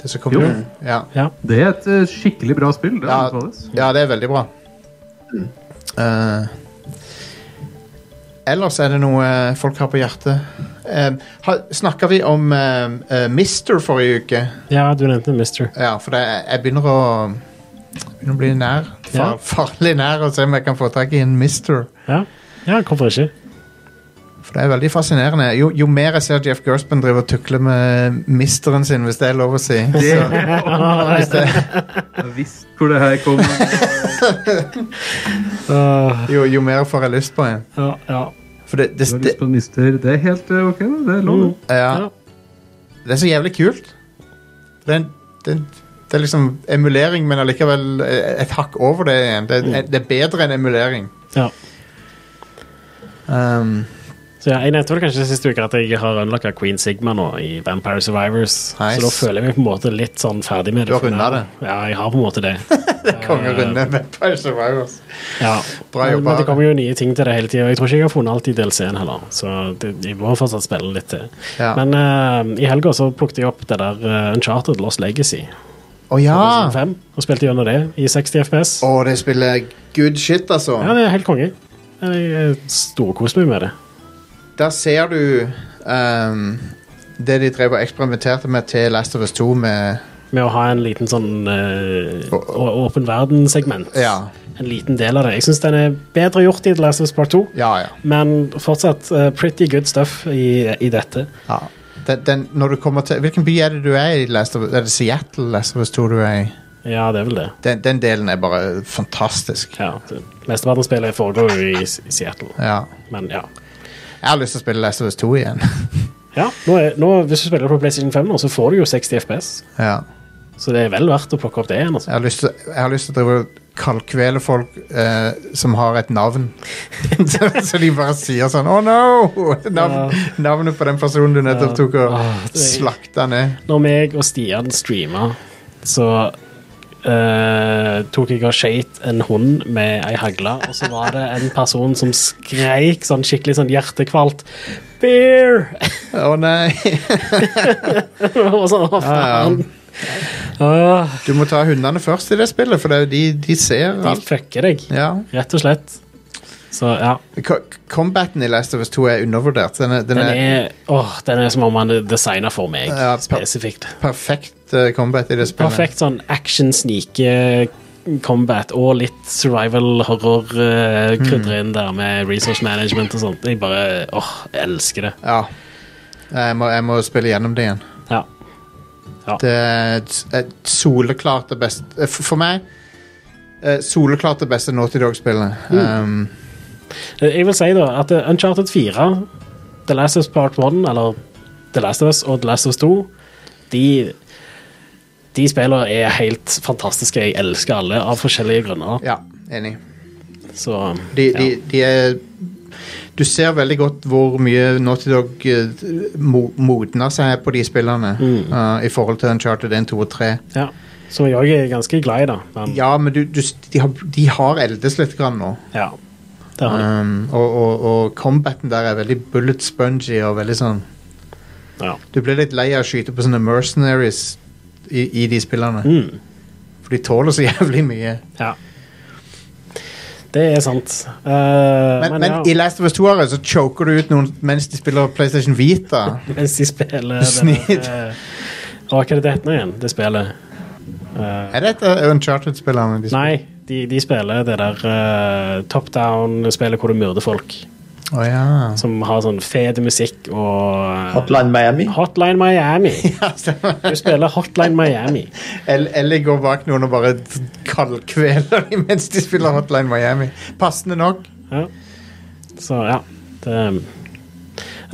Speaker 2: Det som kom
Speaker 3: Jo.
Speaker 2: ut? Ja.
Speaker 1: ja.
Speaker 3: Det er et eh, skikkelig bra spill. Det
Speaker 2: Ja.
Speaker 3: anbefales.
Speaker 2: ja, det er veldig bra. Uh, ellers er det noe eh, folk har på hjertet. Um, har- Snakka vi om um, eh, Mister forrige uke?
Speaker 1: ja du nevnte Mister.
Speaker 2: Ja, for det, jeg begynner å begynner å bli nær.
Speaker 1: Ja.
Speaker 2: Far, farlig nær å se om jeg kan få tak i en Mister.
Speaker 1: Ja. ja, hvorfor ikke?
Speaker 2: For det er veldig fascinerende. Jo, jo mer jeg ser Jeff Gerspen driver og tukler med misteren sin, hvis det er lov å si.
Speaker 3: Det,
Speaker 1: Ah,
Speaker 2: Hvis det,
Speaker 3: jeg visste hvor det her kom.
Speaker 1: Uh,
Speaker 2: jo, jo mer får jeg lyst på en.
Speaker 1: ja, ja.
Speaker 2: For det, det,
Speaker 3: Du er
Speaker 2: det,
Speaker 3: disponist. Det er helt eh, ok, det. Det er lov. det.
Speaker 2: ja, det er så jævlig kult. Det er, en- det, er en- det er liksom emulering, men allikevel eh, et hakk over det igjen. Det, er- det er bedre enn emulering.
Speaker 1: Ja.
Speaker 2: Um,
Speaker 1: Så ja, jeg nevnte vel kanskje siste uke at jeg har unlocka Queen Sigma nå i Vampire Survivors.
Speaker 2: Nice.
Speaker 1: Så da føler jeg meg på en måte litt sånn ferdig med det.
Speaker 2: Du har
Speaker 1: for
Speaker 2: rundet
Speaker 1: nå. Ja, jeg har på en måte det.
Speaker 2: Kongerunde Vampire Survivors.
Speaker 1: Ja.
Speaker 2: Bra
Speaker 1: men,
Speaker 2: jobba.
Speaker 1: men det kommer jo nye ting til det hele tida. Jeg tror ikke jeg har funnet alt i DLC-en heller, så det, jeg må fortsatt spille litt til.
Speaker 2: Ja.
Speaker 1: Men eh, i helga så plukket jeg opp det der eh, Uncharted Lost Legacy
Speaker 2: Å ja!
Speaker 1: 2005, og spilte gjennom det i 60 FPS.
Speaker 2: Å, det spiller good shit, altså.
Speaker 1: Ja, det er helt konge. Jeg eh, storkoser meg med det.
Speaker 2: Der ser du ehm, det de drev og eksperimenterte med til Last of Us 2 med
Speaker 1: Med å ha en liten sånn eh,
Speaker 2: Å-
Speaker 1: å- åpen verden-segment.
Speaker 2: Ja.
Speaker 1: En liten del av det. Jeg syns den er bedre gjort i The Last of Us Part 2,
Speaker 2: Ja, ja.
Speaker 1: men fortsatt eh, pretty good stuff i, i dette.
Speaker 2: ja. Den, den, når du kommer til, hvilken by er det du er i? Last of, er det Seattle Last of Us 2 du er i?
Speaker 1: Ja, det er vel det.
Speaker 2: Den, den delen er bare fantastisk.
Speaker 1: Ja, det- Mesteparten av spillet foregår jo i S- i Seattle,
Speaker 2: Ja.
Speaker 1: men ja.
Speaker 2: Jeg har lyst til å spille Last of Us 2 igjen.
Speaker 1: ja nå er, nå, hvis du spiller på PlayStation 5 nå, så får du jo 60 FPS,
Speaker 2: ja.
Speaker 1: så det er vel verdt å plukke opp det igjen. Altså.
Speaker 2: jeg, har lyst til, jeg har lyst til å drive og kalkvele folk eh, som har et navn. så, så de bare sier sånn Oh no! Navn, Navnet på den personen du nettopp tok og
Speaker 1: Ah, det-
Speaker 2: slakta ned.
Speaker 1: Når meg og Stian streama, så eh, tok jeg og skjøt en hund med ei hagle, og så var det en person som skreik sånn skikkelig sånn hjertekvalt Beer!
Speaker 2: Å nei!
Speaker 1: og sånn, hva faen? Åh,
Speaker 2: Du må ta hundene først i det spillet, for det er jo de, de ser
Speaker 1: de
Speaker 2: alt.
Speaker 1: fucker deg,
Speaker 2: Ja.
Speaker 1: rett og slett. Så ja,
Speaker 2: Ko- Combaten i Last of Us 2 er undervurdert. Den er, den
Speaker 1: den
Speaker 2: er,
Speaker 1: er, åh, den er som om han er designa for meg,
Speaker 2: Ja, per-
Speaker 1: spesifikt.
Speaker 2: perfekt eh, combat i det spillet.
Speaker 1: Perfekt sånn action, snike, combat og litt survival horror uh, krydder inn der med resource management og sånt. Jeg bare åh, jeg elsker det.
Speaker 2: Ja. Jeg må, jeg må spille gjennom det igjen.
Speaker 1: Ja.
Speaker 2: Det er et- et eh, soleklart det beste eh, For for meg eh, soleklart det beste Naughty Dog-spillet. Um,
Speaker 1: Jeg vil si da at eh, Uncharted 4, The Last of Us Part 1, eller The Last of Us og The Last of Us 2, de de spillene er helt fantastiske. Jeg elsker alle av forskjellige grunner.
Speaker 2: ja, enig.
Speaker 1: Så
Speaker 2: De,
Speaker 1: ja.
Speaker 2: de, de er Du ser veldig godt hvor mye Naughty Dog eh, mo- modner seg på de spillene eh, i forhold til Uncharted 1, 2 og 3.
Speaker 1: ja. Som jeg òg er ganske glad i, da. Men
Speaker 2: Ja, men du, du, de, har, de har eldes litt grann nå.
Speaker 1: ja. Det har de.
Speaker 2: Um, og, og, og combaten der er veldig bullet spongy og veldig sånn
Speaker 1: Ja.
Speaker 2: Du blir litt lei av å skyte på sånne mercenaries i, i de spillene.
Speaker 1: Mm.
Speaker 2: For de tåler så jævlig mye.
Speaker 1: Ja. Det er sant. Eh,
Speaker 2: Men,
Speaker 1: men,
Speaker 2: men i
Speaker 1: ja,
Speaker 2: Last of Us 2 her, så choker du ut noen mens de spiller PlayStation Vita.
Speaker 1: mens de spiller
Speaker 2: Snid.
Speaker 1: det der, eh, Hva er det det heter nå igjen, det spillet? Eh,
Speaker 2: Er dette Uncharted-spillerne? de spiller?
Speaker 1: nei, de, de spiller det der eh, top down-spillet hvor du myrder folk.
Speaker 2: Å ja.
Speaker 1: Som har sånn fet musikk og eh,
Speaker 4: Hotline Miami.
Speaker 1: Hotline Miami.
Speaker 2: ja. stemmer.
Speaker 1: Du spiller Hotline Miami.
Speaker 2: El- Ellie går bak noen og bare kaldkveler dem mens de spiller Hotline Miami. Passende nok.
Speaker 1: Ja. Så ja. Det,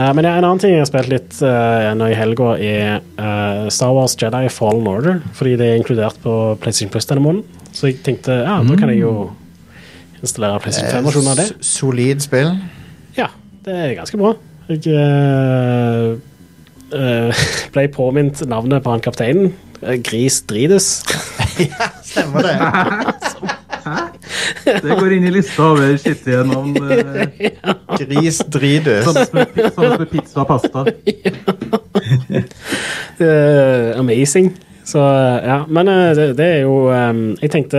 Speaker 1: Eh, men ja, en annen ting jeg har spilt litt eh, nå i helga, er eh, Star Wars Jedi Fallen Order. Fordi det er inkludert på PlayStation Plus denne måneden. Så jeg tenkte ja, da kan jeg jo installere PlayStation 5-versjonen av det.
Speaker 2: S- Solid spill.
Speaker 1: Ja, det er ganske bra. Jeg eh, eh, ble påminnet navnet på han kapteinen. Eh, Gris Drides.
Speaker 2: Stemmer det.
Speaker 3: Det går inn i lista over skittige navn. eh,
Speaker 2: Gris drites.
Speaker 3: Sånne som er pi- sånne som er pizza og pasta.
Speaker 1: Eh, amazing. Så eh, ja, men eh, det, det er jo eh, Jeg tenkte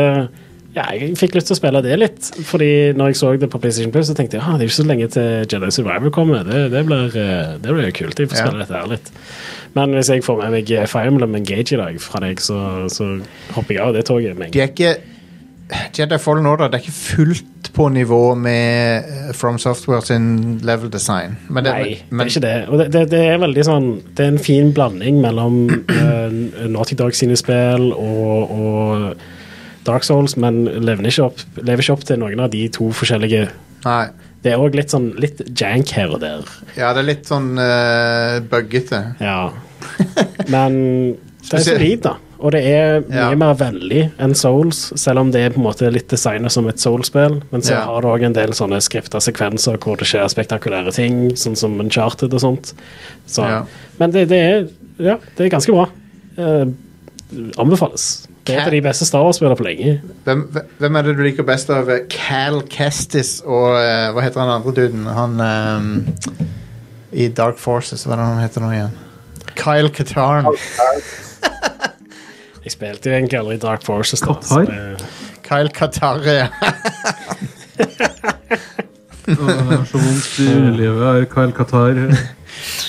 Speaker 1: ja, jeg fikk lyst til å spille det litt. Fordi når jeg så det på PlayStation Plus, så tenkte jeg ah, det er ikke så lenge til Jedi Survivor kommer. Det, det, blir, eh, det blir jo kult. Jeg får
Speaker 2: Ja.
Speaker 1: spille dette her litt. Men hvis jeg får med meg Fire Emblem Engage i dag fra deg, så, så hopper jeg av det toget med en
Speaker 2: De er ikke Jedi Fallen Order det er ikke fullt på nivå med eh, From Software sin level design. Men det,
Speaker 1: Nei,
Speaker 2: men,
Speaker 1: det er ikke det. Og det, det, det er veldig sånn Det er en fin blanding mellom eh, Naughty Dog sine spill og, og Dark Souls, men lever ikke, opp, lever ikke opp til noen av de to forskjellige
Speaker 2: Nei.
Speaker 1: Det er òg litt sånn litt jank her og der.
Speaker 2: Ja, det er litt sånn uh, buggete.
Speaker 1: Ja. Men det er
Speaker 2: Spesielt-
Speaker 1: solid, da. Og det er mye
Speaker 2: Ja.
Speaker 1: mer vennlig enn Souls, selv om det er på en måte litt designet som et Souls-spill. Men så
Speaker 2: Ja.
Speaker 1: har det òg en del sånne skrifta sekvenser hvor det skjer spektakulære ting, sånn som Uncharted og sånt. Så,
Speaker 2: Ja.
Speaker 1: Men det, det, er, ja, det er ganske bra. Eh, anbefales. Det er et av de beste Star Wars-spillene på lenge.
Speaker 2: Hvem, hvem er det du liker best av eh, Cal Kestis og eh, Hva heter han andre duden? Han ehm, i Dark Forces, hva er det han heter nå igjen? Kyle Katarn.
Speaker 1: Jeg spilte jo egentlig aldri Dark Forces. Da,
Speaker 3: Katar?
Speaker 1: så det-
Speaker 2: Kyle Katar, ja.
Speaker 3: Åh, Så vondt i eh, underlivet er Kyle Qatar.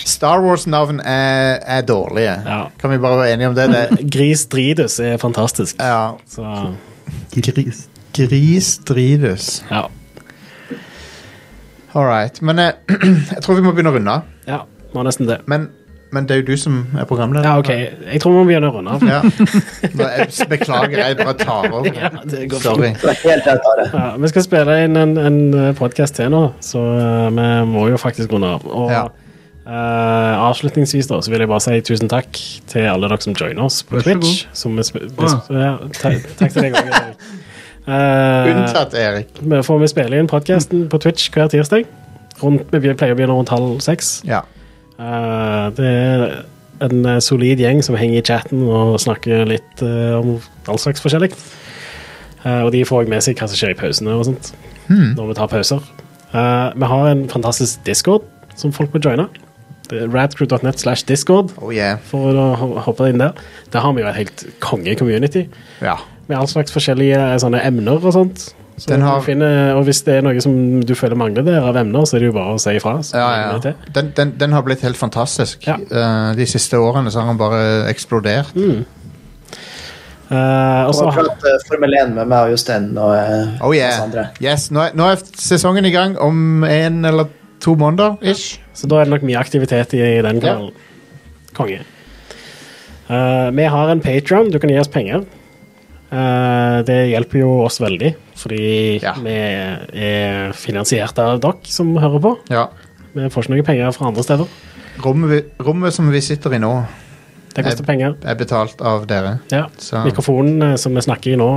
Speaker 2: Star Wars-navn er, er dårlige.
Speaker 1: Ja.
Speaker 2: Kan vi bare være enige om det? det
Speaker 1: Gris Dridus er fantastisk.
Speaker 2: ja.
Speaker 1: Så
Speaker 3: Gris.
Speaker 2: Gris Dridus.
Speaker 1: ja.
Speaker 2: All right. Men eh, jeg tror vi må begynne å runde. av.
Speaker 1: ja. Må nesten det.
Speaker 2: Men, men det er jo du som er programleder.
Speaker 1: Ja, OK. Jeg tror vi må begynne å runde av.
Speaker 2: Ja. Nå, jeg beklager, jeg bare tar over.
Speaker 1: Ja, det går bra.
Speaker 2: Sorry.
Speaker 4: Det var helt rett, Are.
Speaker 1: Ja, vi skal spille inn en, en podkast til nå, så eh, vi må jo faktisk runde av. Og
Speaker 2: Ja.
Speaker 1: eh, avslutningsvis da, så vil jeg bare si tusen takk til alle dere som joiner oss på
Speaker 3: Vær så
Speaker 1: Twitch. Som vi sp vi
Speaker 3: Å,
Speaker 1: sp ja, ta takk til deg òg.
Speaker 2: Unntatt Erik.
Speaker 1: vi får vi spille inn podkasten på Twitch hver tirsdag. Rundt, vi be- pleier å begynne rundt halv seks.
Speaker 2: Ja.
Speaker 1: Eh, det er en eh, solid gjeng som henger i chatten og snakker litt eh, om all slags forskjellig. Eh, og de får også med seg hva som skjer i pausene og sånt.
Speaker 2: Hmm.
Speaker 1: Når vi tar pauser. Eh, vi har en fantastisk discord som folk må joine. Det er Radcrew.net slash discord
Speaker 2: Oh yeah.
Speaker 1: for å ho- hoppe inn der. Der har vi jo et helt konge-community
Speaker 2: Ja.
Speaker 1: med all slags forskjellige eh, sånne emner og sånt. Så
Speaker 2: Den har-
Speaker 1: du finner, og hvis det er noe som du føler mangler der av emner, så er det jo bare å si ifra. så
Speaker 2: ja,
Speaker 1: finner vi
Speaker 2: ja.
Speaker 1: til.
Speaker 2: Den, den, den har blitt helt fantastisk.
Speaker 1: Ja. Mm.
Speaker 2: Eh, de siste årene så har han bare eksplodert.
Speaker 1: Eh, og
Speaker 4: Jeg
Speaker 1: så
Speaker 4: har pratet eh, Formel 1 med meg og Jostein og eh,
Speaker 2: Oh
Speaker 4: oss
Speaker 2: yeah.
Speaker 4: andre.
Speaker 2: Yes, nå er, nå er sesongen i gang om en eller to måneder ish.
Speaker 1: Så da er det nok mye aktivitet i, i den kanalen. Konge. Eh, vi har en Patron. Du kan gi oss penger. Eh, det hjelper jo oss veldig, fordi
Speaker 2: Ja.
Speaker 1: vi er finansiert av dere som hører på.
Speaker 2: Ja.
Speaker 1: Vi får ikke noe penger fra andre steder.
Speaker 2: Rommet, vi- rommet som vi sitter i nå,
Speaker 1: Det koster penger.
Speaker 2: er betalt av dere.
Speaker 1: Ja.
Speaker 2: Så-
Speaker 1: Mikrofonene som vi snakker i nå,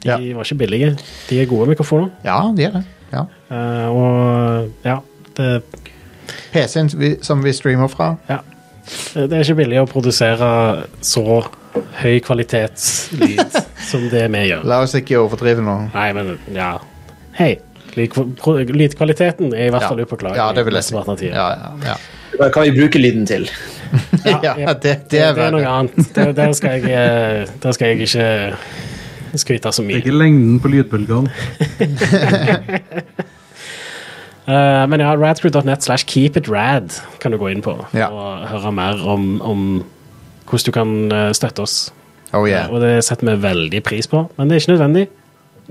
Speaker 1: de
Speaker 2: Ja.
Speaker 1: var ikke billige. De er gode mikrofoner.
Speaker 2: Ja, de er det. Ja.
Speaker 1: Eh, og ja det,
Speaker 2: PC-en vi, som vi streamer fra.
Speaker 1: ja. Eh, det er ikke billig å produsere så høy kvalitetslyd som det vi gjør.
Speaker 2: La oss ikke overdrive nå.
Speaker 1: Nei, men ja. Hei. lydkva- pro- Lydkvaliteten er i hvert fall upåklagelig.
Speaker 2: ja, det vil jeg si.
Speaker 1: Mesteparten av tiden.
Speaker 2: Ja, ja, ja.
Speaker 4: Hva kan vi bruke lyden til?
Speaker 1: Ja,
Speaker 2: ja, det, det er
Speaker 1: det er noe
Speaker 2: verre.
Speaker 1: annet. Der, der, skal jeg, eh, der skal jeg ikke skryte så
Speaker 3: Det er
Speaker 1: mye.
Speaker 3: ikke lengden på lydbølgene.
Speaker 1: Eh, men ja, radcrew.net slash keepitrad kan du gå inn på
Speaker 2: Ja.
Speaker 1: og høre mer om, om hvordan du kan eh, støtte oss.
Speaker 2: Oh yeah.
Speaker 1: Eh, Og det setter vi veldig pris på, men det er ikke nødvendig.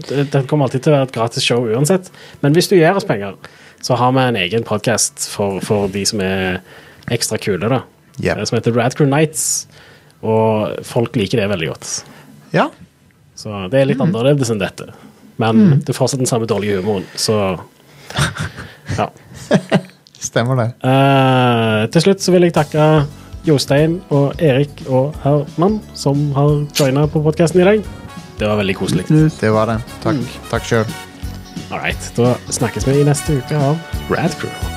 Speaker 1: Det det kommer alltid til å være et gratis show uansett. Men hvis du gir oss penger, så har vi en egen podkast for, for de som er ekstra kule, da.
Speaker 2: Yep.
Speaker 1: Eh, Som heter Radcrew Nights. Og folk liker det veldig godt.
Speaker 2: Ja.
Speaker 1: Så det er litt annerledes enn dette. Men det er fortsatt den samme dårlige humoren, så Ja.
Speaker 2: Stemmer det.
Speaker 1: Eh, til slutt så vil jeg takke Jostein og Erik og Herman, som har joina på podkasten i dag. Det var veldig koselig.
Speaker 2: Det Mm. var det. Takk. Takk sjøl.
Speaker 1: All right, da snakkes vi i neste uke av Radcrew.